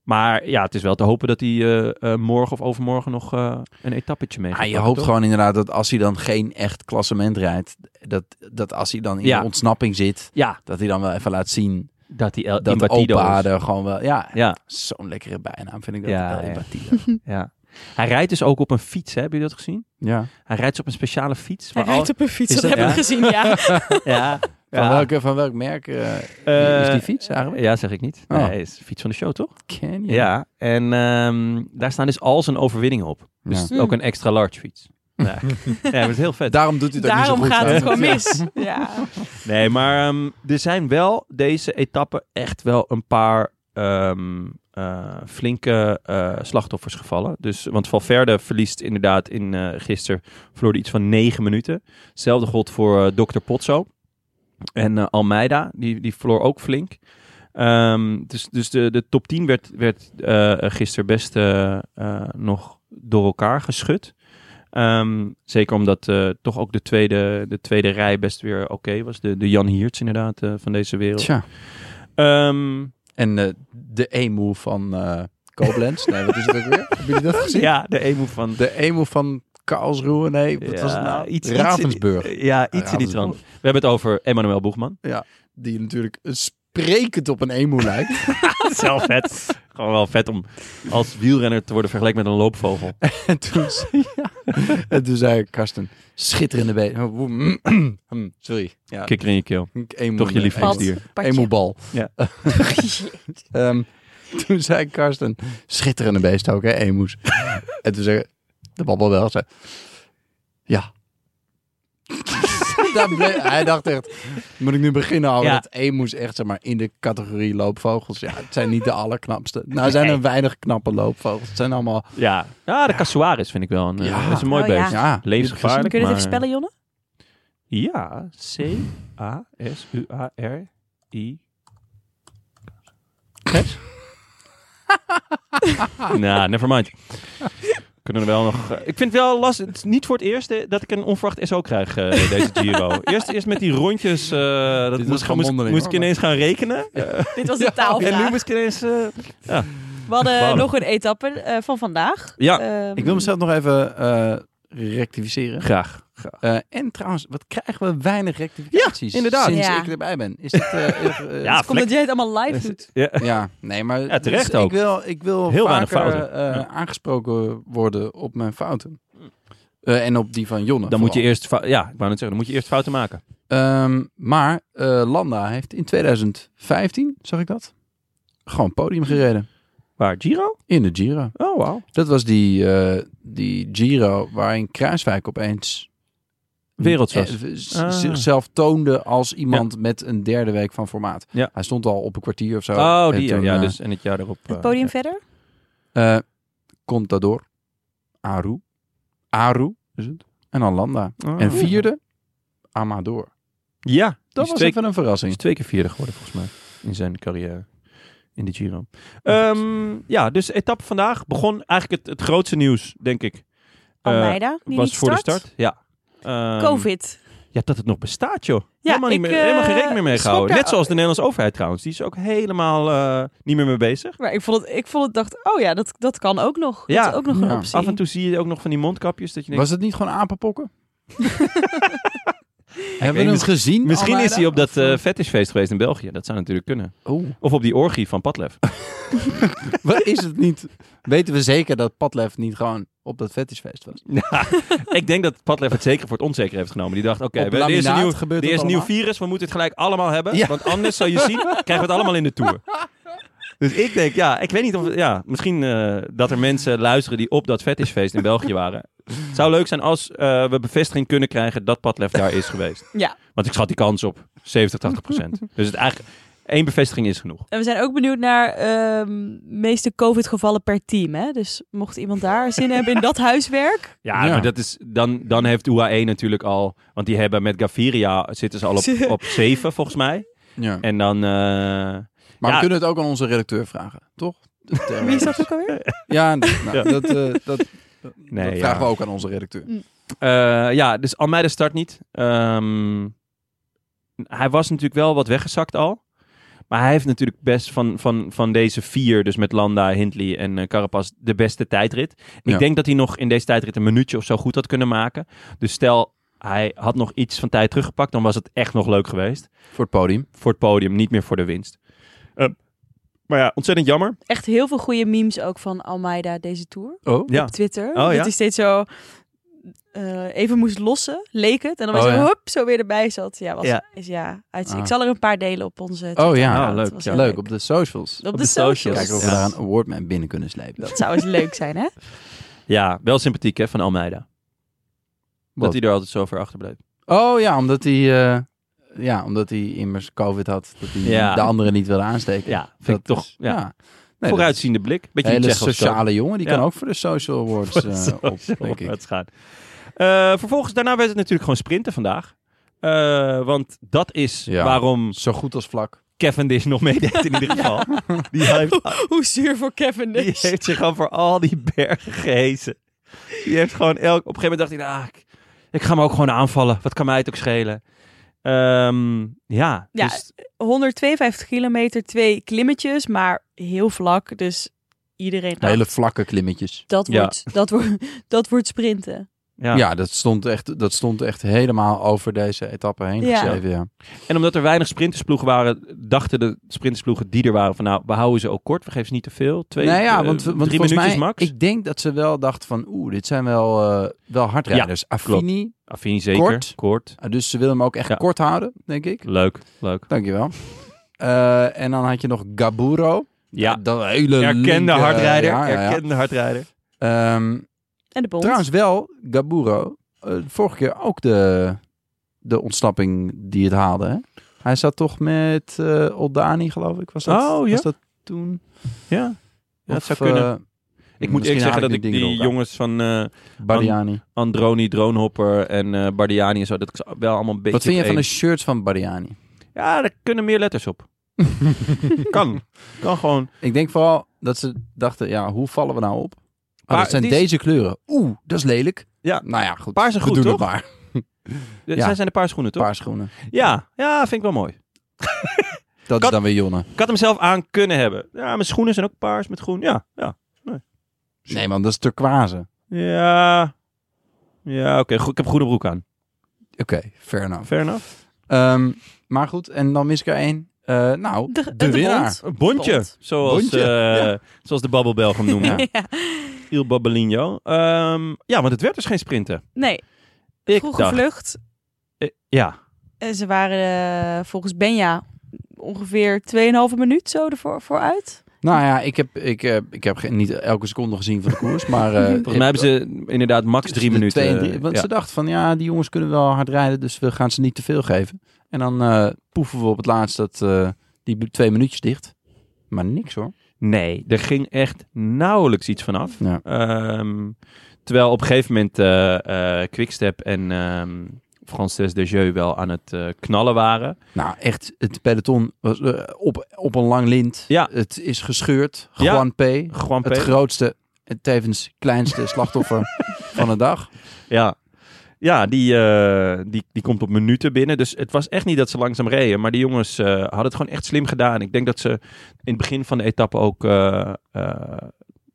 [SPEAKER 1] maar ja, het is wel te hopen dat hij eh, eh, morgen of overmorgen nog eh, een etappetje mee gaat
[SPEAKER 2] Ah, je
[SPEAKER 1] pakken,
[SPEAKER 2] hoopt
[SPEAKER 1] toch?
[SPEAKER 2] gewoon inderdaad dat als hij dan geen echt klassement rijdt, dat, dat als hij dan in
[SPEAKER 1] Ja.
[SPEAKER 2] de ontsnapping zit,
[SPEAKER 1] Ja,
[SPEAKER 2] dat hij dan wel even laat zien
[SPEAKER 1] dat hij El-
[SPEAKER 2] dat
[SPEAKER 1] Imbatido
[SPEAKER 2] opa
[SPEAKER 1] is.
[SPEAKER 2] er gewoon wel... Ja,
[SPEAKER 1] Ja,
[SPEAKER 2] zo'n lekkere bijnaam vind ik dat.
[SPEAKER 1] Ja,
[SPEAKER 2] Ja,
[SPEAKER 1] ja.
[SPEAKER 2] El Imbatido.
[SPEAKER 1] ja. Hij rijdt dus ook op een fiets, hè? hebben jullie dat gezien?
[SPEAKER 2] ja.
[SPEAKER 1] Hij rijdt dus op een speciale fiets.
[SPEAKER 3] Hij
[SPEAKER 1] waar
[SPEAKER 3] rijdt op een fiets,
[SPEAKER 1] Is
[SPEAKER 3] dat,
[SPEAKER 1] dat-
[SPEAKER 3] hebben we
[SPEAKER 1] ja?
[SPEAKER 3] gezien, ja.
[SPEAKER 1] al- Ja,
[SPEAKER 2] Van,
[SPEAKER 1] ja.
[SPEAKER 2] Welke, van welk merk eh, is die
[SPEAKER 1] Eh,
[SPEAKER 2] fiets eigenlijk?
[SPEAKER 1] Ja, zeg ik niet.
[SPEAKER 2] Oh.
[SPEAKER 1] Nee, is de fiets van de show, toch?
[SPEAKER 2] Canyon.
[SPEAKER 1] Ja, en ehm, daar staan dus al zijn overwinningen op. Dus
[SPEAKER 2] Ja.
[SPEAKER 1] het is ook een extra large fiets. Ja, ja maar het is heel vet.
[SPEAKER 2] Daarom doet hij dat
[SPEAKER 3] Daarom
[SPEAKER 2] niet zo goed.
[SPEAKER 3] gaat
[SPEAKER 2] hè?
[SPEAKER 3] het gewoon mis. Ja.
[SPEAKER 1] Nee, maar ehm, er zijn wel deze etappe echt wel een paar ehm, eh, flinke eh, slachtoffers gevallen. Dus, want Valverde verliest inderdaad in eh, gisteren, verloor hij iets van negen minuten. Hetzelfde geldt voor eh, Dr. Potso. En eh, Almeida, die, die verloor ook flink. Ehm, dus dus de, de top 10 werd, werd eh, gisteren best eh, eh, nog door elkaar geschud. Ehm, zeker omdat eh, toch ook de tweede, de tweede rij best weer oké was. De, de Jan Hiertz inderdaad eh, van deze wereld.
[SPEAKER 2] Tja.
[SPEAKER 1] Ehm,
[SPEAKER 2] En eh, de emu van eh Koblenz. nee, wat is het ook weer? Hebben jullie dat gezien?
[SPEAKER 1] ja, de emu van...
[SPEAKER 2] De emu van Karlsruhe. Nee, wat was het
[SPEAKER 1] Ja,
[SPEAKER 2] nou?
[SPEAKER 1] iets- iets-
[SPEAKER 2] Ravensburg.
[SPEAKER 1] Ja, iets in die trant.
[SPEAKER 2] Ravensburg.
[SPEAKER 1] We hebben het over Emmanuel Boegman.
[SPEAKER 2] Die natuurlijk sprekend op een emu lijkt.
[SPEAKER 1] Dat is wel vet. Gewoon wel vet om als wielrenner te worden vergeleken met een loopvogel.
[SPEAKER 2] en, toen, zei- ja. en toen zei Karsten, schitterende been. Hm, Sorry. Ja,
[SPEAKER 1] Kikker in je keel.
[SPEAKER 2] emu,
[SPEAKER 1] Toch je lievelingsdier.
[SPEAKER 3] Patje.
[SPEAKER 2] Emuebal.
[SPEAKER 1] Ja.
[SPEAKER 2] Ehm, toen zei Karsten, schitterende beest ook, hè, emus. en toen zei de babbel wel, zei, ja. Daar bleef- hij dacht echt, moet ik nu beginnen al?
[SPEAKER 1] Ja.
[SPEAKER 2] Dat emus echt zeg maar, in de categorie loopvogels. Ja, het zijn niet de allerknapste. Nou, er zijn
[SPEAKER 1] Nee.
[SPEAKER 2] er weinig knappe loopvogels. Het zijn allemaal...
[SPEAKER 1] Ja, ja de cassoaris vind ik wel een, eh,
[SPEAKER 2] Ja.
[SPEAKER 1] dat is een mooi
[SPEAKER 3] Oh, ja.
[SPEAKER 1] beest.
[SPEAKER 2] Ja,
[SPEAKER 1] Levensgevaarlijk.
[SPEAKER 3] Kun je dat
[SPEAKER 1] maar-
[SPEAKER 3] even spellen, Jonne?
[SPEAKER 1] Ja, C-A-S-U-A-R-I. Kes? nou, never mind. Kunnen we wel nog... eh, ik vind het wel lastig. Het is niet voor het eerst eh, dat ik een onverwacht SO krijg eh, deze Giro. Eerst, eerst met die rondjes. eh, dat
[SPEAKER 2] was
[SPEAKER 1] moest, ik-
[SPEAKER 2] gewoon
[SPEAKER 1] moest,
[SPEAKER 2] mondeling,
[SPEAKER 1] moest ik
[SPEAKER 2] hoor,
[SPEAKER 1] ineens gaan rekenen. Eh,
[SPEAKER 3] Dit was de taalvraag.
[SPEAKER 1] en nu moest ik ineens... eh,
[SPEAKER 3] We hadden
[SPEAKER 1] Wauw. Ah,
[SPEAKER 3] nog een etappe eh, van vandaag.
[SPEAKER 1] ja,
[SPEAKER 3] Ehm,
[SPEAKER 2] Ik wil mezelf nog even eh, rectificeren.
[SPEAKER 1] graag.
[SPEAKER 2] Eh, en trouwens, wat krijgen we weinig rectificaties
[SPEAKER 1] Ja, inderdaad.
[SPEAKER 2] sinds
[SPEAKER 3] Ja.
[SPEAKER 2] ik erbij ben. Is dat... eh, eh, eh,
[SPEAKER 1] Ja,
[SPEAKER 3] Komt dat jij het allemaal live doet.
[SPEAKER 1] Ja,
[SPEAKER 2] Ja, nee, maar
[SPEAKER 1] Ja, terecht
[SPEAKER 2] dus
[SPEAKER 1] ook.
[SPEAKER 2] Ik wil, ik wil
[SPEAKER 1] Heel weinig
[SPEAKER 2] vaker
[SPEAKER 1] fouten.
[SPEAKER 2] eh,
[SPEAKER 1] Ja.
[SPEAKER 2] aangesproken worden op mijn fouten. Eh, en op die van Jonne.
[SPEAKER 1] Dan moet je
[SPEAKER 2] vooral.
[SPEAKER 1] eerst, fou- ja, ik wou net zeggen, dan moet je eerst fouten maken.
[SPEAKER 2] Ehm, maar eh, Landa heeft in 2015, zag ik dat, gewoon podium gereden
[SPEAKER 1] Waar, Giro?
[SPEAKER 2] in de Giro.
[SPEAKER 1] Oh, wauw.
[SPEAKER 2] Dat was die, eh, die Giro waarin Kruiswijk opeens
[SPEAKER 1] Werelds was.
[SPEAKER 2] eh, v- z-
[SPEAKER 1] Ah.
[SPEAKER 2] zichzelf toonde als iemand met een derde week van formaat.
[SPEAKER 1] Ja.
[SPEAKER 2] Hij stond al op een kwartier of zo.
[SPEAKER 1] Oh,
[SPEAKER 2] En
[SPEAKER 1] die, ja,
[SPEAKER 2] toen,
[SPEAKER 1] ja,
[SPEAKER 2] eh,
[SPEAKER 1] dus en het jaar erop.
[SPEAKER 3] Het
[SPEAKER 1] eh,
[SPEAKER 3] podium
[SPEAKER 1] ja.
[SPEAKER 3] verder?
[SPEAKER 2] eh, Contador, Aru, Aru is het, en dan Landa.
[SPEAKER 1] Oh.
[SPEAKER 2] En vierde, Amador.
[SPEAKER 1] Ja, die
[SPEAKER 2] Dat
[SPEAKER 1] is
[SPEAKER 2] was
[SPEAKER 1] twee,
[SPEAKER 2] even een
[SPEAKER 1] die
[SPEAKER 2] verrassing.
[SPEAKER 1] is twee keer vierde geworden volgens mij in zijn carrière in de
[SPEAKER 2] Oh,
[SPEAKER 1] Giro. Ehm, ja, dus etappe vandaag begon eigenlijk het, het grootste nieuws, denk ik. Eh,
[SPEAKER 3] Almeida, die
[SPEAKER 1] was
[SPEAKER 3] niet
[SPEAKER 1] voor
[SPEAKER 3] start.
[SPEAKER 1] de start. Ja. Ehm,
[SPEAKER 3] Covid.
[SPEAKER 1] Ja, dat het nog bestaat, joh.
[SPEAKER 3] Ja,
[SPEAKER 1] helemaal, niet
[SPEAKER 3] ik,
[SPEAKER 1] meer, helemaal geen
[SPEAKER 3] eh,
[SPEAKER 1] rekening meer mee
[SPEAKER 3] schrok
[SPEAKER 1] gehouden.
[SPEAKER 3] daar-
[SPEAKER 1] Net zoals de Nederlandse overheid trouwens. Die is ook helemaal eh, niet meer mee bezig.
[SPEAKER 3] Maar ik vond het, ik vond het dacht, oh ja, dat, dat kan ook nog.
[SPEAKER 1] Ja.
[SPEAKER 3] Dat is ook nog
[SPEAKER 2] Ja.
[SPEAKER 3] een optie.
[SPEAKER 1] Af en toe zie je ook nog van die mondkapjes dat je denkt...
[SPEAKER 2] Was het niet gewoon apenpokken? Hebben
[SPEAKER 1] weet
[SPEAKER 2] we het
[SPEAKER 1] niet.
[SPEAKER 2] gezien?
[SPEAKER 1] Misschien is
[SPEAKER 2] Almeida?
[SPEAKER 1] hij op dat eh fetishfeest geweest in België. Dat zou natuurlijk kunnen.
[SPEAKER 2] Oh,
[SPEAKER 1] Of op die orgie van Padlef.
[SPEAKER 2] maar is het niet? Weten we zeker dat Padlef niet gewoon op dat fetishfeest was?
[SPEAKER 1] Ja, ik denk dat Padlef het zeker voor het onzeker heeft genomen. Die dacht, oké,
[SPEAKER 2] Op
[SPEAKER 1] we- er is een
[SPEAKER 2] laminaat
[SPEAKER 1] nieuw,
[SPEAKER 2] gebeurt
[SPEAKER 1] er
[SPEAKER 2] dat
[SPEAKER 1] is een nieuw
[SPEAKER 2] allemaal.
[SPEAKER 1] virus, we moeten het gelijk allemaal hebben.
[SPEAKER 2] Ja.
[SPEAKER 1] Want anders, zal je zien, krijgen we het allemaal in de tour. Dus ik denk, ja, ik weet niet of... Ja, misschien eh, dat er mensen luisteren die op dat fetishfeest in België waren. Het zou leuk zijn als eh, we bevestiging kunnen krijgen dat Padlef daar is geweest.
[SPEAKER 3] Ja.
[SPEAKER 1] Want ik schat die kans op 70, 80 procent. Dus het eigenlijk, één bevestiging is genoeg.
[SPEAKER 3] En we zijn ook benieuwd naar ehm meeste COVID-gevallen per team. Hè? Dus mocht iemand daar zin hebben in dat huiswerk,
[SPEAKER 1] Ja,
[SPEAKER 2] Ja.
[SPEAKER 1] maar dat is, dan, dan heeft UAE natuurlijk al... Want die hebben met Gaviria zitten ze al op, op 7 volgens mij.
[SPEAKER 2] Ja.
[SPEAKER 1] En dan... eh,
[SPEAKER 2] Maar
[SPEAKER 1] Ja.
[SPEAKER 2] we kunnen het ook aan onze redacteur vragen, toch? eh,
[SPEAKER 3] wie is dat ook alweer?
[SPEAKER 2] Ja, nou,
[SPEAKER 1] Ja.
[SPEAKER 2] dat, eh, dat,
[SPEAKER 1] Nee,
[SPEAKER 2] dat
[SPEAKER 1] ja.
[SPEAKER 2] vragen we ook aan onze redacteur.
[SPEAKER 1] Eh, ja, dus Almeida start niet. Ehm, hij was natuurlijk wel wat weggezakt al. Maar hij heeft natuurlijk best van, van, van deze vier, dus met Landa, Hindley en eh, Carapaz, de beste tijdrit. Ik
[SPEAKER 2] Ja.
[SPEAKER 1] denk dat hij nog in deze tijdrit een minuutje of zo goed had kunnen maken. Dus stel, hij had nog iets van tijd teruggepakt, dan was het echt nog leuk geweest.
[SPEAKER 2] Voor het podium.
[SPEAKER 1] Voor het podium, niet meer voor de winst. Eh, maar ja, ontzettend jammer.
[SPEAKER 3] Echt heel veel goede memes ook van Almeida deze tour.
[SPEAKER 2] Oh,
[SPEAKER 1] Ja.
[SPEAKER 3] Op Twitter.
[SPEAKER 1] ja?
[SPEAKER 3] Dat hij steeds zo eh, even moest lossen, leek het. En dan was
[SPEAKER 2] Oh,
[SPEAKER 3] hij
[SPEAKER 2] ja.
[SPEAKER 3] hup, zo weer erbij zat. Ja, was,
[SPEAKER 1] Ja.
[SPEAKER 3] Is, ja uit-
[SPEAKER 2] Ah.
[SPEAKER 3] ik zal er een paar delen op onze
[SPEAKER 2] oh ja,
[SPEAKER 1] Ah, leuk,
[SPEAKER 3] Dat was
[SPEAKER 1] ja.
[SPEAKER 3] heel
[SPEAKER 2] leuk. Op de socials.
[SPEAKER 3] Op,
[SPEAKER 1] Op
[SPEAKER 3] de,
[SPEAKER 1] de socials.
[SPEAKER 3] socials.
[SPEAKER 2] Kijken of we
[SPEAKER 1] Ja.
[SPEAKER 2] daar een awardman binnen kunnen slepen.
[SPEAKER 3] Dat zou eens leuk zijn, hè?
[SPEAKER 1] Ja, wel sympathiek hè, van Almeida. Dat
[SPEAKER 2] Wat?
[SPEAKER 1] hij er altijd zo ver achter bleef.
[SPEAKER 2] Oh ja, omdat hij, eh, ja, omdat hij immers COVID had. Dat hij
[SPEAKER 1] Ja.
[SPEAKER 2] de anderen niet wilde aansteken.
[SPEAKER 1] Ja, vind
[SPEAKER 2] dat
[SPEAKER 1] ik toch...
[SPEAKER 2] is-
[SPEAKER 1] ja.
[SPEAKER 2] Nee, dat is
[SPEAKER 1] Vooruitziende blik.
[SPEAKER 2] Een
[SPEAKER 1] Beetje
[SPEAKER 2] hele
[SPEAKER 1] Tsjecho's ook.
[SPEAKER 2] sociale jongen. Die
[SPEAKER 1] Ja.
[SPEAKER 2] kan ook voor de social awards eh,
[SPEAKER 1] Zo,
[SPEAKER 2] op,
[SPEAKER 1] zo
[SPEAKER 2] denk ik.
[SPEAKER 1] vooruit gaan. Eh, vervolgens, daarna werd het natuurlijk gewoon sprinten vandaag. Eh, want dat is
[SPEAKER 2] Ja.
[SPEAKER 1] waarom
[SPEAKER 2] Zo goed als vlak.
[SPEAKER 1] Cavendish nog meedeed in ieder geval. Die, heeft,
[SPEAKER 3] Hoe zuur voor Kevin
[SPEAKER 1] die
[SPEAKER 3] dus.
[SPEAKER 1] heeft zich gewoon voor al die bergen gehezen. Die heeft gewoon elk... Op een gegeven moment dacht hij, nou, ik, ik ga hem ook gewoon aanvallen. Wat kan mij het ook schelen? Ehm, ja,
[SPEAKER 3] Ja,
[SPEAKER 1] dus
[SPEAKER 3] 152 kilometer, twee klimmetjes, maar heel vlak. Dus iedereen... Nou,
[SPEAKER 2] Hele vlakke klimmetjes.
[SPEAKER 3] Dat,
[SPEAKER 1] Ja.
[SPEAKER 3] wordt, dat, wordt, dat wordt sprinten.
[SPEAKER 1] ja.
[SPEAKER 2] Ja, dat, stond echt, dat stond echt helemaal over deze etappe heen
[SPEAKER 3] Ja.
[SPEAKER 2] geschreven. Ja.
[SPEAKER 1] En omdat er weinig sprintersploegen waren, dachten de sprintersploegen die er waren van nou, we houden ze ook kort, we geven ze niet te veel. Twee,
[SPEAKER 2] nou ja,
[SPEAKER 1] eh,
[SPEAKER 2] want, want
[SPEAKER 1] drie
[SPEAKER 2] volgens
[SPEAKER 1] minuutjes
[SPEAKER 2] mij,
[SPEAKER 1] max.
[SPEAKER 2] ik denk dat ze wel dachten van, oeh, dit zijn wel, eh, wel hardrijders. Affini,
[SPEAKER 1] Affini zeker.
[SPEAKER 2] Kort.
[SPEAKER 1] Kort.
[SPEAKER 2] ah, dus ze willen hem ook echt
[SPEAKER 1] Ja.
[SPEAKER 2] kort houden, denk ik.
[SPEAKER 1] Leuk, leuk.
[SPEAKER 2] Dankjewel. Eh en dan had je nog Gaburo.
[SPEAKER 1] Ja,
[SPEAKER 2] Dat een hele
[SPEAKER 1] erkende
[SPEAKER 2] linke-
[SPEAKER 1] hardrijder.
[SPEAKER 2] ja, ja, ja.
[SPEAKER 1] Erkende hardrijder.
[SPEAKER 2] Ehm,
[SPEAKER 3] En de bond.
[SPEAKER 2] trouwens wel, Gaburo, eh, vorige keer ook de, de ontsnapping die het haalde. Hè? Hij zat toch met eh Oldani, geloof ik. Was dat,
[SPEAKER 1] Oh, ja.
[SPEAKER 2] was dat toen?
[SPEAKER 1] Ja, dat
[SPEAKER 2] Of,
[SPEAKER 1] zou kunnen.
[SPEAKER 2] eh,
[SPEAKER 1] ik moet
[SPEAKER 2] misschien
[SPEAKER 1] eerlijk zeggen
[SPEAKER 2] haal
[SPEAKER 1] dat
[SPEAKER 2] nu
[SPEAKER 1] ik
[SPEAKER 2] dingen door
[SPEAKER 1] die
[SPEAKER 2] elkaar.
[SPEAKER 1] jongens van eh,
[SPEAKER 2] Bardiani.
[SPEAKER 1] Androni, Droonhopper en eh Bardiani en zo, dat ik ze wel allemaal een beetje...
[SPEAKER 2] Wat vind je
[SPEAKER 1] op
[SPEAKER 2] van de
[SPEAKER 1] één-
[SPEAKER 2] shirts van Bardiani?
[SPEAKER 1] Ja, daar kunnen meer letters op. kan. Kan gewoon.
[SPEAKER 2] Ik denk vooral dat ze dachten, ja, hoe vallen we nou op? Maar
[SPEAKER 1] Maar
[SPEAKER 2] dat zijn
[SPEAKER 1] het is-
[SPEAKER 2] deze kleuren. Oeh, dat is lelijk.
[SPEAKER 1] Ja.
[SPEAKER 2] Nou ja,
[SPEAKER 1] Paars
[SPEAKER 2] goed. Paars
[SPEAKER 1] en
[SPEAKER 2] we
[SPEAKER 1] goed,
[SPEAKER 2] doen
[SPEAKER 1] toch?
[SPEAKER 2] het maar.
[SPEAKER 1] Zij
[SPEAKER 2] Ja.
[SPEAKER 1] zijn de paar schoenen, toch?
[SPEAKER 2] Paars schoenen.
[SPEAKER 1] Ja, ja, vind ik wel mooi.
[SPEAKER 2] Dat
[SPEAKER 1] Kan-
[SPEAKER 2] is dan weer Jonne.
[SPEAKER 1] Ik had hem zelf aan kunnen hebben. Ja, mijn schoenen zijn ook paars met groen. Ja, ja.
[SPEAKER 2] Nee man, dat is turquoise.
[SPEAKER 1] Ja, ja oké. goed, Ik heb groene broek aan.
[SPEAKER 2] Oké, fair enough.
[SPEAKER 1] Fair enough.
[SPEAKER 2] Ehm, maar goed, en dan mis ik er één. Eh, nou,
[SPEAKER 3] De, de,
[SPEAKER 2] winnaar.
[SPEAKER 3] bond.
[SPEAKER 1] Een bondje,
[SPEAKER 3] Bond.
[SPEAKER 1] zoals,
[SPEAKER 2] Bondje,
[SPEAKER 1] eh, zoals de babbelbel hem noemen.
[SPEAKER 2] Ja.
[SPEAKER 3] Ja.
[SPEAKER 1] Michiel Babbelinho. Ehm, ja, want het werd dus geen sprinten.
[SPEAKER 3] Nee,
[SPEAKER 1] Ik
[SPEAKER 3] vroege
[SPEAKER 1] dacht,
[SPEAKER 3] vlucht.
[SPEAKER 1] eh, ja,
[SPEAKER 3] En ze waren eh, volgens Benja ongeveer 2,5 minuut zo ervoor vooruit.
[SPEAKER 2] Nou ja, ik heb, ik, eh, ik heb geen- niet elke seconde gezien van de koers, maar... eh,
[SPEAKER 1] volgens mij hebben ze inderdaad max drie
[SPEAKER 2] de
[SPEAKER 1] minuten. eh,
[SPEAKER 2] twee en drie, want
[SPEAKER 1] ja.
[SPEAKER 2] ze dachten van, ja, die jongens kunnen wel hard rijden, dus we gaan ze niet te veel geven. En dan eh, poeven we op het laatst dat, eh, die bu- twee minuutjes dicht. Maar niks hoor.
[SPEAKER 1] Nee, er ging echt nauwelijks iets vanaf.
[SPEAKER 2] Ja.
[SPEAKER 1] Ehm, terwijl op een gegeven moment eh, eh, Quickstep en ehm Frances de Jeu wel aan het eh, knallen waren.
[SPEAKER 2] Nou, echt, het peloton was eh, op, op een lang lint.
[SPEAKER 1] Ja.
[SPEAKER 2] Het is gescheurd.
[SPEAKER 1] Ja.
[SPEAKER 2] Juan P.
[SPEAKER 1] Gewoon
[SPEAKER 2] Het grootste, en tevens kleinste slachtoffer van de dag.
[SPEAKER 1] Ja, ja die, eh, die, die komt op minuten binnen. Dus het was echt niet dat ze langzaam reden. Maar die jongens eh, hadden het gewoon echt slim gedaan. Ik denk dat ze in het begin van de etappe ook eh, eh,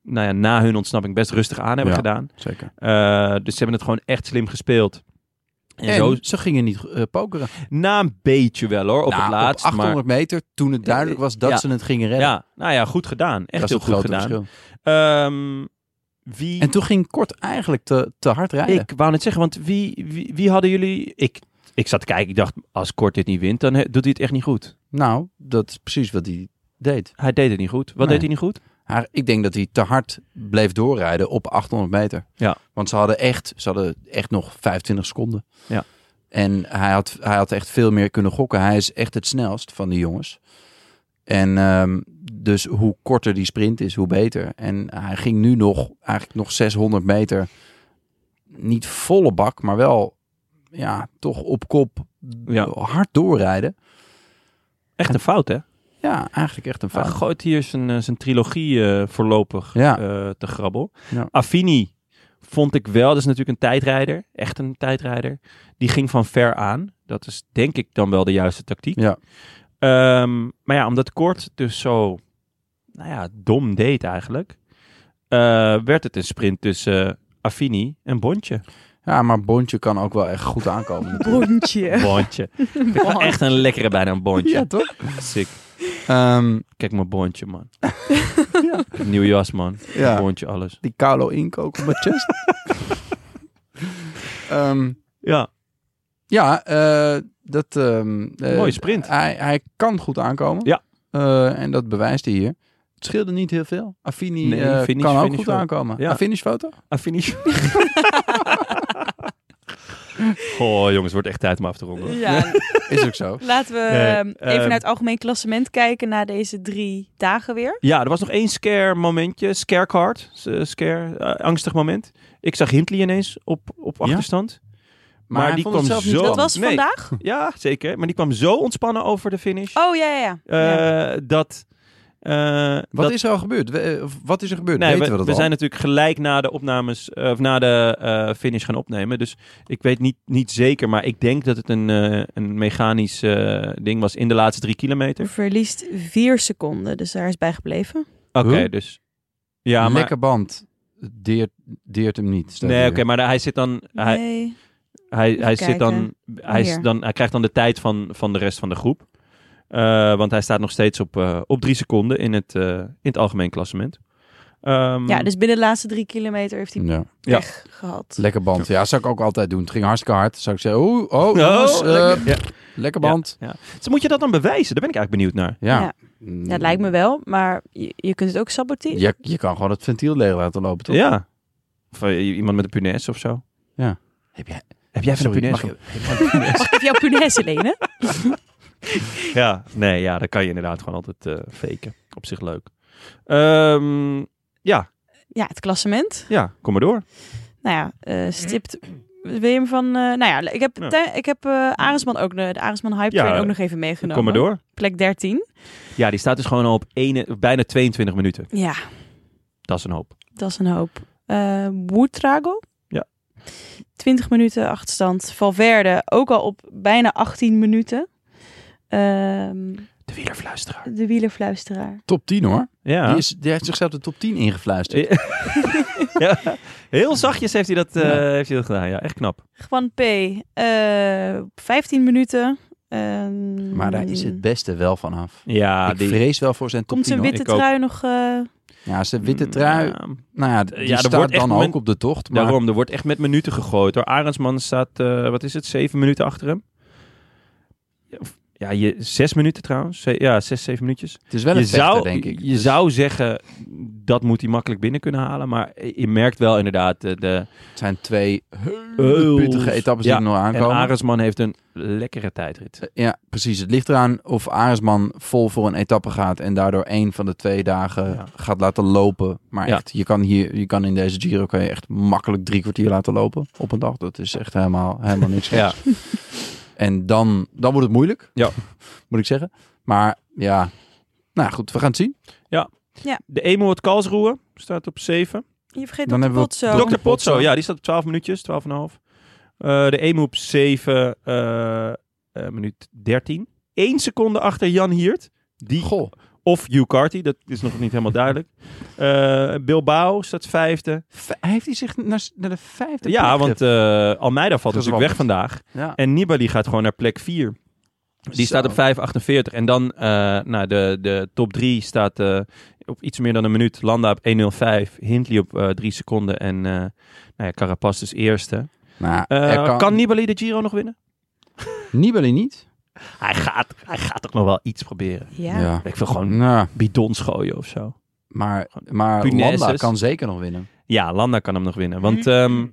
[SPEAKER 1] nou ja, na hun ontsnapping best rustig aan hebben
[SPEAKER 2] Ja.
[SPEAKER 1] gedaan.
[SPEAKER 2] Zeker.
[SPEAKER 1] Eh, dus ze hebben het gewoon echt slim gespeeld. En,
[SPEAKER 2] En
[SPEAKER 1] zo,
[SPEAKER 2] ze gingen niet eh, pokeren.
[SPEAKER 1] na een beetje wel hoor, op
[SPEAKER 2] Nou,
[SPEAKER 1] het laatst.
[SPEAKER 2] op 800
[SPEAKER 1] maar, Eh,
[SPEAKER 2] meter, toen het duidelijk was dat
[SPEAKER 1] Ja.
[SPEAKER 2] ze het gingen redden.
[SPEAKER 1] ja, nou ja, goed gedaan. Echt
[SPEAKER 2] dat is
[SPEAKER 1] heel
[SPEAKER 2] het
[SPEAKER 1] goed
[SPEAKER 2] grote
[SPEAKER 1] gedaan.
[SPEAKER 2] verschil.
[SPEAKER 1] Ehm, wie...
[SPEAKER 2] En toen ging Kort eigenlijk te, te hard rijden.
[SPEAKER 1] Ik wou net zeggen, want wie, wie, wie hadden jullie... Ik, ik zat te kijken, ik dacht, als Kort dit niet wint, dan he- doet hij het echt niet goed.
[SPEAKER 2] Nou, dat is precies wat hij deed.
[SPEAKER 1] Hij deed het niet goed. Wat
[SPEAKER 2] Nee.
[SPEAKER 1] deed hij niet goed?
[SPEAKER 2] Haar, ik denk dat hij te hard bleef doorrijden op 800 meter.
[SPEAKER 1] Ja.
[SPEAKER 2] Want ze hadden echt, ze hadden echt nog 25 seconden.
[SPEAKER 1] Ja.
[SPEAKER 2] En hij had, hij had echt veel meer kunnen gokken. Hij is echt het snelst van die jongens. En ehm, dus hoe korter die sprint is, hoe beter. En hij ging nu nog, eigenlijk nog 600 meter. Niet volle bak, maar wel ja, toch op kop
[SPEAKER 1] Ja.
[SPEAKER 2] hard doorrijden.
[SPEAKER 1] Echt een fout, hè?
[SPEAKER 2] Ja, eigenlijk echt een
[SPEAKER 1] Hij
[SPEAKER 2] fout.
[SPEAKER 1] gooit hier zijn, eh, zijn trilogie eh, voorlopig
[SPEAKER 2] Ja.
[SPEAKER 1] eh, te grabbel.
[SPEAKER 2] Ja.
[SPEAKER 1] Affini vond ik wel, dat is natuurlijk een tijdrijder. Echt een tijdrijder. Die ging van ver aan. Dat is denk ik dan wel de juiste tactiek.
[SPEAKER 2] Ja.
[SPEAKER 1] Ehm, maar ja, omdat Kort dus zo nou ja, dom deed eigenlijk, eh, werd het een sprint tussen eh, Affini en Bontje.
[SPEAKER 2] Ja, maar Bontje kan ook wel echt goed aankomen. natuurlijk.
[SPEAKER 3] Brontje.
[SPEAKER 1] Bontje. Vind ik wel echt een lekkere bijna een Bontje.
[SPEAKER 2] Ja, toch?
[SPEAKER 1] Sick.
[SPEAKER 2] Ehm,
[SPEAKER 1] Kijk mijn bondje, man. ja. Nieuw jas, man.
[SPEAKER 2] ja,
[SPEAKER 1] Bondje, alles.
[SPEAKER 2] die Carlo Ink ook op mijn chest. Ehm,
[SPEAKER 1] Ja,
[SPEAKER 2] ja, eh, dat... ehm, eh,
[SPEAKER 1] mooie sprint.
[SPEAKER 2] Hij, hij kan goed aankomen.
[SPEAKER 1] Ja.
[SPEAKER 2] Eh, en dat bewijst hij hier. Het scheelde niet heel veel. Affini
[SPEAKER 1] Nee,
[SPEAKER 2] eh,
[SPEAKER 1] finish-
[SPEAKER 2] kan ook
[SPEAKER 1] finish
[SPEAKER 2] goed
[SPEAKER 1] wel.
[SPEAKER 2] aankomen.
[SPEAKER 1] Ja.
[SPEAKER 2] Een finishfoto?
[SPEAKER 1] Affinish. Goh, jongens, het wordt echt tijd om af te ronden.
[SPEAKER 3] Ja,
[SPEAKER 2] Is ook zo.
[SPEAKER 3] laten we
[SPEAKER 1] Nee,
[SPEAKER 3] ehm, even
[SPEAKER 1] ehm,
[SPEAKER 3] naar het algemeen klassement kijken na deze drie dagen weer.
[SPEAKER 1] Ja, er was nog één scare momentje. Scare card. S- eh, Scare, eh, angstig moment. Ik zag Hindley ineens op, op
[SPEAKER 2] Ja?
[SPEAKER 1] achterstand.
[SPEAKER 2] Maar,
[SPEAKER 1] Maar
[SPEAKER 2] hij
[SPEAKER 1] die
[SPEAKER 2] vond het
[SPEAKER 1] kwam
[SPEAKER 2] zelf niet
[SPEAKER 1] zo-
[SPEAKER 3] Dat was
[SPEAKER 1] nee.
[SPEAKER 3] vandaag?
[SPEAKER 1] Ja, zeker. Maar die kwam zo ontspannen over de finish.
[SPEAKER 3] Oh, ja, ja, ja.
[SPEAKER 1] eh,
[SPEAKER 3] ja.
[SPEAKER 1] Dat... eh,
[SPEAKER 2] Wat
[SPEAKER 1] dat-
[SPEAKER 2] is er al gebeurd? We- eh, Wat is er gebeurd?
[SPEAKER 1] Nee,
[SPEAKER 2] Weten we, dat al?
[SPEAKER 1] zijn natuurlijk gelijk na de opnames eh, of na de eh, finish gaan opnemen. Dus ik weet niet, niet zeker, maar ik denk dat het een, eh, een mechanisch eh, ding was in de laatste drie kilometer.
[SPEAKER 3] Verliest vier seconden, dus daar is bij gebleven.
[SPEAKER 1] Oké,
[SPEAKER 2] Huh?
[SPEAKER 1] dus ja, maar
[SPEAKER 2] Lekker band. Deert, deert hem niet. staat
[SPEAKER 1] nee,
[SPEAKER 2] hier.
[SPEAKER 1] oké, maar hij zit dan, hij,
[SPEAKER 3] Nee.
[SPEAKER 1] hij, hij
[SPEAKER 3] Even
[SPEAKER 1] zit dan,
[SPEAKER 3] kijken.
[SPEAKER 1] hij is
[SPEAKER 3] Hier.
[SPEAKER 1] dan, hij krijgt dan de tijd van van de rest van de groep, Eh, want hij staat nog steeds op eh, op drie seconden in het eh, in het algemeen klassement. Ehm,
[SPEAKER 3] Ja, dus binnen de laatste drie kilometer heeft hij
[SPEAKER 2] Ja.
[SPEAKER 3] pech
[SPEAKER 1] Hmm.
[SPEAKER 3] gehad.
[SPEAKER 2] Lekker band. Ja, zou ik ook altijd doen. Het ging hartstikke hard. Zou ik zeggen, oeh, oh, jongens, eh,
[SPEAKER 1] lekker. Ja.
[SPEAKER 2] lekker band.
[SPEAKER 1] Dus moet je dat dan bewijzen? Daar ben ik eigenlijk benieuwd naar.
[SPEAKER 2] Ja.
[SPEAKER 3] Ja. Ja, het lijkt me wel, maar je, je kunt het ook saboteren.
[SPEAKER 2] Je, je kan gewoon het ventiel leeg laten lopen, toch?
[SPEAKER 1] Ja. Of eh, iemand met een punaise of zo.
[SPEAKER 2] Ja.
[SPEAKER 1] Heb jij, heb jij van
[SPEAKER 2] Sorry,
[SPEAKER 1] een
[SPEAKER 2] mag
[SPEAKER 1] punaise?
[SPEAKER 3] Mag ik even jouw punaise lenen?
[SPEAKER 1] Ja, nee, ja, dat kan je inderdaad gewoon altijd eh, faken. Op zich leuk. Ehm, ja,
[SPEAKER 3] Ja, het klassement.
[SPEAKER 1] ja, kom maar door.
[SPEAKER 3] Nou ja, eh, stipt... Wil je hem van... eh, nou ja, ik heb,
[SPEAKER 1] Ja.
[SPEAKER 3] tij- ik heb eh Arendsman ook, de, de Arendsman Hype
[SPEAKER 1] Ja,
[SPEAKER 3] Train
[SPEAKER 1] eh,
[SPEAKER 3] ook nog even meegenomen.
[SPEAKER 1] Kom maar door.
[SPEAKER 3] Plek 13.
[SPEAKER 1] Ja, die staat dus gewoon al op ene, bijna 22 minuten.
[SPEAKER 3] Ja,
[SPEAKER 1] Dat is een hoop.
[SPEAKER 3] dat is een hoop. Eh Woetrago.
[SPEAKER 1] Ja.
[SPEAKER 3] 20 minuten achterstand. Valverde ook al op bijna 18 minuten. Ehm,
[SPEAKER 1] De wielerfluisteraar.
[SPEAKER 3] de wielerfluisteraar.
[SPEAKER 2] Top 10 hoor.
[SPEAKER 1] Ja.
[SPEAKER 2] Die, is, die heeft zichzelf de top 10 ingefluisterd.
[SPEAKER 1] ja. Heel zachtjes heeft hij, dat, eh,
[SPEAKER 2] Ja.
[SPEAKER 1] heeft hij dat gedaan. Ja, echt knap.
[SPEAKER 3] Juan P. eh 15 minuten. Ehm,
[SPEAKER 2] Maar daar is het beste wel van af.
[SPEAKER 1] Ja,
[SPEAKER 2] ik vrees wel voor zijn top
[SPEAKER 3] Komt
[SPEAKER 2] 10.
[SPEAKER 3] zijn
[SPEAKER 2] hoor.
[SPEAKER 3] witte
[SPEAKER 1] Ik ook.
[SPEAKER 3] trui nog... eh,
[SPEAKER 2] Ja, zijn witte trui.
[SPEAKER 1] Mm, Ja,
[SPEAKER 2] Nou ja, die
[SPEAKER 1] Ja, er
[SPEAKER 2] staat
[SPEAKER 1] wordt echt
[SPEAKER 2] dan
[SPEAKER 1] moment-
[SPEAKER 2] ook op de tocht. Maar
[SPEAKER 1] daarom, er wordt echt met minuten gegooid. Hoor. Arendsman staat, eh, wat is het, zeven minuten achter hem? Ja, of- Ja, je, zes minuten trouwens. Ze- ja, zes, zeven minuutjes.
[SPEAKER 2] het is wel
[SPEAKER 1] je
[SPEAKER 2] een vechter,
[SPEAKER 1] zou,
[SPEAKER 2] denk ik. dus-
[SPEAKER 1] Je zou zeggen, dat moet hij makkelijk binnen kunnen halen. Maar je merkt wel inderdaad de... de
[SPEAKER 2] Het zijn twee hele pittige etappes
[SPEAKER 1] Ja,
[SPEAKER 2] die er nog
[SPEAKER 1] en
[SPEAKER 2] aankomen.
[SPEAKER 1] Arendsman heeft een lekkere tijdrit.
[SPEAKER 2] Ja, precies. Het ligt eraan of Aresman vol voor een etappe gaat en daardoor één van de twee dagen
[SPEAKER 1] Ja.
[SPEAKER 2] gaat laten lopen. Maar
[SPEAKER 1] Ja.
[SPEAKER 2] echt, je kan, hier, je kan in deze Giro kan je echt makkelijk drie kwartier laten lopen op een dag. Dat is echt helemaal, helemaal niks.
[SPEAKER 1] Ja.
[SPEAKER 2] En dan, dan wordt het moeilijk,
[SPEAKER 1] Ja.
[SPEAKER 2] moet ik zeggen. Maar ja, nou goed, we gaan het zien.
[SPEAKER 1] De Emo uit Karlsruhe staat op 7.
[SPEAKER 2] Oh,
[SPEAKER 3] je vergeet
[SPEAKER 2] Dan
[SPEAKER 3] dan
[SPEAKER 2] hebben we
[SPEAKER 3] Potso.
[SPEAKER 2] Dok-
[SPEAKER 1] Dr. Potso, ja, die staat op 12 minuutjes, 12,5. Eh de Emo op 7, eh, eh, minuut 13. 1 seconde achter Jan Hiert. Die,
[SPEAKER 2] Goh,
[SPEAKER 1] of Hugh Carty, dat is nog niet helemaal duidelijk. Eh, Bilbao staat vijfde.
[SPEAKER 2] v- heeft hij zich naar, s- naar de vijfde
[SPEAKER 1] ja,
[SPEAKER 2] plek
[SPEAKER 1] want
[SPEAKER 2] ge-
[SPEAKER 1] eh, Almeida valt natuurlijk
[SPEAKER 2] Gezwabbeld.
[SPEAKER 1] weg vandaag.
[SPEAKER 2] ja.
[SPEAKER 1] En Nibali gaat gewoon naar plek 4. Die staat op 5,48. En dan eh, nou, de, de top 3 staat eh, op iets meer dan een minuut. Landa op 1,05. Hindley op eh 3 seconden. En eh nou ja, Carapaz dus eerste.
[SPEAKER 2] Nou,
[SPEAKER 1] Eh,
[SPEAKER 2] er
[SPEAKER 1] kan...
[SPEAKER 2] kan,
[SPEAKER 1] Nibali de Giro nog winnen?
[SPEAKER 2] Nibali niet.
[SPEAKER 1] Hij gaat, hij gaat toch nog wel iets proberen.
[SPEAKER 3] Ja.
[SPEAKER 1] Ik wil gewoon
[SPEAKER 2] Nou,
[SPEAKER 1] bidons gooien of zo.
[SPEAKER 2] maar maar
[SPEAKER 1] Punaises.
[SPEAKER 2] Landa kan zeker nog winnen.
[SPEAKER 1] Ja, Landa kan hem nog winnen. Want ehm,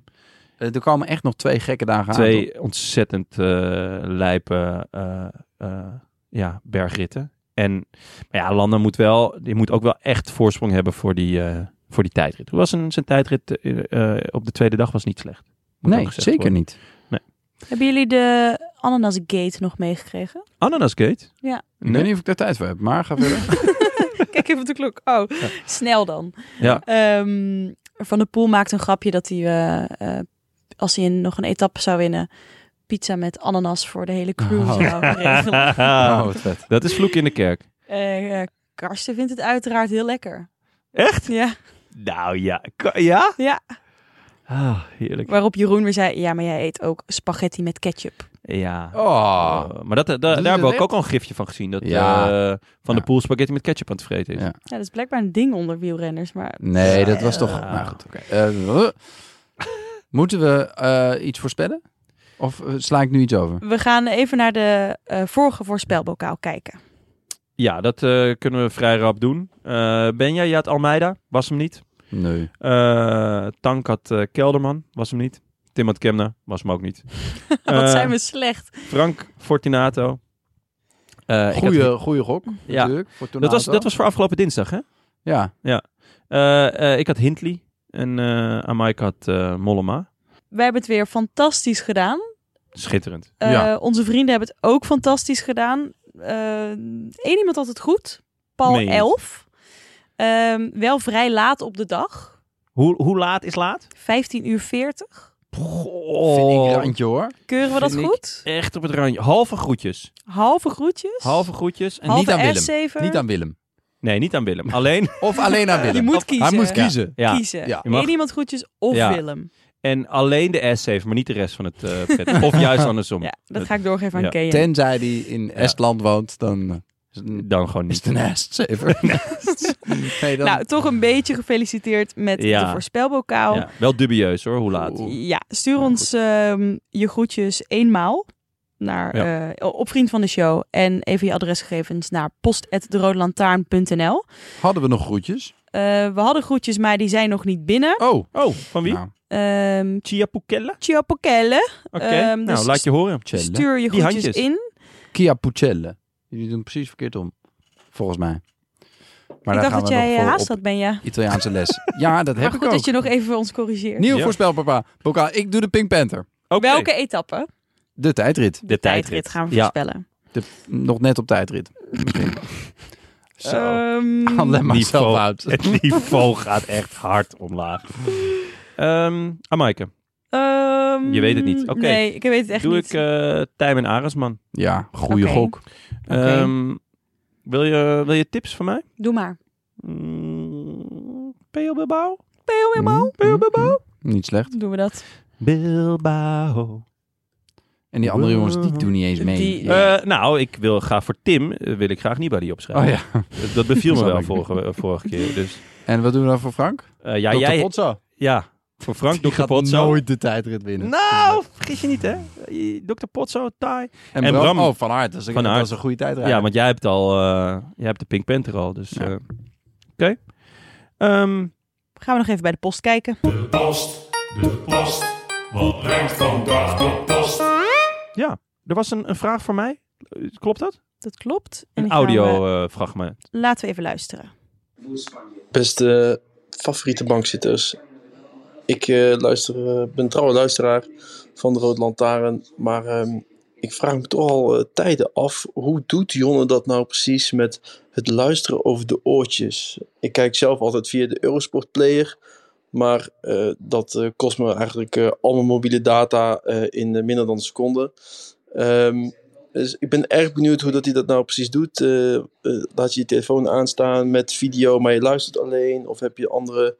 [SPEAKER 2] Eh, Er komen echt nog twee gekke dagen aan. Ah, toch?
[SPEAKER 1] twee ontzettend eh, lijpe eh, eh, ja, bergritten. En maar ja, Landa moet wel, die moet ook wel echt voorsprong hebben voor die, eh, voor die tijdrit. Hoe was zijn, zijn tijdrit eh, eh, op de tweede dag was niet slecht. Moet ook
[SPEAKER 2] Nee,
[SPEAKER 1] gezegd
[SPEAKER 2] zeker
[SPEAKER 1] worden.
[SPEAKER 2] niet.
[SPEAKER 3] Hebben jullie de Ananas Gate nog meegekregen?
[SPEAKER 1] Ananasgate?
[SPEAKER 3] Ja.
[SPEAKER 2] Ik weet
[SPEAKER 1] Nee.
[SPEAKER 2] niet of ik daar tijd voor heb, maar ga verder.
[SPEAKER 3] Kijk even op de klok. Oh, snel dan.
[SPEAKER 1] Ja.
[SPEAKER 3] Ehm, Van der Poel maakt een grapje dat hij, eh, eh, als hij nog een etappe zou winnen, pizza met ananas voor de hele crew
[SPEAKER 2] Oh.
[SPEAKER 3] zou regelen.
[SPEAKER 1] Ah,
[SPEAKER 2] oh, wat vet.
[SPEAKER 1] Dat is vloek in de kerk.
[SPEAKER 3] Eh, eh, Karsten vindt het uiteraard heel lekker.
[SPEAKER 1] Echt?
[SPEAKER 3] Ja.
[SPEAKER 1] Nou ja. Ka- Ja?
[SPEAKER 3] Ja.
[SPEAKER 1] Ah, heerlijk.
[SPEAKER 3] Waarop Jeroen weer zei, ja, maar jij eet ook spaghetti met ketchup.
[SPEAKER 1] Ja.
[SPEAKER 2] Oh,
[SPEAKER 1] Eh, maar dat, dat- daar
[SPEAKER 2] het
[SPEAKER 1] hebben we ook,
[SPEAKER 2] echt?
[SPEAKER 1] ook al een gifje van gezien. Dat
[SPEAKER 2] Ja.
[SPEAKER 1] eh, Van de
[SPEAKER 2] Ja.
[SPEAKER 1] Poel spaghetti met ketchup aan het vreten is.
[SPEAKER 2] Ja.
[SPEAKER 3] Ja, dat is blijkbaar een ding onder wielrenners, maar...
[SPEAKER 2] nee, dat was toch...
[SPEAKER 1] Eh.
[SPEAKER 2] Nou goed, oké. Eh, moeten we eh, iets voorspellen? Of eh, sla ik nu iets over?
[SPEAKER 3] We gaan even naar de eh, vorige voorspelbokaal kijken.
[SPEAKER 1] Ja, dat eh, kunnen we vrij rap doen. Eh Benja, je had Almeida, was hem niet.
[SPEAKER 2] Nee.
[SPEAKER 1] Eh, Tank had eh, Kelderman, was hem niet. Tim had Kemna, was hem ook niet.
[SPEAKER 3] Wat
[SPEAKER 1] Eh,
[SPEAKER 3] zijn we slecht.
[SPEAKER 1] Frank Fortunato. Eh, ik had-
[SPEAKER 2] Goeie, goeie gok,
[SPEAKER 1] Ja.
[SPEAKER 2] natuurlijk. Voor
[SPEAKER 1] dat, was,
[SPEAKER 2] Tornado.
[SPEAKER 1] dat was voor afgelopen dinsdag, hè?
[SPEAKER 2] Ja,
[SPEAKER 1] Eh, eh, ik had Hindley en eh Amaik had eh, Mollema.
[SPEAKER 3] Wij hebben het weer fantastisch gedaan.
[SPEAKER 1] Schitterend.
[SPEAKER 3] Eh,
[SPEAKER 2] Ja.
[SPEAKER 3] Onze vrienden hebben het ook fantastisch gedaan. Eén iemand had het goed. Paul
[SPEAKER 1] Meen je het?
[SPEAKER 3] 11. Ehm, wel vrij laat op de dag.
[SPEAKER 1] Hoe, hoe laat is laat?
[SPEAKER 3] 15 uur 40.
[SPEAKER 1] Oh.
[SPEAKER 2] vind ik randje hoor.
[SPEAKER 3] Keuren we dat
[SPEAKER 1] Vind ik
[SPEAKER 3] goed?
[SPEAKER 1] Echt op het randje. Halve groetjes.
[SPEAKER 3] Halve groetjes.
[SPEAKER 1] Halve groetjes. En
[SPEAKER 3] Halve
[SPEAKER 2] niet aan Willem.
[SPEAKER 3] S7.
[SPEAKER 2] Niet aan Willem.
[SPEAKER 1] Nee, niet aan Willem. Alleen.
[SPEAKER 2] Of alleen aan Willem.
[SPEAKER 3] Je moet kiezen.
[SPEAKER 2] Hij moet kiezen.
[SPEAKER 1] Ja.
[SPEAKER 3] Kiezen.
[SPEAKER 2] Ja.
[SPEAKER 1] Je mag-
[SPEAKER 3] Eén iemand groetjes of
[SPEAKER 1] Ja.
[SPEAKER 3] Willem.
[SPEAKER 1] En alleen de S7, maar niet de rest van het eh pret. of juist andersom.
[SPEAKER 3] Ja, dat ga ik doorgeven aan
[SPEAKER 1] Ja.
[SPEAKER 3] Kea.
[SPEAKER 2] Tenzij die in Estland woont, dan eh, is het een-
[SPEAKER 1] Dan gewoon
[SPEAKER 2] is
[SPEAKER 1] niet.
[SPEAKER 2] het een Estsever. Nee, dan...
[SPEAKER 3] Nou, toch een beetje gefeliciteerd met
[SPEAKER 1] Ja.
[SPEAKER 3] de voorspelbokaal. Ja,
[SPEAKER 1] Ja, wel dubieus hoor, hoe laat.
[SPEAKER 2] Oeh. Nou,
[SPEAKER 3] stuur
[SPEAKER 2] Ja,
[SPEAKER 3] ons ehm, je groetjes eenmaal naar, eh, op Vriend van de Show. En even je adresgegevens naar post.deroodlantaarn.nl.
[SPEAKER 2] Hadden we nog groetjes?
[SPEAKER 3] Eh we hadden groetjes, maar die zijn nog niet binnen.
[SPEAKER 2] Oh,
[SPEAKER 1] Oh, van wie?
[SPEAKER 2] Nou,
[SPEAKER 3] Ehm
[SPEAKER 1] Chia Pukella?
[SPEAKER 3] ciao Pokelle.
[SPEAKER 1] Oké,
[SPEAKER 3] Ehm,
[SPEAKER 1] nou
[SPEAKER 3] dus-
[SPEAKER 1] laat je horen.
[SPEAKER 2] Celle.
[SPEAKER 3] Stuur je
[SPEAKER 1] Die
[SPEAKER 3] groetjes
[SPEAKER 1] handjes.
[SPEAKER 3] in.
[SPEAKER 2] Kia Pucelle. Jullie doen precies verkeerd om, volgens mij. Maar
[SPEAKER 3] ik
[SPEAKER 2] daar
[SPEAKER 3] dacht
[SPEAKER 2] gaan
[SPEAKER 3] dat
[SPEAKER 2] we nog
[SPEAKER 3] jij eh,
[SPEAKER 2] voor
[SPEAKER 3] haast
[SPEAKER 2] op
[SPEAKER 3] had, ben je.
[SPEAKER 2] Italiaanse les. Ja, dat
[SPEAKER 3] Maar
[SPEAKER 2] heb
[SPEAKER 3] goed
[SPEAKER 2] ik ook.
[SPEAKER 3] dat je nog even ons corrigeert.
[SPEAKER 2] Nieuw
[SPEAKER 1] Ja.
[SPEAKER 2] voorspel, papa. Bokaal, ik doe de Pink Panther.
[SPEAKER 1] Oké.
[SPEAKER 3] Welke etappe?
[SPEAKER 2] De tijdrit.
[SPEAKER 1] De tijdrit.
[SPEAKER 3] gaan we
[SPEAKER 1] Ja.
[SPEAKER 3] voorspellen.
[SPEAKER 2] De, nog net op tijdrit.
[SPEAKER 3] Mm.
[SPEAKER 2] Zo.
[SPEAKER 3] Ehm,
[SPEAKER 2] Alleen maar
[SPEAKER 1] niveau.
[SPEAKER 2] zelf uit.
[SPEAKER 1] Het niveau gaat echt hard omlaag. Ehm Amaike,
[SPEAKER 3] Ehm,
[SPEAKER 1] Je weet het niet. Oké.
[SPEAKER 3] Nee, ik weet het echt
[SPEAKER 1] doe
[SPEAKER 3] niet.
[SPEAKER 1] ik eh Tijmen Aresman.
[SPEAKER 2] Ja, goede
[SPEAKER 3] Oké.
[SPEAKER 2] gok.
[SPEAKER 3] Oké.
[SPEAKER 1] Ehm, wil, je, wil je tips van mij?
[SPEAKER 3] Doe maar.
[SPEAKER 1] Mm, Peo Bilbao?
[SPEAKER 2] Mm, mm, mm. Niet slecht.
[SPEAKER 3] Doen we dat.
[SPEAKER 1] Bilbao.
[SPEAKER 2] En die andere jongens, die doen niet eens mee.
[SPEAKER 4] Die-
[SPEAKER 2] Ja.
[SPEAKER 1] Eh, nou, ik wil graag voor Tim, eh, wil ik graag Nibali opschrijven.
[SPEAKER 2] oh ja.
[SPEAKER 1] Dat- Dat beviel me
[SPEAKER 2] Snap
[SPEAKER 1] wel
[SPEAKER 2] ik.
[SPEAKER 1] vorige, eh, vorige keer. Dus,
[SPEAKER 2] En wat doen we dan voor Frank?
[SPEAKER 1] eh, ja,
[SPEAKER 2] Dr.
[SPEAKER 1] jij,
[SPEAKER 2] Potso.
[SPEAKER 1] ja, voor Frank
[SPEAKER 2] Die
[SPEAKER 1] Dr.
[SPEAKER 2] gaat
[SPEAKER 1] Potso.
[SPEAKER 2] nooit de tijdrit winnen.
[SPEAKER 1] Nou, vergis je niet, hè? Eh, Dr. Potso, Thai.
[SPEAKER 2] en,
[SPEAKER 1] en
[SPEAKER 2] Bram,
[SPEAKER 1] Bram.
[SPEAKER 2] Oh, van Aert. Dat is, een-
[SPEAKER 1] Van
[SPEAKER 2] dat
[SPEAKER 1] Aert.
[SPEAKER 2] is een goede tijdrijder.
[SPEAKER 1] Ja, want jij hebt al, eh, jij hebt de Pink Panther al, dus...
[SPEAKER 2] Ja.
[SPEAKER 1] eh, Oké. Ehm,
[SPEAKER 3] Gaan we nog even bij de post kijken.
[SPEAKER 5] De post, de post. Wat brengt vandaag de post?
[SPEAKER 1] er was een, een vraag voor mij. Eh, Klopt dat?
[SPEAKER 3] Dat klopt.
[SPEAKER 1] Een
[SPEAKER 3] En die gaan we-
[SPEAKER 2] eh,
[SPEAKER 1] audio-fragment.
[SPEAKER 3] laten we even luisteren.
[SPEAKER 6] Beste favoriete bankzitters. Ik eh, luister, eh, ben trouwe luisteraar van de Rood Lantaarn. Maar ehm, ik vraag me toch al eh, tijden af. Hoe doet Jonne dat nou precies met het luisteren over de oortjes? Ik kijk zelf altijd via de Eurosport Player. Maar eh, dat eh, kost me eigenlijk eh, al mijn mobiele data eh, in eh, minder dan een seconde. Ehm, dus ik ben erg benieuwd hoe dat hij dat nou precies doet. Eh, eh, laat je je telefoon aanstaan met video, maar je luistert alleen? Of heb je andere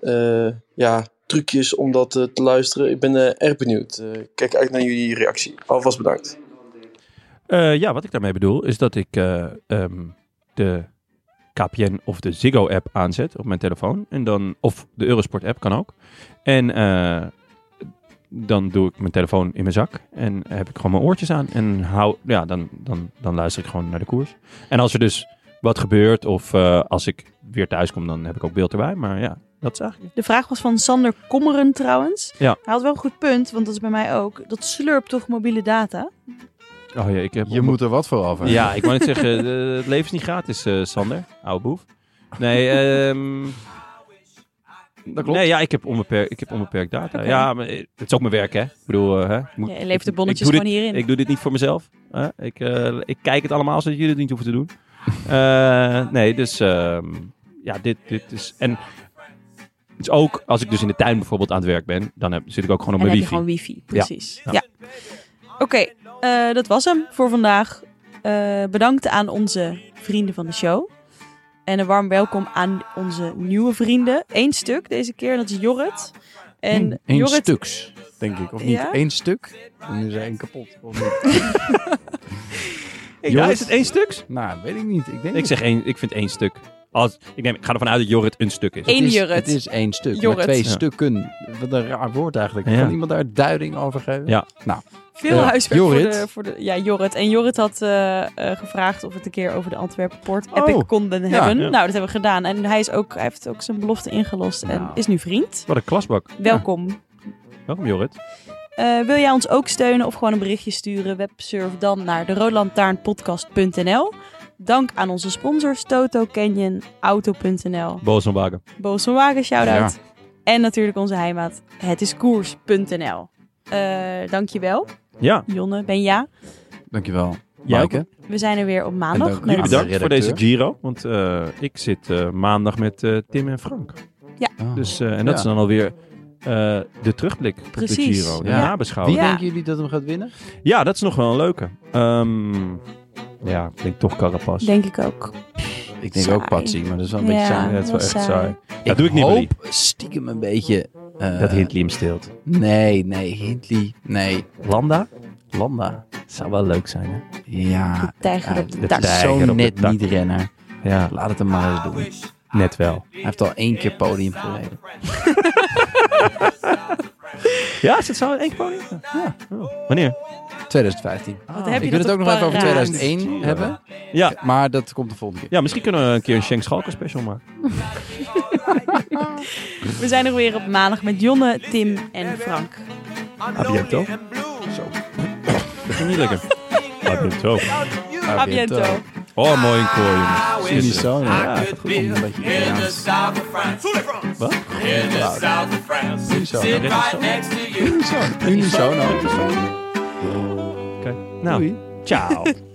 [SPEAKER 6] eh, ja, trucjes om dat eh, te luisteren? Ik ben eh, erg benieuwd. Eh, kijk uit naar jullie reactie. Alvast bedankt.
[SPEAKER 1] Eh, ja, wat ik daarmee bedoel is dat ik eh, ehm, de KPN of de Ziggo-app aanzet op mijn telefoon. En dan, of de Eurosport-app kan ook. En eh, dan doe ik mijn telefoon in mijn zak en heb ik gewoon mijn oortjes aan. En hou, ja, dan, dan, dan luister ik gewoon naar de koers. En als er dus wat gebeurt of eh, als ik weer thuis kom, dan heb ik ook beeld erbij. Maar ja, dat is eigenlijk...
[SPEAKER 3] De vraag was van Sander Kommeren trouwens.
[SPEAKER 1] Ja.
[SPEAKER 3] Hij had wel een goed punt, want dat is bij mij ook. Dat slurpt toch mobiele data?
[SPEAKER 1] Oh ja, ik heb
[SPEAKER 2] Je moet er wat voor af. hebben.
[SPEAKER 1] Ja, ik wou net zeggen, eh, het leven is niet gratis, eh, Sander. Oude boef. Nee, ehm
[SPEAKER 2] Dat klopt.
[SPEAKER 1] Nee, ja, ik heb onbeperkt, ik heb onbeperkt data. Ja, maar eh, het is ook mijn werk, hè. Ik bedoel, eh, hè. ik moet-
[SPEAKER 4] Ja, je levert de
[SPEAKER 1] ik-
[SPEAKER 4] bonnetjes
[SPEAKER 1] ik doe
[SPEAKER 4] gewoon
[SPEAKER 1] dit-
[SPEAKER 4] hierin.
[SPEAKER 1] Ik doe dit niet voor mezelf. hè. Ik, eh, ik kijk het allemaal, zodat jullie het niet hoeven te doen. Eh, nee, dus ehm, ja, dit, dit is... En het is ook, als ik dus in de tuin bijvoorbeeld aan het werk ben, dan heb, zit ik ook gewoon op
[SPEAKER 4] En dan
[SPEAKER 1] mijn
[SPEAKER 4] heb je gewoon wifi,
[SPEAKER 1] wifi.
[SPEAKER 4] precies.
[SPEAKER 3] Oké, eh, dat was hem voor vandaag. Eh, bedankt aan onze vrienden van de show. En een warm welkom aan onze nieuwe vrienden. Eén stuk deze keer, en dat is Jorrit. En
[SPEAKER 2] Eén- één
[SPEAKER 3] Jorrit,
[SPEAKER 2] stuks, denk ik. Of niet?
[SPEAKER 3] Ja?
[SPEAKER 2] Eén stuk? En nu is er één kapot. Of niet?
[SPEAKER 1] Ja,
[SPEAKER 2] Joris-
[SPEAKER 1] is het één stuks?
[SPEAKER 2] nou, weet ik niet. Ik, denk
[SPEAKER 1] Ik
[SPEAKER 2] het.
[SPEAKER 1] zeg één, ik vind één stuk. Als, ik, neem, ik ga ervan uit dat Jorrit een stuk is.
[SPEAKER 4] Eén
[SPEAKER 2] het is,
[SPEAKER 4] Jurrit.
[SPEAKER 2] Het is één stuk,
[SPEAKER 4] Jorrit.
[SPEAKER 2] maar twee
[SPEAKER 1] Ja.
[SPEAKER 2] stukken. Wat een raar woord eigenlijk.
[SPEAKER 1] Ja.
[SPEAKER 2] Kan iemand daar duiding over geven?
[SPEAKER 1] Ja.
[SPEAKER 4] Veel
[SPEAKER 2] Ja.
[SPEAKER 4] huiswerk
[SPEAKER 2] Jorrit?
[SPEAKER 4] voor de...
[SPEAKER 3] Voor de, ja, Jorrit. En Jorrit had eh, eh, gevraagd of we het een keer over de Antwerpen Port Epic
[SPEAKER 2] Oh,
[SPEAKER 3] konden
[SPEAKER 2] ja.
[SPEAKER 3] hebben.
[SPEAKER 1] Ja.
[SPEAKER 3] Nou, dat hebben we gedaan. En hij, is ook, hij heeft ook zijn belofte ingelost en
[SPEAKER 2] Nou.
[SPEAKER 3] is nu vriend.
[SPEAKER 1] Wat een klasbak.
[SPEAKER 3] Welkom.
[SPEAKER 1] Welkom Jorrit.
[SPEAKER 3] Eh, wil jij ons ook steunen of gewoon een berichtje sturen? Websurf dan naar de roodlantaarnpodcast.nl. Dank aan onze sponsors Toto Canyon, Auto.nl,
[SPEAKER 1] Boos van Wagen.
[SPEAKER 3] Boos van Wagen, shout-out. En natuurlijk onze heimaat, hetiskoers.nl. Eh dankjewel,
[SPEAKER 1] Ja,
[SPEAKER 3] Jonne, Benja.
[SPEAKER 2] Dankjewel.
[SPEAKER 1] Jij
[SPEAKER 2] Maaike.
[SPEAKER 3] We zijn er weer op
[SPEAKER 2] En
[SPEAKER 3] maandag.
[SPEAKER 2] dank
[SPEAKER 3] met-
[SPEAKER 2] jullie
[SPEAKER 1] bedankt
[SPEAKER 2] de
[SPEAKER 1] voor
[SPEAKER 2] redacteur.
[SPEAKER 1] deze Giro. Want eh, ik zit eh, maandag met eh, Tim en Frank.
[SPEAKER 2] Ah.
[SPEAKER 1] Dus, eh, en dat
[SPEAKER 2] Ja.
[SPEAKER 1] is dan alweer eh, de terugblik op de
[SPEAKER 3] Precies.
[SPEAKER 1] Giro. De
[SPEAKER 2] Ja. Wie
[SPEAKER 1] nabeschouwing.
[SPEAKER 3] Ja.
[SPEAKER 2] denken jullie dat hem gaat winnen?
[SPEAKER 1] Ja, dat is nog wel een leuke. Ehm, ja, ik denk toch Carapaz.
[SPEAKER 3] Denk ik ook.
[SPEAKER 2] Ik denk
[SPEAKER 3] Saai.
[SPEAKER 2] ook Patsy, maar dat is wel een
[SPEAKER 3] Ja.
[SPEAKER 2] beetje
[SPEAKER 1] ja,
[SPEAKER 2] saai.
[SPEAKER 1] dat is wel echt
[SPEAKER 3] saai.
[SPEAKER 1] saai. Dat doe ik niet, Willy.
[SPEAKER 2] hoop stiekem een beetje... eh,
[SPEAKER 1] Dat Hindley hem steelt.
[SPEAKER 2] Nee, nee, Hindley. Nee,
[SPEAKER 1] Landa?
[SPEAKER 2] Landa.
[SPEAKER 1] Zou wel leuk zijn, hè?
[SPEAKER 2] Ja,
[SPEAKER 3] Tijger
[SPEAKER 2] Ah, ja,
[SPEAKER 3] op de
[SPEAKER 1] dat
[SPEAKER 3] tak.
[SPEAKER 2] dat is
[SPEAKER 1] Tijger op de
[SPEAKER 2] zo'n net
[SPEAKER 1] tak.
[SPEAKER 2] niet renner.
[SPEAKER 1] Ja,
[SPEAKER 2] Laat het hem maar eens doen.
[SPEAKER 1] net wel.
[SPEAKER 2] Hij heeft al één keer podium gereden.
[SPEAKER 1] Ja, is het zo in één keer podium? Ja. Oh, Wanneer?
[SPEAKER 2] 2015.
[SPEAKER 3] Wat heb
[SPEAKER 2] Ik wil
[SPEAKER 3] je dat
[SPEAKER 2] het ook nog even over
[SPEAKER 3] paraat.
[SPEAKER 2] 2001 hebben.
[SPEAKER 1] Ja.
[SPEAKER 2] Maar dat komt de volgende keer.
[SPEAKER 1] ja, misschien kunnen we een keer een Shank Schalke special maken.
[SPEAKER 3] We zijn er weer op maandag met Jonne, Tim en Frank.
[SPEAKER 1] A bientôt. Dat ging niet lekker. Ah, A bientôt.
[SPEAKER 3] A bientôt.
[SPEAKER 1] Oh, mooi een koor, jongens.
[SPEAKER 2] In die
[SPEAKER 1] Gisteren.
[SPEAKER 2] zone.
[SPEAKER 1] Ja,
[SPEAKER 2] Ja,
[SPEAKER 1] dat
[SPEAKER 2] dat komt een beetje Italiaans.
[SPEAKER 1] Wat?
[SPEAKER 2] Unisono.
[SPEAKER 1] Dit is zo.
[SPEAKER 2] Unisono.
[SPEAKER 1] Oké. Nou, ciao.